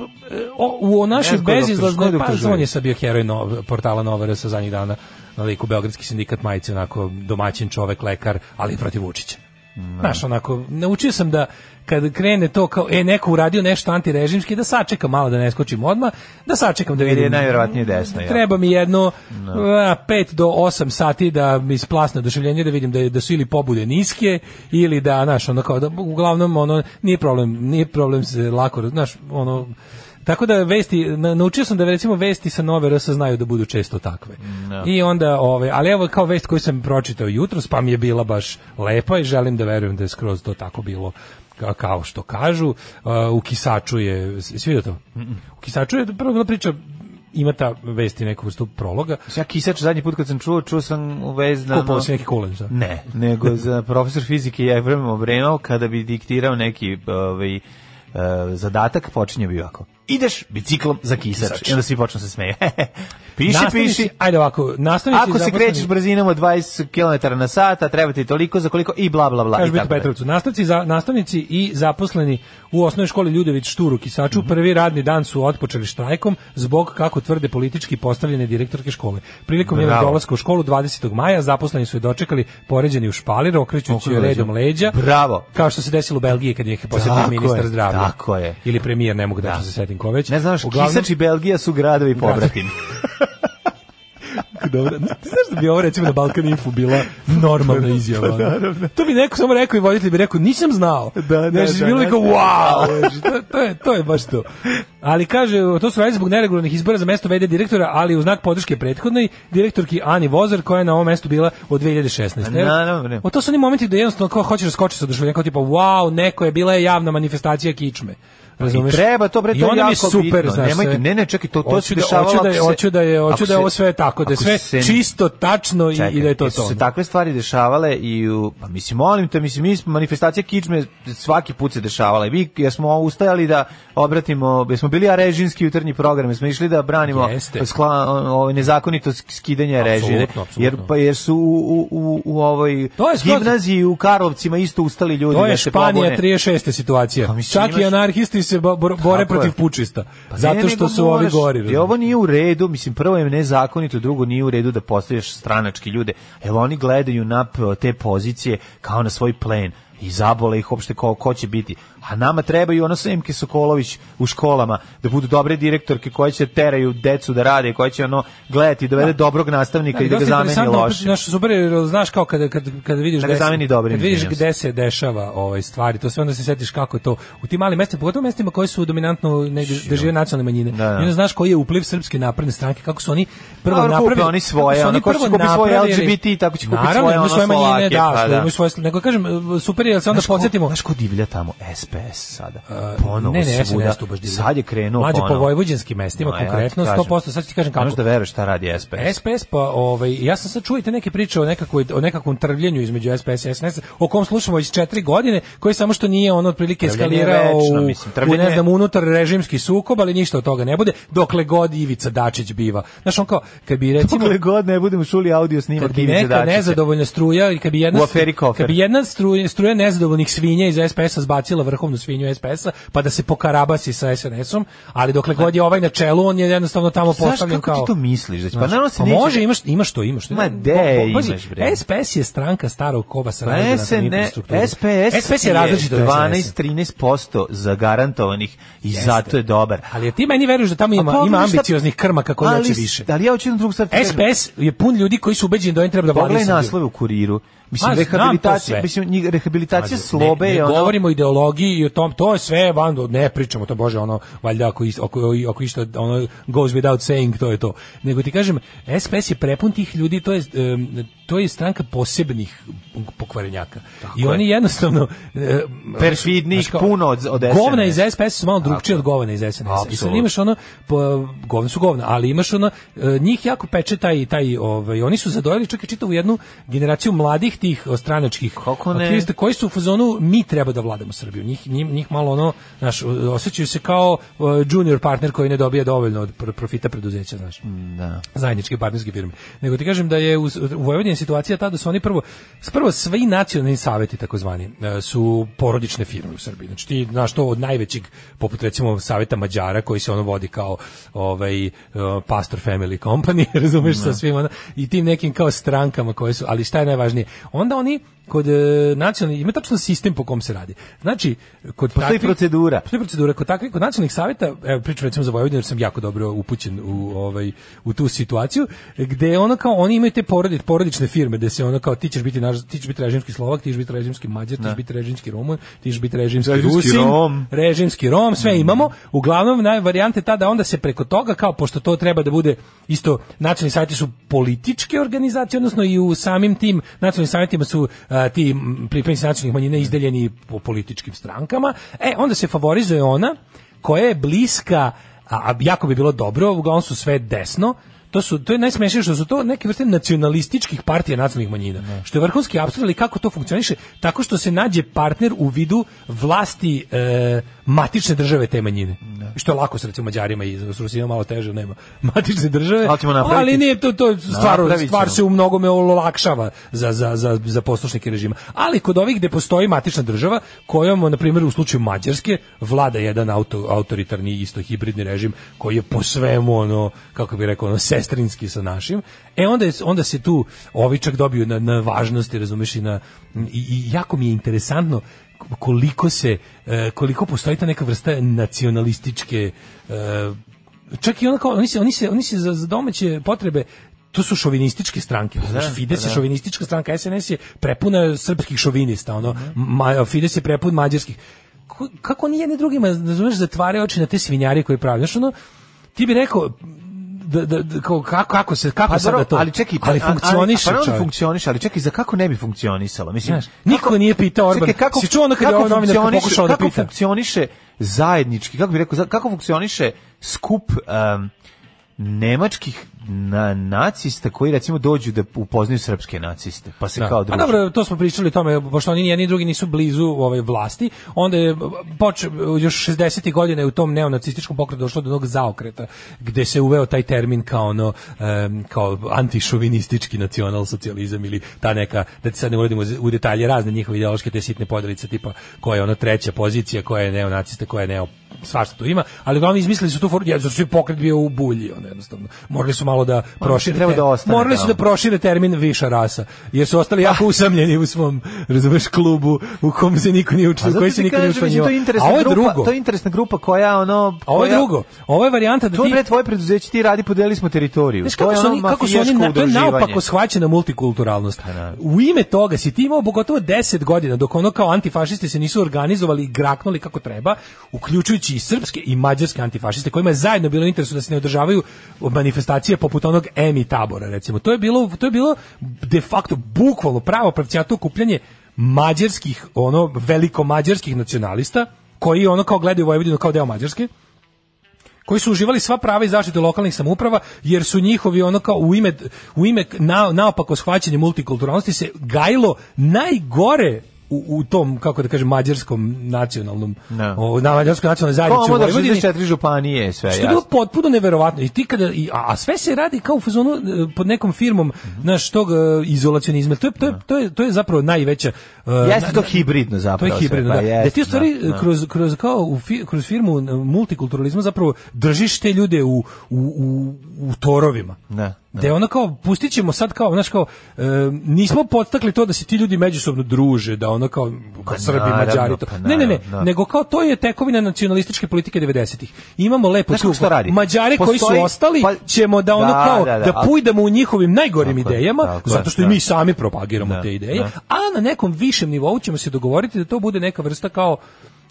o, u našoj Ne znam ko je doktor, ko bezizlaznoj je doktor pa on je Žulj? sad bio heroj nov, portala Nova sa zadnjih dana na liku Beogradski sindikat majice, onako domaćin čovek, lekar, ali protiv Vučića. Znaš, onako, naučio sam da kad krene to kao, e, neko uradio nešto antirežimski, da sačekam malo da ne skočim odmah, da sačekam da Jer vidim. je najverovatnije desna, jel? Treba mi jedno 5 do 8 sati da mi splasne oduševljenje da vidim da, je- da su ili pobude niske ili da, znaš, ono kao da, uglavnom, ono, nije problem, nije problem se lako, raz- znaš, ono, Tako da vesti, na- naučio sam da recimo vesti sa Nove RS znaju da budu često takve. da. I onda, ove, ali evo kao vest koju sam pročitao jutros, pa mi je bila baš lepa i želim da verujem da je skroz to tako bilo ka- kao što kažu. Uh, u Kisaču je, svi vidio to? U Kisaču je prvo bila priča ima ta vesti neku vrstu prologa. Ja kisač zadnji put kad sam čuo, čuo sam u vezi na... ono- Kupao si neki kulen, šta? Ne, nego za profesor fizike je Evrem Obremao kada bi diktirao neki ovaj, eh, zadatak, počinje bi ovako. Ideš biciklom za kisač. Kisač. I onda svi počnu se smeje. piši, Nastavnici- piši. Ajde ovako, nastavnici Ako se zaposleni- krećeš brzinom od 20 km na sat, a treba ti toliko za koliko i bla, bla, bla. Kaže i tako Bito dalje. Petrovcu, nastavnici, za, nastavnici i zaposleni u osnovnoj školi Ljudević Šturu Kisaču Mhm. prvi radni dan su otpočeli štrajkom zbog, kako tvrde, politički postavljene direktorke škole. Prilikom njenog Bravo. dolaska u školu 20. maja zaposleni su je dočekali poređeni u špalir, okrećući Okrećući. joj redom leđa. Bravo. Kao što se desilo u Belgiji kad je Tako posjetio je, ministar zdravlja. tako je. Ili premijer, ne mogu da, se setim ko već. Ne znaš, Uglavnom- Kisač i Belgija su gradovi pobratimi. Dobro, ti znaš da bi ovo recimo na Balkan Info bila Pa normalna izjava. ono? to bi neko samo rekao i voditelj bi rekao nisam znao. Da, da, da, bilo da. bi kao wow. Znaš, to, to je to je baš to. Ali kaže to su radili zbog neregularnih izbora za mesto VD direktora, ali u znak podrške prethodnoj direktorki Ani Vozar koja je na ovom mestu bila od 2016. Evo, Pa Naravno. o, to su oni momenti gde jednostavno kao hoćeš skočiti sa oduševljenja, kao tipa wow, neko je bila je javna manifestacija kičme. I Pa Razumeš? treba to bre I to je onda mi je jako super, bitno. znaš, Nemojte, sve. ne, ne, čekaj, to to Hoću se da- dešavalo. hoću da ako je- se- hoću da je hoću ako da je ovo se- sve tako, da je ako sve se- čisto, tačno i, i da je to jesu to. se takve stvari dešavale i u, pa mislim, molim te, mislim, mi smo manifestacija kičme svaki put se dešavala i mi jer smo ustajali da obratimo, jer smo bili arežinski jutarnji program, jer smo išli da branimo Jeste. skla, ovo, nezakonito skidanje režije, Apsolutno, apsolutno. jer, pa, jer su u, u, u, u ovoj To je skroz- gimnaziji u Karlovcima isto ustali ljudi To da je se Španija pobune. Pa 36. situacija. mislim, Čak i imaš- anarhisti se bo- bor- Tako bore je. protiv pučista. Pa ne, zato što nego su ovi moraš, gori. jer ovo nije u redu, mislim, prvo je nezakonito, drugo nije u redu da postavljaš stranački ljude. Evo, oni gledaju na p- te pozicije kao na svoj plen i zabole ih uopšte ko, ko će biti. A nama trebaju ono Semke Sokolović u školama, da budu dobre direktorke koje će teraju decu da rade, koje će ono gledati, dovede dobrog nastavnika i da ga zameni loše. Naš super je, jer znaš kao kada kada kada vidiš Da ga gde se- zameni dobrim, kad vidiš izvinjam se. gde se dešava ovaj stvari, to sve onda se setiš kako je to u tim malim mestima, pogotovo mestima koji su dominantno negde da žive nacionalne manjine. Da, da. I onda znaš koji je upliv srpske napredne stranke, kako su oni prvo Dobro, kupe napravili, oni svoje, kako su ono, ko što prvo će kupiti svoje napravili- LGBT, tako će kupiti Naravno, svoje, imaju ono, manjine, Slovake, da, pa da. imaju svoje, nego kažem super je, jer se onda Znaš ko- podsjetimo. Znaš ko divlja tamo? SPS sada. A, Ponovo ne, ne, svuda. SNS tu baš divlja. Sad je krenuo Mlađe, po ponovo. vojvođanskim mestima, Ma, ja ti konkretno, kažem. 100%, sad ću ti kažem kako. Ne možeš da veruješ šta radi SPS. SPS pa ovaj ja sam sad čuo i te neke priče o nekakvoj o nekakvom trvljenju između SPS i SNS o kom slušamo već četiri godine koji samo što nije ono otprilike Trvljenje je eskalirao večno, u, mislim, u trvljenje ne je- znam unutar režimski sukob ali ništa od toga ne bude dokle god Ivica Dačić biva. Znaš on kao kad bi recimo Dokle god ne budemo čuli audio snimak kad bi Ivice neka Dačića. nezadovoljna struja i kad bi jedna U aferi Kofer. kad bi jedna struja, struja nezadovoljnih svinja iz SPS-a zbacila vrhovnu svinju SPS-a pa da se pokarabasi sa SNS-om, ali dokle god je ovaj na čelu, on je jednostavno tamo Znaš postavljen kako kao ti to misliš? Znači, pa Znaš, naravno se pa neće... može, imaš, imaš to, imaš to. Ma, Po- de, po- pazi, imaš, bre. SPS je stranka starog koba sa Pa razgranatom SN, infrastrukturom. SPS, SPS je različito od E. SNS. 12-13% zagarantovanih i zato je dobar. Ali ti meni veruješ da tamo A ima, pogledaj ima šta- ambicioznih krmaka koji ali, hoće više. Ali ja hoću jednu drugu stvar. ti kažem. SPS je pun ljudi koji su ubeđeni da oni treba da vladaju Pogledaj Srbijom. naslove u kuriru. Mislim, Ma, znam to rehabilitacija, sve. mislim, njih- rehabilitacija Pazi, slobe ne, ne je ono... govorimo o ideologiji i o tom, to je sve van, ne pričamo, to bože, ono, valjda ako, is- ako, ako išta, ono, goes without saying, to je to. Nego ti kažem, SPS je prepun tih ljudi, to je, em, to je stranka posebnih pokvarenjaka. I je. oni jednostavno... em, Perfidnih znaš kao, puno od- od Govna iz SNS. SPS su malo drugčije od govna iz SNS. I sad Apsolutno. imaš ono, po, govna su govna, ali imaš ono, e, njih jako peče taj, taj ovaj, oni su zadojili čak i čitavu jednu generaciju mladih tih o, stranačkih Kako ne? aktivista koji su u fazonu mi treba da vladamo Srbiju. Njih, njih, njih malo ono, znaš, osjećaju se kao e, junior partner koji ne dobija dovoljno od pr- profita preduzeća, znaš Da. zajedničke partnerske firme. Nego ti kažem da je u, u Vojvodini situacija ta da su oni prvo, prvo svi nacionalni saveti takozvani e, su porodične firme u Srbiji. Znači ti znaš to od najvećeg, poput recimo saveta Mađara koji se ono vodi kao ovaj, e, Pastor Family ono, Company, razumeš sa svima, i tim nekim kao strankama koje su, ali šta je najvažnije? Onda oni kod e, nacionalnih ima tačno sistem po kom se radi. Znači, kod Postoji takvih- procedura. Postoji procedura kod takvih kod nacionalnih saveta, evo pričam recimo za Vojvodinu jer sam jako dobro upućen u ovaj u tu situaciju, gde ono kao oni imaju te porodi, porodične firme gde se ono kao ti ćeš biti naš ti ćeš biti režimski Slovak, ti ćeš biti režimski Mađar, ti ćeš biti režimski Rumun, ti ćeš biti režimski, Režimski Rusin, Rom. režimski Rom, sve imamo. Uglavnom naj varijante ta da onda se preko toga kao pošto to treba da bude isto nacionalni saveti su političke organizacije, odnosno i u samim tim nacionalnim savetima su a, ti m, pripadnici nacionalnih manjina izdeljeni po političkim strankama. E onda se favorizuje ona koja je bliska a a jako bi bilo dobro, uglavnom su sve desno, to su to je najsmešnije što su to neke vrste nacionalističkih partija nacionalnih manjina. Što je vrhunski apsurd, ali kako to funkcioniše? Tako što se nađe partner u vidu vlasti e, matične države te manjine. Što je lako s recimo Mađarima i s Rusima malo teže nema matične države. Ali ćemo napraviti. ali nije to to stvar Napravit stvar ćemo. se u mnogome olakšava za, za, za, za poslušnike režima. Ali kod ovih gde postoji matična država, kojom, na primjer, u slučaju Mađarske, vlada jedan auto, autoritarni, isto hibridni režim, koji je po svemu, ono, kako bi rekao, ono, sestrinski sa našim, e onda, je, onda se tu ovi čak dobiju na, na važnosti, razumeš, i, na, i, i jako mi je interesantno koliko se, e, koliko postoji ta neka vrsta nacionalističke e, čak i onako oni se oni se oni se za, za domaće potrebe to su šovinističke stranke. Znaš, Fides je da. šovinistička stranka, SNS je prepuna srpskih šovinista, ono, Mhm. ma, Fides je prepun mađarskih. Ko- Kako oni jedni drugima, razumeš, zatvaraju oči na te svinjari koje pravi? Znaš, ono, ti bi rekao, da, da, da, kao, kako, kako se, kako Pa sada dobro, to? ali čekaj, pa- ali a- ali- funkcioniše, pa naravno čovek. funkcioniše, ali čekaj, za kako ne bi funkcionisalo? Mislim, Znaš, niko nije pitao Orbana. Čekaj, kako, Si čuo ono kad je kako ova novinarka funkcioniše- pokušala da kako pita? funkcioniše zajednički, kako bi rekao, za- kako funkcioniše skup em, nemačkih na, nacista koji recimo dođu da upoznaju srpske naciste, pa se Da. kao A druže. dobro, to smo pričali o tome, pošto oni ni jedni ni drugi nisu blizu ovaj vlasti, onda je poč, još 60. godine je u tom neonacističkom pokretu došlo do jednog zaokreta, gde se uveo taj termin kao ono, em, kao antišovinistički nacionalsocijalizam ili ta neka, da ti sad ne uradimo u detalje razne njihove ideološke te sitne podelice, tipa koja je ona treća pozicija, koja je neonacista, koja je neo svašta tu ima, ali uglavnom izmislili su tu foru, jer su pokret bio u bulji, ono jednostavno. Morali su malo da prošire, treba te- da ostane morali su tamo. da prošire termin viša rasa, jer su ostali Ah. jako usamljeni u svom, razumeš, klubu u kom se niko nije A učio, u zato koji ti se niko nije kažem, mislim, učio. to je A interesna ovo je grupa, drugo. To je interesna grupa koja ono... A Ovo je koja- drugo. Ovo je varijanta da To je ti... bre tvoje preduzeće, ti radi, podelili smo teritoriju. Znaš to kako je su ono oni, kako su oni, mafijaško na, to je udruživanje. naopako shvaćena multikulturalnost. U ime toga si ti imao gotovo 10 godina dok ono kao antifašisti se nisu organizovali i graknuli kako treba, uključujući i srpske i mađarske antifašiste, kojima je zajedno bilo u interesu da se ne održavaju manifestacije poput onog EMI tabora, recimo. To je bilo, to je bilo de facto bukvalno pravo pravcijato okupljanje mađarskih, ono, veliko mađarskih nacionalista, koji ono kao gledaju Vojvodinu kao deo Mađarske, koji su uživali sva prava i zaštitu lokalnih samouprava jer su njihovi ono kao u ime u ime na, naopako shvaćanje multikulturalnosti se gajilo najgore u, u tom kako da kažem mađarskom nacionalnom Da. o, na mađarskoj nacionalnoj Pa, zajednici Znači, u omodar Vojvodini 64 županije, sve što je jasno. bilo potpuno neverovatno i ti kada i- a, a sve se radi kao u fazonu e, pod nekom firmom Mhm. naš tog e, izolacionizma to je to je to je, to je zapravo najveća e, Jeste na- to hibridno zapravo. to je hibridno, sve, da. pa jeste, da ti u stvari da, da. Kroz, kroz, kao u fi- kroz firmu e, multikulturalizma zapravo držiš te ljude u, u, u, u torovima. Da, da. Da je ono kao, pustit ćemo sad kao, znaš kao, e, nismo podstakli to da se ti ljudi međusobno druže, da ono kao, kao Srbi, Pa naravno, Mađari, to. pa Ne, ne, ne, naravno, da. nego kao to je tekovina nacionalističke politike 90-ih. Imamo lepo Znaš kako tu, se to radi? Mađari koji Postoji- su ostali, pa- ćemo da ono Da, kao, da, da, da, ali- pujdamo u njihovim najgorim Tako je, idejama, tako je, zato što i da. mi sami propagiramo Da, te ideje, da. a na nekom višem nivou ćemo se dogovoriti da to bude neka vrsta kao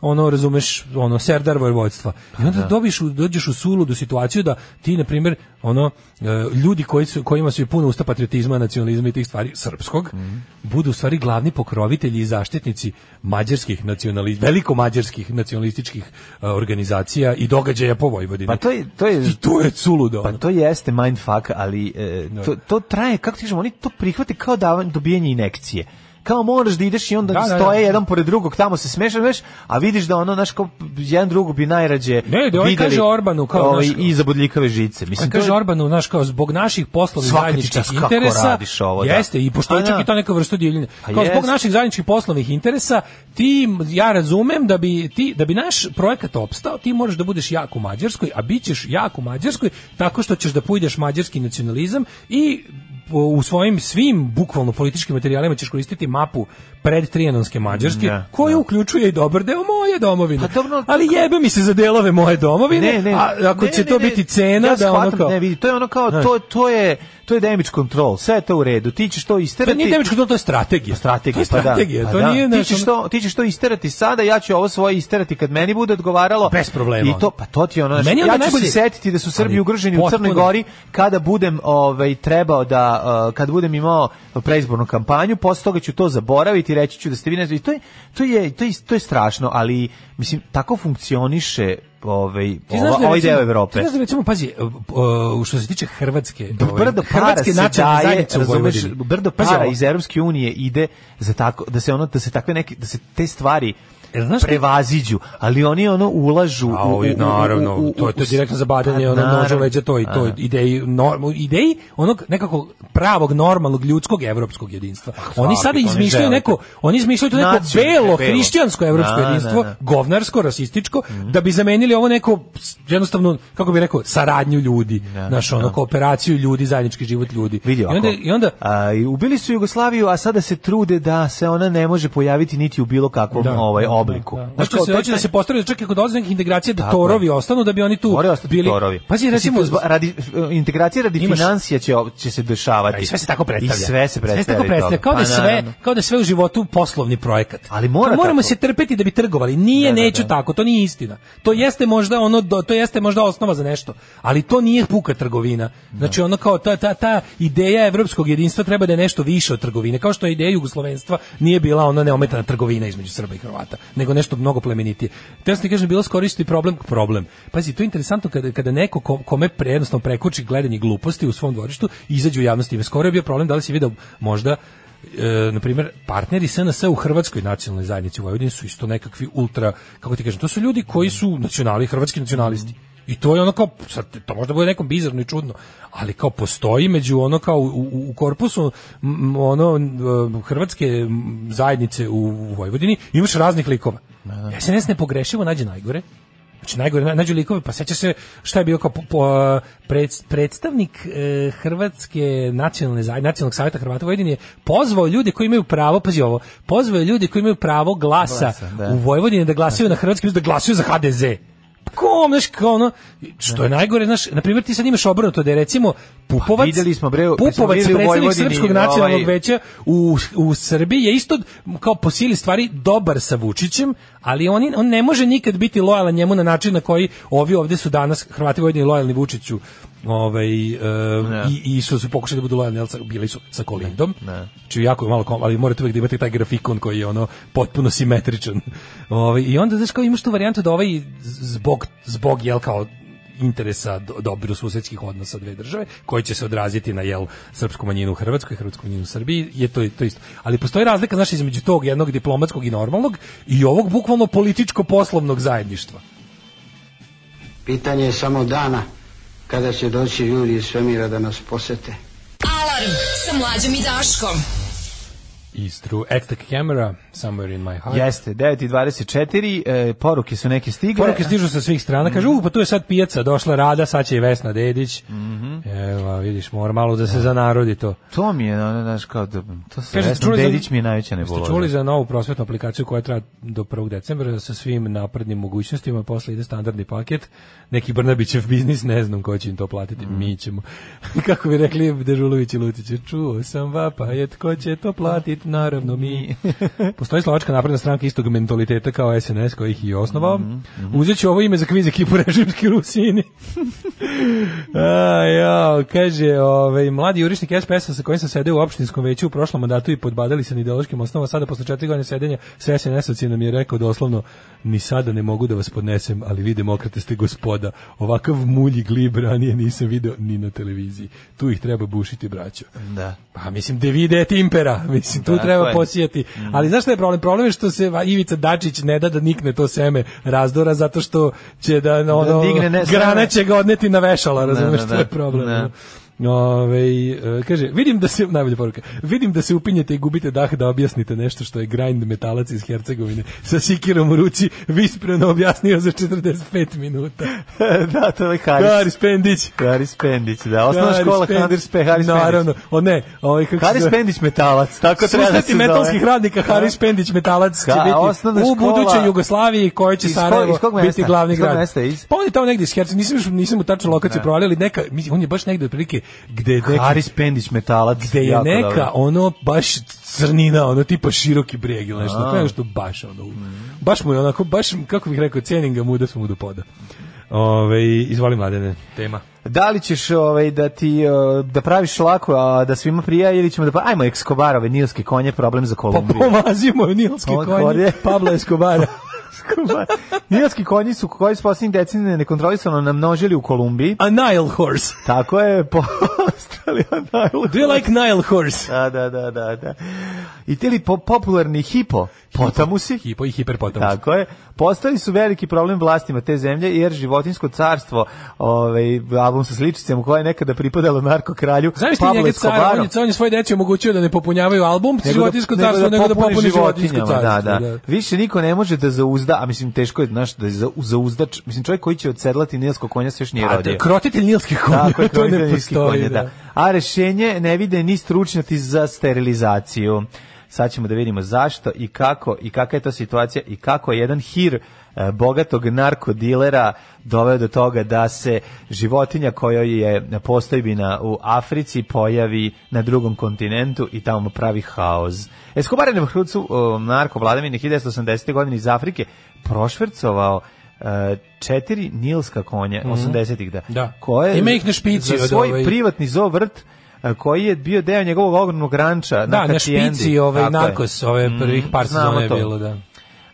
ono razumeš ono serdar vojvodstva i Pa onda dobiš u- dođeš u suludu situaciju da ti na primjer ono e, ljudi koji su kojima su i puno usta patriotizma nacionalizma i tih stvari srpskog Mhm. budu u stvari glavni pokrovitelji i zaštitnici mađarskih nacionali veliko mađarskih nacionalističkih e, organizacija i događaja po Vojvodini Pa to je, to je, i to je suludo pa ono. to jeste mindfuck, ali e, to, to traje, kako ti kažemo, oni to prihvate kao davan, dobijanje inekcije. Kao moraš da ideš i onda Da, da, stoje da. jedan pored drugog, tamo se smešaš, znaš, a vidiš da ono, znaš, kao jedan drugog bi najrađe Ne, da ovaj videli kaže Orbanu, kao, ovaj, znaš, iza bodljikave žice. Mislim, Mislim, to je- Pa kaže Orbanu, znaš, kao zbog naših poslovnih Svaka ti zajedničkih čast kako interesa, radiš ovo, da. jeste, i pošto je A, čak da. i ta neka vrsta divljenja, Pa kao zbog jest. naših zajedničkih poslovnih interesa, ti, ja razumem da bi, ti, da bi naš projekat opstao, ti moraš da budeš jak u Mađarskoj, a bit ćeš jak u Mađarskoj tako što ćeš da pujdeš mađarski nacionalizam i u svojim svim bukvalno političkim materijalima ćeš koristiti mapu pred trijanonske Mađarske, Ne, koja uključuje i dobar deo moje domovine. Pa ali jebe mi se za delove moje domovine, Ne, ne. a ako ne, će ne, to ne. biti cena ja da ono shvatam, kao... Ne, vidi, to je ono kao, Znaš. to, to je to je damage control, sve je to u redu. Ti ćeš to isterati. To Pa nije damage control, to je strategija. strategija, To je strategija, pa da. to Pa da. nije ti nešto ćeš ono- to, ti ćeš to isterati sada, ja ću ovo svoje isterati kad meni bude odgovaralo. Bez problema. I to, pa to ti je ono, znaš, Meni je ja onda ću najbolje- se setiti da su Srbi Ali ugroženi u Crnoj potpuno- Gori kada budem ovaj, trebao da, uh, kad budem imao preizbornu kampanju, posle toga ću to zaboraviti i reći ću da ste vi ne I to je, to je, to je, to je strašno, ali mislim, tako funkcioniše ovaj, Ti znaš ova- da, ovaj recimo- deo Evrope. Ti znaš da recimo, pazi, uh, što se tiče Hrvatske, ovaj, brdo para Hrvatske se nacionalne daje, zajednice u razumeš, Vojvodini. brdo para Pazi, iz Evropske unije ide za tako da se ono da se takve neke da se te stvari šta- prevaziđu, ali oni ono ulažu A ovo je, Pa naravno, to je to je direktno zabadanje, Pa, ono nožu naravno. leđa to i to Aha. ideji, norm, ideji onog nekako pravog, normalnog, ljudskog, evropskog jedinstva. Oni sada oni izmišljaju žele neko, Pa, to. oni izmišljaju to neko Nacionalno, belo, belo. hrišćansko evropsko Da, da, jedinstvo, da. Mhm. govnarsko, rasističko, da bi zamenili ovo neko, s- jednostavno, kako bi rekao, saradnju ljudi, naš ono, kooperaciju ljudi, zajednički život ljudi. Vidi, I onda, ovako, i onda a, i ubili su Jugoslaviju, a sada se trude da se ona ne može pojaviti niti u bilo kakvom ovaj obliku. Znaš, Znači, kao, se to je hoće da taj- se postavi čak i kod određenih integracija da Tako torovi ostanu da bi oni tu Moraju ostati bili torovi. Pazi, Mislim, recimo to zba- radi eh, integracija radi Imaš- financija će će se dešavati. I sve se tako predstavlja. I sve se predstavlja. Sve se tako i predstavlja. toga. Kao da je Pa, sve, naravno. kao da je sve u životu poslovni projekat. Ali mora Kao moramo tako. se trpeti da bi trgovali. Nije Da, da, neću da. tako, to nije istina. To jeste možda ono do- to jeste možda osnova za nešto, ali to nije puka trgovina. Znači ono kao ta ta ta ideja evropskog jedinstva treba da je nešto više od trgovine. Kao što je ideja jugoslovenstva nije bila ona neometana trgovina između Srba i Hrvata, nego nešto mnogo plemenitije. Te sam ti kažem bilo skoro isti problem problem. Pazi, to je interesantno kada kada neko ko- kome pre, jednostavno prekuči gledanje gluposti u svom dvorištu, izađe u javnosti. Ima Skoro je bio problem da li si video možda e, na primjer, partneri SNS u Hrvatskoj nacionalnoj zajednici u Vojvodini su isto nekakvi ultra, kako ti kažem, to su ljudi koji su nacionali, hrvatski nacionalisti. I to je ono kao, sad, to možda bude nekom bizarno i čudno, ali kao postoji među ono kao u, u- u korpusu m, ono m, hrvatske m, zajednice u, u Vojvodini imaš raznih likova. SNS nepogrešivo nađe najgore, Znači najgore na- nađu likove, pa seća se šta je bio kao po- po- preds- predstavnik e, Hrvatske nacionalne zajednice, nacionalnog savjeta Hrvata u Vojvodini je pozvao ljude koji imaju pravo, pazi ovo, pozvao je ljude koji imaju pravo glasa, Glasa, da. u Vojvodini da glasaju na hrvatskim, da glasaju za HDZ. Pa Kom, znaš, kao ono, što je najgore, znaš, na primjer ti sad imaš obrnuto da je recimo Pupovac, videli smo, bre, jesmo Pupovac, videli u predsednik Vojvodini, Srpskog nacionalnog ovaj- veća u, u Srbiji je isto kao po sili stvari dobar sa Vučićem, ali on, on ne može nikad biti lojalan njemu na način na koji ovi ovdje su danas Hrvati Vojvodini lojalni Vučiću ovaj, e, i, i su, su pokušali da budu lojalni, ali sa- bili su sa Kolindom. Znači, jako je malo, kom- ali morate uvijek da imate taj grafikon koji je ono potpuno simetričan. Ovaj, I onda, znaš, kao imaš tu varijantu da ovaj zbog, zbog jel, kao interesa do- dobru susedskih odnosa dve države koji će se odraziti na jel srpsku manjinu u Hrvatskoj, hrvatsku manjinu u Srbiji, je to to isto. Ali postoji razlika znaš između tog jednog diplomatskog i normalnog i ovog bukvalno političko poslovnog zajedništva. Pitanje je samo dana kada će doći ljudi iz svemira da nas posete. Alarm sa mlađom i Daškom. Is true Extra camera somewhere in my heart. Jeste, 9.24, e, poruke su neke stigle. Poruke stižu sa svih strana. Kaže, u, pa tu je sad pijaca, došla Rada, sad će i Vesna Dedić. Evo, vidiš, mora malo Mhm. da se zanarodi to. To mi je, ono, znaš, kao da, to se Kaže, Vesna čuli za- Dedić mi je najveća ono. nebuloza. Jeste čuli za novu prosvetnu aplikaciju koja traje do 1. decembra sa svim naprednim mogućnostima, posle ide standardni paket, neki Brnabićev biznis, ne znam ko će im to platiti, Mm. mi ćemo. Kako bi rekli Dežulović i Lutić, čuo sam vapaje, tko će to platiti, naravno mi. Postoji slovačka napredna stranka istog mentaliteta kao SNS koji ih je i osnovao. Mhm, Uzet ću ovo ime za kviz ekipu režimski Rusini. A, ja, kaže, ovaj, mladi jurišnik SPS-a sa kojim sam sedeo u opštinskom veću u prošlom mandatu i podbadali se na ideološkim osnovama, sada posle četiri godine sedenja s sns nam je rekao doslovno ni sada ne mogu da vas podnesem, ali vi demokrate ste gospoda. Ovakav mulji glib ranije nisam video ni na televiziji. Tu ih treba bušiti, braćo. Da. Pa mislim Devide et impera, mislim tu Tako treba je. Mhm. posijati. Ali znaš šta je problem? Problem je što se va- Ivica Dačić ne da da nikne to seme razdora zato što će da ono digne ne- grana će ga odneti na vešala, razumeš da, to je da. problem. Da. Ove, e, kaže, vidim da se, najbolja poruka, vidim da se upinjete i gubite dah da objasnite nešto što je grind metalac iz Hercegovine sa sikirom u ruci, vispreno objasnio za 45 minuta. da, to je Haris. Haris Pendić. Haris Pendić, da. Osnovna Haris škola Pendić. Haris Pendić. Haris Pendić. Naravno, o ne, ovaj, kako se Haris zove? Pendić metalac, tako treba da se Susreti zove. metalskih radnika Haris Pendić Metalac će Ka- biti osnovna u škola- budućoj Jugoslaviji koja će Iz ko- Sarajevo iz kog biti mesta? glavni Iz kog grad. mesta je iz? Pa on je tamo negdje iz Hercegovine, nisam, još- nisam mu tačno lokaciju Ne. provalio, ali neka, mislim, on je baš negdje otprilike gde je neka, Haris Pendić metalac. gde je jako neka dobro. ono baš crnina, ono tipa široki breg ili nešto, A. to je nešto baš ono, baš mu je onako, baš, kako bih rekao, cijenim ga mu da smo mu do poda. Ove, izvoli mladene, tema. Da li ćeš ovaj, da ti uh, da praviš lako, a da svima prija ili ćemo da pa ajmo ekskobarove nilske konje problem za Kolumbiju. Pa Pomazimo nilske On konje, konje. Pablo Escobara. Nilski konji su koji su posljednjih decenija nekontrolisano namnožili u Kolumbiji. A Nile horse. Tako je postali a Nile Do you like Nile horse? Da, da, da, da, da. I tili po, popularni hipo, potamusi, Hipo i hiperpotamus. tako je, postali su veliki problem vlastima te zemlje, jer životinsko carstvo, ovaj, album sa sličicama koja je nekada pripadalo narkokralju, Znaš ti Pablo njega cara, Escobaru. on je, on je svoje deci omogućio da ne popunjavaju album, životinsko carstvo, nego da popuni životinsko životinjama, carstvo. Da, da. Više niko ne može da zauzda, a mislim teško je, znaš, da je za, zauzdač, mislim čovjek koji će odsedlati nilsko konja se još nije A, rodio. da, krotitelj nilskih konja, Tako je, to ne kronični postoji. konje, da. A rešenje ne vide ni stručnjaci za sterilizaciju. Sad ćemo da vidimo zašto i kako i kakva je to situacija i kako je jedan hir e, bogatog narkodilera doveo do toga da se životinja kojoj je postojbina u Africi pojavi na drugom kontinentu i tamo pravi haos. Escobar je na vrhucu o, narkovladavine 1980. godine iz Afrike prošvercovao e, četiri nilska konja Mhm. 80-ih da Da. koje Ima ih na špici za od svoj ovaj- privatni zoovrt a, koji je bio deo njegovog ogromnog ranča Da, na Hacijendi. špici ovaj Tako je. Mm, narkos, ove prvih par znamo sezona je to. bilo, da.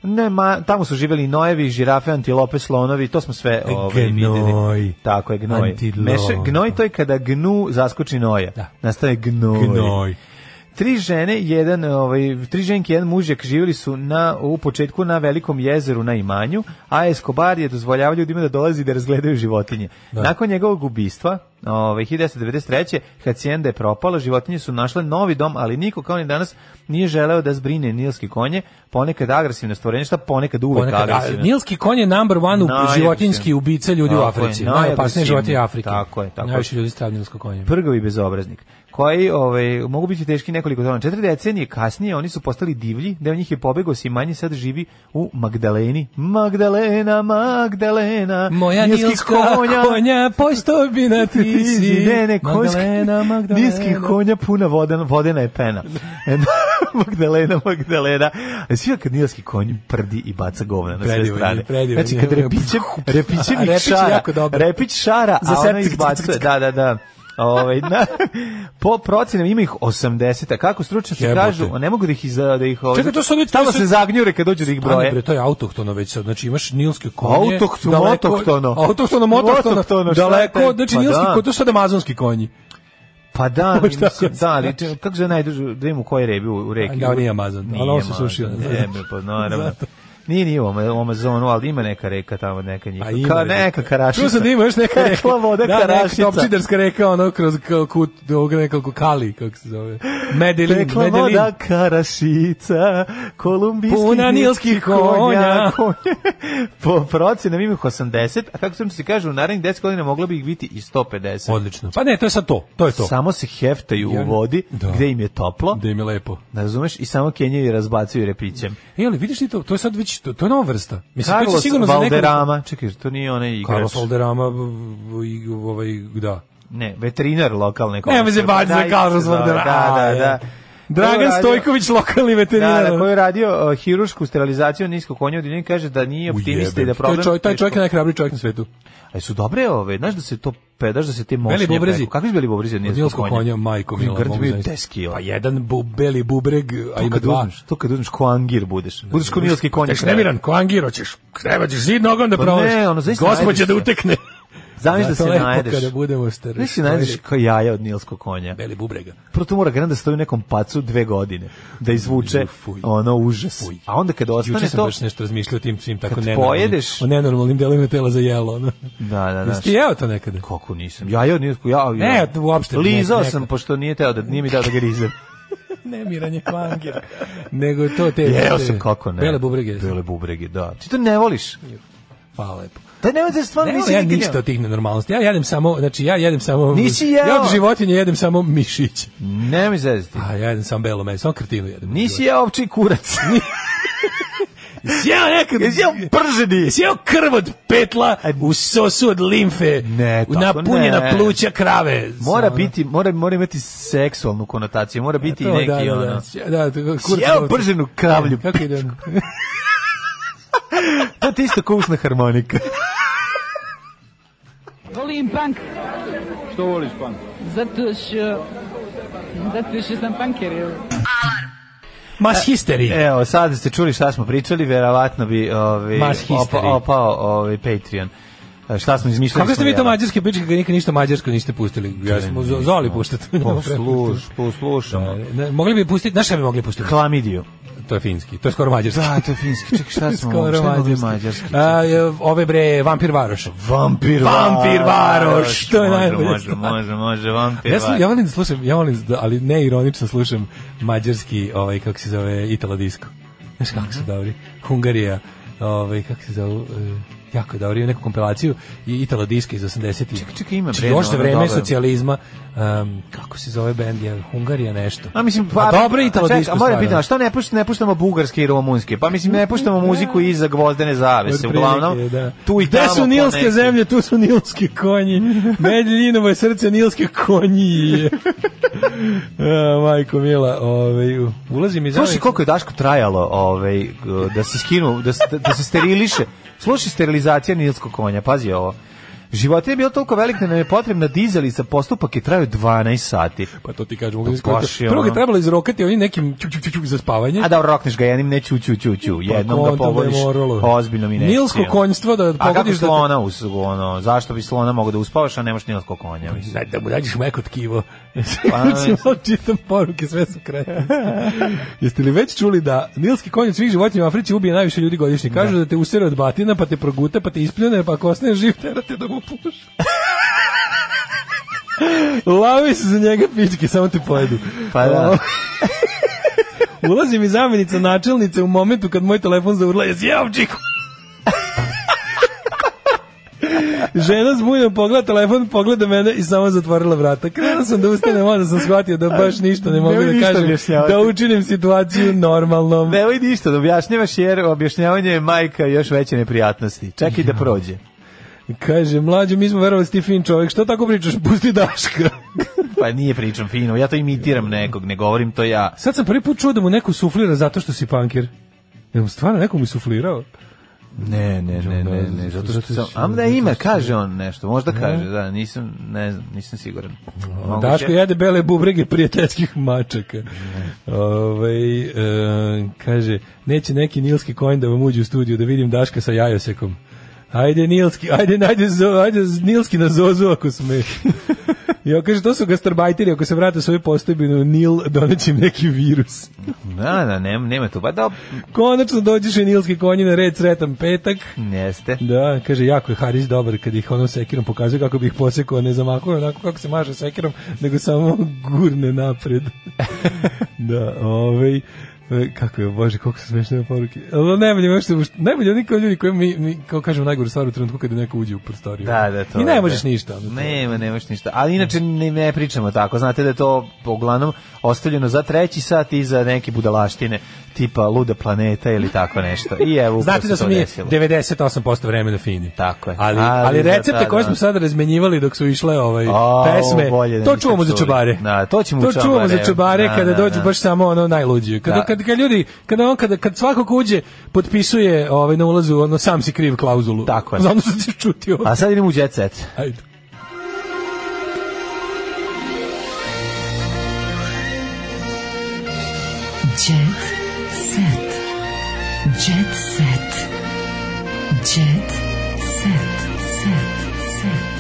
Ne, ma, tamo su živeli i nojevi, žirafe, antilope, slonovi, to smo sve ovaj, E, Gnoj. videli. Tako je, gnoj. Antilopa. Meša- gnoj to je kada gnu zaskoči noja. Da. Nastaje gnoj. Gnoj. Tri žene, jedan, ovaj, tri ženke, i jedan mužjak živjeli su na, u početku na velikom jezeru na imanju, a Escobar je dozvoljavao ljudima da dolazi i da razgledaju životinje. Da. Nakon njegovog ubistva, ovaj, 1993. Hacienda je propala, životinje su našle novi dom, ali niko kao ni danas nije želeo da zbrine nilski konje, ponekad agresivne stvorenje, šta ponekad uvek Ponekad, a, agresivne. Nilski konj je number one u Najagresivniji. životinjski ubica ljudi u Tako je, Africi. najagresivniji. Najopasnije životinje Afrike. Tako je, tako je. Najviše ljudi stravi nilsko konje. Prgovi bezobraznik, koji ovaj, mogu biti teški nekoliko tona. Četiri decenije kasnije oni su postali divlji, deo njih je pobegao si manje, sad živi u Magdaleni. Magdalena, Magdalena, Moja nilskih nilska konja, postojbina ti si. ne, ne, konjski- Magdalena, Magdalena. Niskih konja puna vodena, vodena je pena. E, Magdalena, Magdalena. E, Svi kad nilski konj prdi i baca govna na sve Predivan je, strane. predivan Znači je. kad repiće, repiće A mi repić je šara. jako dobar. Repić šara, Za a ona septik, izbacuje. Da, da, da. Ovaj, na, po procenama ima ih 80, a kako stručnjaci Jebote. kažu, a ne mogu da ih izda, da ih ovaj, Čekaj, to su oni- tamo to su- se zagnjure kad dođu da ih Stani broje. bre, to je autohtono već sad. Znači imaš nilske konje. Autohtono, autohtono. Autohtono, motohtono. Autohtono, šta daleko, je taj- znači Pa nilski da. konji, to su sad amazonski konji. Pa da, ali, Možda mislim, ako se da, ali če- kako se najdužu, da im u kojoj rebi, u, u reki. Da, on nije Amazon, ali on se sušio. Ne, bre, pa naravno. Zato. Nije nije u Ama- u Amazonu, ali ima neka reka tamo, neka njih. A Pa ima Pa Ka, reka. neka karašica. Čuo sam da ima još neka reka. Tekla voda da, karašica. neka topčiderska reka, ono, kroz k- kut, ovog nekako kali, kako se zove. Medelin, Tekla Medelin. voda karašica, kolumbijski Puna nilskih nilskih konja. konja. konja. po procenama ima ih 80, a kako sam se kaže, u narednih 10 godina moglo bi ih biti i 150. Odlično. Pa ne, to je sad to, to je to. Samo se heftaju u vodi, Da. gde im je toplo, Da im je lepo. ne razumeš, i samo kenjaju i razbacuju repićem. E, ali vidiš ti to, to je sad već, to, to je nova vrsta. Mislim, to će Carlos sigurno za nekoliko- Valderama, čekaj, to nije onaj igrač. Carlos Valderama, b- b- i- ovaj, da. Ne, veterinar lokalne Ne, me se baci za Najviše Carlos se zove, Valderama. Da, da, je. da. Koji je Dragan radio- Stojković, lokalni veterinar. Da, da, koji je radio uh, hirušku sterilizaciju nisko konja, i kaže da nije optimista i da Ujebe. To problem... je čovjek, taj čovjek je teško- najhrabriji čovjek na svetu. A su dobre ove, znaš da se to pedaš, da se te mošnje... Beli bubrezi. Kako su beli bubrezi od nisko Nilskog konja? konja, majko mila. Grd mogu bio znaš. 10 kila. Pa jedan bu, beli bubreg, a To ima kad dva. uzmeš, ovaj. to kad uzmeš ko angir budeš. Budeš ko nilski konj. Tek nemiran, ko angiro ćeš, krevaćeš zid nogom da Pa provališ. ne, ono, zaista Gospodje najviše. da utekne. Zamisli da, Zato se lepo najedeš. kada budemo stari. Znaš, se najedeš stari. kao jaja od nilskog konja. Beli bubrega. Prvo to mora granda stoji u nekom pacu dve godine da izvuče ono užas. A onda kada ostane Juče sam to... baš nešto razmišljao o tim svim tako Kad nenormalnim, pojedeš- o nenormalnim delovima tela za jelo. Ono. Da, da, da. Jesi ti jeo to nekada? Kako nisam? Jaja od nilskog... Ja, ja. Ne, uopšte ne, Lizao nekad. sam, pošto nije, teo da, nije mi dao da ga rizem. Nemiranje kvangir. Nego to te... Jeo te- sam kako ne. Bele bubrege. Bele bubrege, da. Ti to ne voliš? Hvala lepo. Da ne voliš, stvarno Ne, nisi ja nikad ništa jeo. od tih nenormalnosti. Ja jedem samo, znači ja jedem samo... Nisi Ja jeo. od životinje jedem samo mišiće. Ne mi zezati. A ja jedem samo belo meso, samo krtinu jedem. Nisi jeo ovči kurac. Sjeo nekad... Jesi jeo prženi? Sjeo krv od petla u sosu od limfe. Ne, tako napunjena ne. pluća krave. Mora Ono. E, biti, mora, mora imati seksualnu konotaciju, mora biti To, i neki da, da, ono. da. Sje- da, to- kurac Sjeo ovce. prženu kravlju. Kako ide ono? To ti isto kusna harmonika. Volim punk, Što voliš punk? zato što... Zato što sam punker, evo. Mas E, histerije. Evo, sad ste čuli šta smo pričali, verovatno bi ovaj, Mass history. opa- opao ovaj, Patreon. E, Šta smo izmišljali? Kako ste smo vi to jela. mađarske priče kad nikad ništa mađarsko niste pustili? Ja smo nismo. zoli puštati. Pa, Posluš, poslušamo. Ne, mogli bi pustiti, znaš šta bi mogli pustiti? Klamidiju. To je finski, to je skoro mađarski. Da, to je finski. Čekaj, šta smo Skoro Ono, šta je mogli mađarski. mađarski? A, je, ove bre, Vampir Varoš. Vampir Vampir Varoš, to je Može, najbolje. Može, može, može, vampir Ja, sam, Varoš. ja volim da slušam, ja volim da, ali ne ironično slušam mađarski, ovaj, kako se zove, Italo disco. Znaš kako Mhm. su dobri? Hungarija, ovaj, kako se zove, jako je dobri, imam neku kompilaciju i Italo disco iz 80-ih. Čekaj, čekaj, ima bre, Još za ono vreme dobro. socijalizma, em, kako se zove bend, je Hungarija nešto. A mislim pa, dobro Italo čekaj, disco. A moram stvarno. pitati, a što ne puštamo, ne puštamo bugarske i rumunske? Pa mislim ne puštamo muziku iza gvozdene zavese, Otprilike, uglavnom. da. Tu i Gde tamo su po nilske neki. zemlje, tu su nilski konji. Medljinovo je srce nilske konji. A, majko mila, ovaj, u- ulazim iz Slušaj koliko je Daško trajalo ovaj, g- da se skinu, da se, da se steriliše. Slušaj sterilizacija nilskog konja, pazi ovo. Životinja je bilo toliko velik da nam je potrebna dizalica, postupak je trajao 12 sati. Pa to ti kažem, To mogu da baš je Prvo ga ono. trebalo izrokati ovim nekim čuk, čuk, čuk, čuk za spavanje. A da rokneš ga jednim, ne ću, ću, ću, ću. Jednom ga onda da je povoliš, Pa moralo. ozbiljno mi ne Nilsko konjstvo da A kako pogodiš da te- slona us, ono, zašto bi slona mogao da uspavaš, a nemaš nilsko konja? mislim? Da, da mu dađeš meko tkivo. Pa, Pa, čitam poruke, sve su kretenske. Jeste li već čuli da nilski konj od svih životinja u Africi ubije najviše ljudi godišnje? Kažu da, te usere od batina, pa te proguta, pa te ispljune, pa ako ostaneš živ, terate da mu puši. Lavi se za njega pičke, samo te pojedu. Pa da. Ulazi mi zamjenica načelnice u momentu kad moj telefon zaurla, jesi jeo čiku? Žena zbunjeno pogleda telefon, pogleda mene i samo zatvorila vrata. Krenuo sam da ustanem, onda sam shvatio da baš ništa ne mogu Nemoj da ništa kažem, objašnjavati. da učinim situaciju normalnom. Nemoj ništa da objašnjavaš jer objašnjavanje je majka još veće neprijatnosti. Čekaj da prođe. Kaže, mlađo, mi smo verovali da si ti fin čovjek, što tako pričaš, pusti Daška. Pa nije pričam fino, ja to imitiram nekog, ne govorim to ja. Sad sam prvi put čuo da mu neko suflira zato što si punker. Jel mu stvarno neko mi suflirao? Ne, ne, ne, ne, ne, zato što sam... Am da ima, kaže on nešto, možda kaže, da, nisam, ne znam, nisam siguran. Moguće. Daško jede bele bubrege prijateljskih mačaka. Ovaj, e, kaže, neće neki nilski konj da vam uđe u studiju da vidim Daška sa jajosekom. Ajde nilski, ajde, ajde, zo, ajde z- nilski na zozu ako sme. Ja kaže, to su gastarbajteri, ako se vrate u svoju postojbinu, Nil doneće im neki virus. Da, da, nema, nema tu, pa da, Konačno dođeš i nilski konji na red, sretan petak. jeste. Da, kaže, jako je Haris dobar kad ih onom sekirom pokazuje kako bi ih posekao, ne zamahuje onako kako se maže sekirom, nego samo gurne napred. da, ovaj, e, kako je, bože, koliko su smešne poruke. Ali ono, najbolje, je što, najbolje oni kao ljudi koji mi, mi kao kažemo, najgoru stvar u trenutku kada neko uđe u prostoriju. Da, da, to. I ne je, možeš da. ništa. ono, to je. Nema, nemaš ništa. Ali inače ne, ne pričamo tako. Znate da je to uglavnom ostavljeno za treći sat i za neke budalaštine tipa Luda planeta ili tako nešto. I evo, upravo Znate se da to smo mi desilo. 98% vremena fini. Tako je. Ali, ali, Ali za recepte tada. koje smo sada razmenjivali dok su išle ovaj, A, pesme, ovo bolje da to niste čuvamo za čuli. čubare. Da, to ćemo u to čuvamo za čubare. čubare Da, kada da, dođu da. baš samo ono najluđi. Kada, Da. kad, kad ljudi, kada on, kada, kad svako ko uđe potpisuje ovaj, na ulazu ono sam si kriv klauzulu. Tako je. Za ono što si čutio. A sad idemo u jet set. Ajde. Jet set. Jet set. Jet set. Set. Set.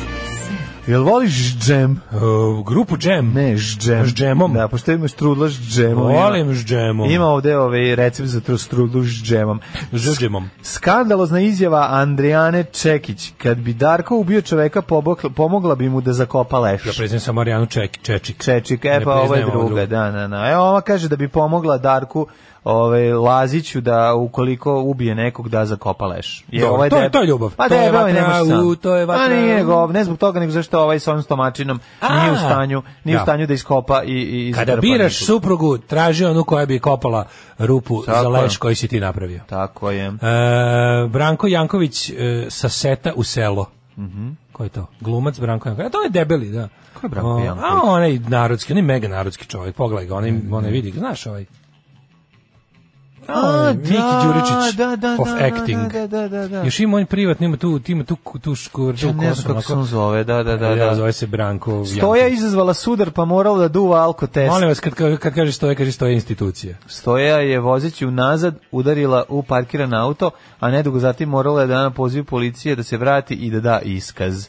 Jel voliš džem? Uh, grupu džem? Ne, s džem. S džemom? Da, pošto imaš trudla s džemom. Volim Ima- s džemom. Ima ovde ovaj recept za tru- strudlu s džemom. S džemom. Skandalozna izjava Andrijane Čekić. Kad bi Darko ubio čoveka, pobokla- pomogla bi mu da zakopa leš. Ja priznam samo Marijanu Ček, Čečik. Čečik, Ne e pa ovo je priznajem ovo druga, da, da, da. Evo, ova kaže da bi pomogla Darku ovaj Laziću da ukoliko ubije nekog da zakopa leš. Dobro, ovaj to je- deb- to je ljubav. Pa To je debel vatra je, nemaš sam. u- to je vatra A nije, u- nego, ne zbog toga, nego zašto ovaj s ovim stomačinom nije u A, stanju, nije u da. stanju da iskopa i, i Kada zatrpa biraš nekog. suprugu, traži onu koja bi kopala rupu Tako za leš je. koji si ti napravio. Tako je. E, Branko Janković e, sa seta u selo. Mhm. Ko je to? Glumac Branko Janković. A to je debeli, da. Ko je Branko Janković? Mhm. A onaj narodski, onaj mega narodski čovjek. Pogledaj ga, onaj, onaj vidi, ga, znaš ovaj. A, onaj Miki da, Đuričić da, da, of da, da, acting. da, da, da, da. Još ima on privatno, ima tu, ima tu, tu škovrdu Ja ne znam kako se on zove, da, da, da, da. Zove se Branko Janković. Stoja izazvala sudar pa morala da duva alkotest. Molim vas, kad, kad kaže stoje, kaže stoje institucija. Stoja je vozeći unazad udarila u parkiran auto, a nedugo zatim morala je da na poziv policije da se vrati i da da iskaz.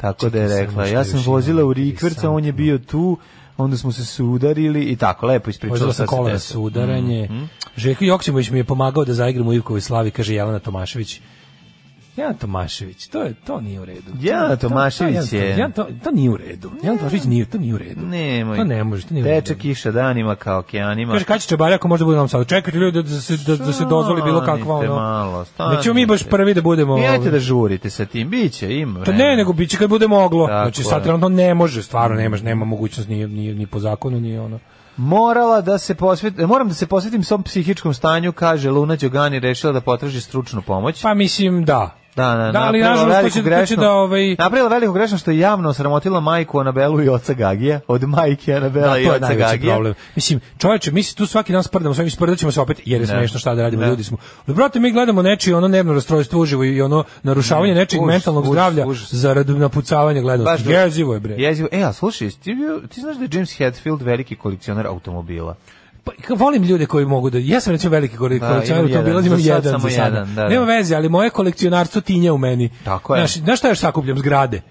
tako da je E, čekaj, rekla, samo ja što sam još vozila imam u Rikverca, on je bio tu, onda smo se sudarili i tako, lepo ispričala. Vozila sam šta se kola na desilo. sudaranje. Mhm. Željko Joksimović mi je pomagao da zaigram u Ivkovoj slavi, kaže Jelena Tomašević. Jelena Tomašević, to je to nije u redu. Jelena To- to- to- Tomašević je- Jelena to, to nije u redu. Jelena Tomašević nije, to nije u redu. Nemoj. To Pa ne može, to nije u redu. Teče kiša danima kao okeanima. Kaže Kaći Čabarja, ako možda bude nam sad. Čekajte ljudi da se, da, da se dozvoli bilo kakva Stanite ono. malo, Nećemo mi baš stanite. prvi da budemo... Mijajte da žurite sa tim, biće, ima To vremena. ne, nego biće kad bude moglo. Tako znači je. sad trenutno ne može, stvarno nemaš, nema mogućnost ni, ni, ni po zakonu, ni ono. Morala da se posvetim, moram da se posvetim svom psihičkom stanju, kaže Luna Đogani, rešila da potraži stručnu pomoć. Pa mislim da. Da, da, Da, ali napravila nažalost, to veliku će- to će grešnu- da, ovaj- Napravila veliku grešnu što je javno osramotila majku Anabelu i oca Gagija, od majke Anabela Da, i to je oca najveći Gagija. problem. Mislim, čoveče, mi se tu svaki dan sprdamo, sve mi sprdaćemo se opet, jer je Da. smešno šta da radimo, Da. ljudi smo. Ali, brate, mi gledamo nečije ono nervno rastrojstvo uživo i ono narušavanje Ne, nečijeg užas, mentalnog užas, zdravlja užas. zarad napucavanja Baš gledanosti. užas. Jezivo je, bre. Jezivo. E, a slušaj, ti, bio- ti znaš da je James Hetfield veliki kolekcionar automobila. Pa, ka- volim ljude koji mogu da... Ja sam recimo veliki Da, kolekcionar, imam to bilo imam jedan, za sad jedan za samo sada. jedan, da, da. Nema veze, ali moje kolekcionarstvo tinja u meni. Tako je. Mhm. Znaš, znaš šta još sakupljam? Zgrade.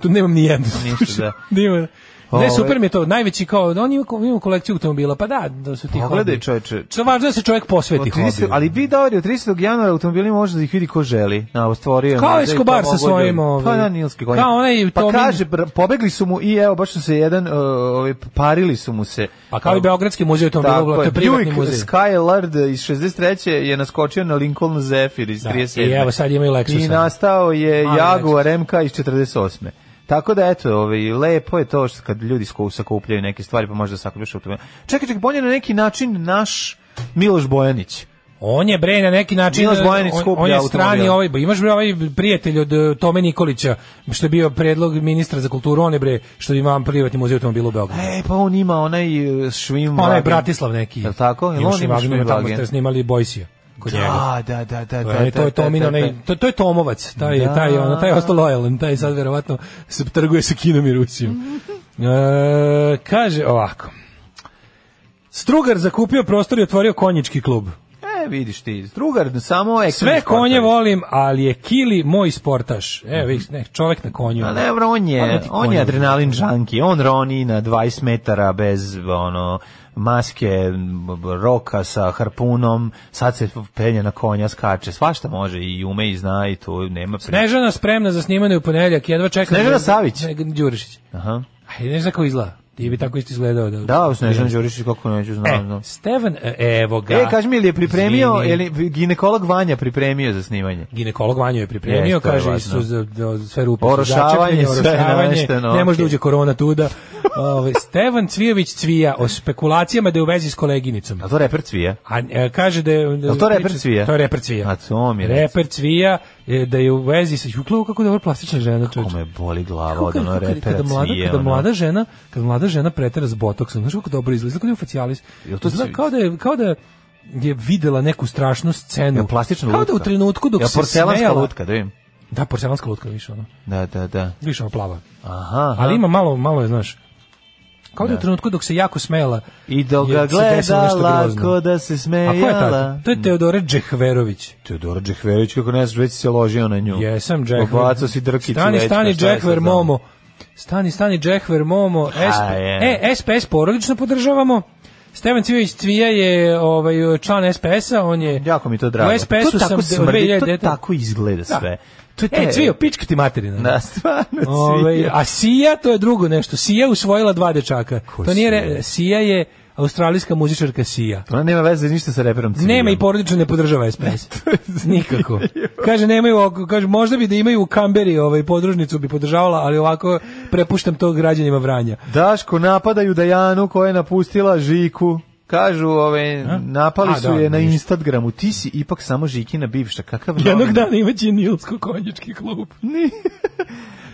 Tu nemam ni jednu. Ništa, da. Nema- Ovaj. Ne, super mi je to. Najveći kao, on ima, ima kolekciju automobila, pa da, da su ti Pogledaj hobi. čoveče. Što je važno da se čovjek posveti Od 30 hobiju. ali vi dobri od 30. januara automobili može da ih vidi ko želi. Na, stvorio je Kao muzej, Escobar to sa mogu svojim, ljudi. ovaj, Pa da, Nilski konjak. kao onaj Pa Tomin- kaže, br- pobegli su mu i evo, baš su se jedan, uh, ovaj, parili su mu se. Pa kao i Beogradski muzej automobila, Tako to je privatni Buick muzej. Skylard iz 63. je naskočio na Lincoln Zephyr iz Da, 37. i evo, sad imaju Lexusa. I nastao je Mali Jaguar MK iz 48. Tako da eto, ovaj lepo je to što kad ljudi sku- sakupljaju neke stvari, pa možda sakupljaš automobil. Čekaj, čekaj, bolje na neki način naš Miloš Bojanić. On je bre na neki način Miloš Bojanić on, skuplja on je automobile. strani ovaj, ba, imaš bre ovaj prijatelj od e, Tome Nikolića što je bio predlog ministra za kulturu, on je bre što ima privatni muzej automobila u Beogradu. E, pa on ima onaj e, švim... Onaj vagen. Bratislav neki. Jel tako? Jel Ima on ima Šimagin, švim ima tamo vagen? ste snimali Bojsija kod njega. Da, da, da, da, E, To da. je, Pa to je Tomin, onaj, to, to je Tomovac, taj, Da. je taj, ono, taj je ostao lojalan, taj sad verovatno se trguje sa Kinom i Rusijom. Mhm. E, kaže ovako, Strugar zakupio prostor i otvorio konjički klub. E, vidiš ti, drugar, samo ekstremni Sve sportovi. konje volim, ali je Kili moj sportaš. E, Mhm. vidiš, ne, čovek na konju. A ne, bro, on je, ne ti on konje. je adrenalin žanki, on roni na 20 metara bez ono maske, m, b- roka sa harpunom, sad se penje na konja, skače, svašta može i ume i zna i to nema priče. Snežana spremna za snimanje u ponedeljak, jedva čekam. Snežana da- Savić? Ne, Đurišić. Aha. Ajde, ne znam kako izgleda. Ti bi tako isto izgledao. Da, Da, u Snežan Đurišić kako neću E, znam. znam. Stevan, e, evo ga. E, kaži mi, je li je pripremio, Izvini. je li ginekolog Vanja pripremio za snimanje? ginekolog Vanju je pripremio, Jeste, kaže verovatno. isto za, za sve rupe su Orošavanje, začepljene, sve orošavanje, namešteno, ne može okej. da uđe korona tuda. Ove, Stevan Cvijović Cvija o spekulacijama da je u vezi s koleginicom. A to reper cvije? A, e, kaže da je... Jel to reper Cvija? To je reper Cvija. A to mi reper. Reper Cvija e, da je u vezi sa Juklavu kako dobro plastična žena čovječe. Kako me boli glava Kako od kad- ono kako- repera kada mlada, cvije. kada ono. mlada žena, kada mlada žena pretera s botoksom, znaš kako dobro izgleda, kako je facialis. Jel to Izgleda cvi- kao da je, kao da je videla neku strašnu scenu. Jel plastična Kao da lutka? u trenutku dok Jel se porcelanska smejala- lutka, da vidim. Da, porcelanska lutka više ono. Da, da, da. Više ono plava. Aha, aha. Ali ima malo, malo je, znaš. Kao da je Da. u trenutku dok se jako smejala. I dok je ga se desilo nešto gledala grozno. ko da se A ko je tako? smejala. To je Teodore Džehverović. Teodora Džehverović, kako ne znaš, već si se ložio na nju. Jesam Džehver. Obacao si drkicu Stani, već, stani pa šta je Džehver sad Momo. Stani, stani, Džehver, Momo, S A, je. e, SPS porodično podržavamo. Stevan Cvijević Cvija je ovaj, član SPS-a, on je... Jako mi to drago. U SPS-u To tako sam... de- od smrdi, 2009. to tako izgleda sve. To je E, taj- Cvijo, pička ti materina. Da, stvarno, Ovaj, Cvijo. a Sija, to je drugo nešto. Sija usvojila dva dečaka. to nije... re- Sija je australijska muzičarka Sija. Ona nema veze ništa sa reperom Cvijom. Nema i porodično ne podržava SPS. Nikako. Kaže nemaju oko- kaže možda bi da imaju u Kamberi ovaj podružnicu bi podržavala, ali ovako prepuštam to građanima Vranja. Daško, napadaju Dajanu koja je napustila Žiku. Kažu, ove, napali A, su da, je na ništa. Instagramu. Ti si ipak samo Žikina bivša. Kakav Jednog novinar? dana imaće Nilsko-konjički klub.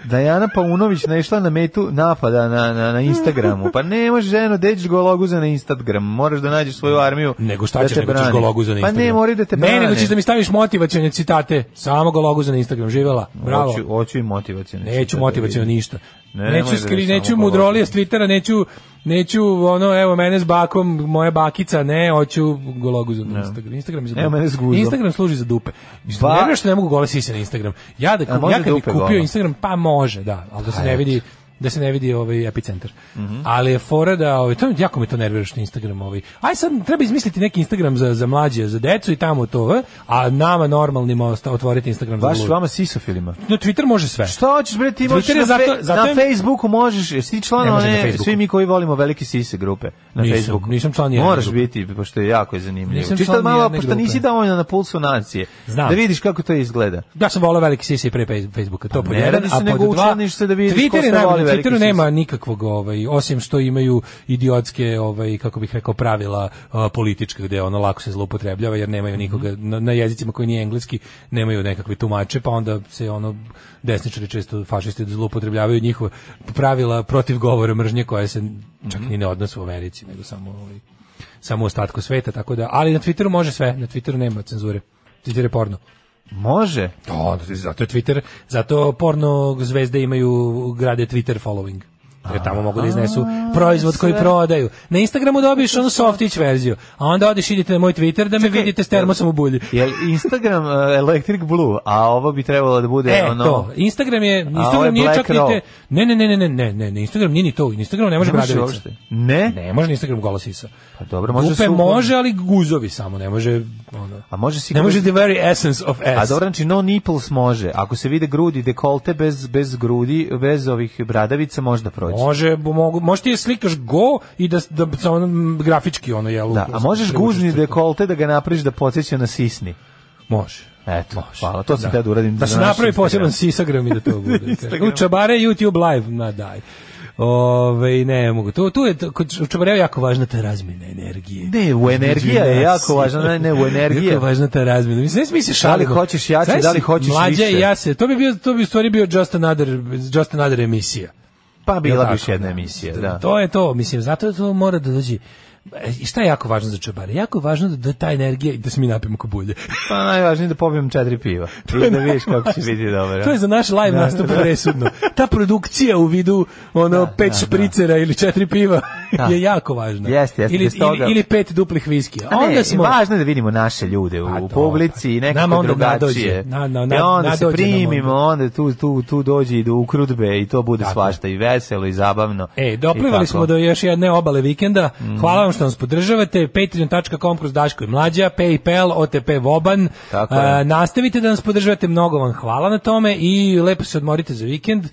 Dajana Paunović naišla na metu napada na, na, na Instagramu. Pa ne možeš ženo, gde ćeš gologuza na Instagram? Moraš da nađeš svoju armiju. Nego šta da ćeš, te nego ćeš brani. gologuza na Instagram. Pa ne, moraju da te Ne, nego brane. ćeš da mi staviš motivacione citate. Samo gologuza na Instagram. Živela. Bravo. Hoću, hoću i motivacijone. Neću motivacijalno ništa. Ne, neću nemoj da skri, mi samo neću položi. mudrolije s Twittera, neću neću ono evo mene s bakom, moja bakica, ne, hoću gologu za Instagram. Instagram je za Evo dupe. mene s guzom. Instagram služi za dupe. Ba... Ba- Ne vjerujem što ne mogu gole sise na Instagram. Ja da A može ja kad bi dupe kupio gola? Instagram, pa može, da, ali da se Pa ne eto. Mhm. vidi da se ne vidi ovaj epicentar. Ali je fora da ovaj to jako me to nervira što Instagram ovaj. Aj sad treba izmisliti neki Instagram za za mlađe, za decu i tamo to, eh, a nama normalnima osta- otvoriti Instagram za Baš lude. vama sisofilima. Na Twitter može sve. Šta hoćeš bre, ti možeš Twitter je na, zato- fe- zato je- na Facebooku možeš, jesi ti član Ne može na one, Facebooku. svi mi koji volimo velike sise grupe na Nisam, Facebooku. nisam član nijedne Moraš grupe. biti, pošto je jako je zanimljivo. Nisam Čisto član malo, nijedne pošto grupe. nisi dovoljno na pulsu nacije, Znam. da vidiš kako to izgleda. Ja sam volao veliki sisi pre Face- Facebooka, to Pa po ne jedan, radi se a nego pod dva, učlaniš se da vidiš ko Twitter je sve voli najbolji, na veliki Twitteru sisi. nema nikakvog, ovaj, osim što imaju idiotske, ovaj, kako bih rekao, pravila a, politička, gde ono lako se zloupotrebljava, jer Mhm. nemaju nikoga, na, na jezicima koji nije engleski, nemaju nekakve tumače, pa onda se ono, desničari često fašisti zloupotrebljavaju njihova pravila protiv govora mržnje koje se čak Mhm. ni ne odnose u Americi, nego samo ovaj, samo u ostatku sveta, tako da, ali na Twitteru može sve, na Twitteru nema cenzure. Twitter je porno. Može. To, zato je Twitter, zato porno zvezde imaju grade Twitter following. Jer tamo mogu da iznesu proizvod koji sve. prodaju. Na Instagramu dobiješ onu softić verziju, a onda odeš idite na moj Twitter da me vidite s termosom u bulji. Jel Instagram eh, Electric Blue, a ovo bi trebalo da bude E, ono... to. Instagram je, ovo je Instagram nije Black čak ni Roll. te... Ne, ne, ne, ne, ne, ne, ne, ne, Instagram nije ni to. Instagram ne može Ne može bradavica. uopšte. Ne? Ne može na Instagram gola sisa. Pa dobro, može Dupe se u- može, ali guzovi samo, ne može... Ono, A može si ne može the very essence of A ass. dobro, znači no nipples može. Ako se vide grudi, dekolte bez, bez grudi, bez ovih bradavica možda prođe. Može, bo- mogu, možeš ti je slikaš go i da, da, sa onom grafički ono, jel? Da, a možeš privučeš gužni crtu. dekolte da ga napraviš da podsjeća na sisni. Može. Eto, hvala, to sam da. da uradim. Da za se naš napravi Instagram. poseban sisagram i da to bude. Instagram. u čabare YouTube live, na daj. Ove, ne mogu. Tu, tu je, kod u čabare je jako važna ta razmjena energije. Ne, u energija je Između nas. jako važna, ne, ne, u energija. Jako je važna ta razmjena. Mislim, ne smije se šaliti. hoćeš jače, da li hoćeš mlađe više? i ja se, to bi, bio, to bi u stvari bio just another, just another emisija. Pa Jel bila bi tako? još jedna emisija, da. To je to, mislim, zato to mora da dođe. E, I šta je jako važno za čobare? Jako je važno da, da ta energija i da se mi napijemo ko bulje. Pa najvažnije je da popijem četiri piva. I da vidiš kako će biti dobro. to je za naš live Da, nastup da. presudno. Ta produkcija u vidu ono pet da, da. špricera ili četiri piva Da. je jako važna. Jeste, jeste, ili, bez toga- ili, ili pet duplih viskija. A ne, onda smo... važno je da vidimo naše ljude u, Pa u to, publici i pa. nekako Nama onda drugačije. nadođe, na- na- na- I onda se nadođe nam primimo, onda tu, tu, tu dođe i do ukrudbe i to bude Tako. svašta i veselo i zabavno. E, I doplivali tako. smo Mhm. do još jedne obale vikenda. Hvala vam što nas podržavate. Patreon.com kroz Daško i Mlađa, Paypal, OTP Voban. Tako je. E, nastavite da nas podržavate, mnogo vam hvala na tome i lepo se odmorite za vikend.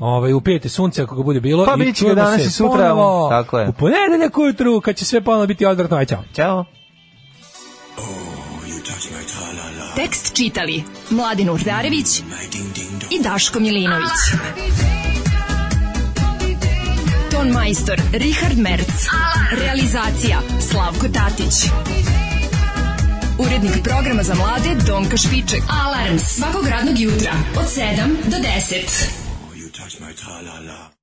Ovaj, upijete sunce ako ga bude bilo. Mhm. Pa i bit će ga čujemo danas se i sutra. ponovo Tako je. U ponedeljak ujutru, kad će sve ponovo biti odvratno. Aj, čao. Ćao. Tekst čitali Mladin Urdarević i Daško Milinović. Ton majstor Richard Merc. Realizacija Slavko Tatić. Urednik programa za mlade Donka Špiček. Alarms svakog radnog jutra od 7 do 10. You touch my ta-la-la.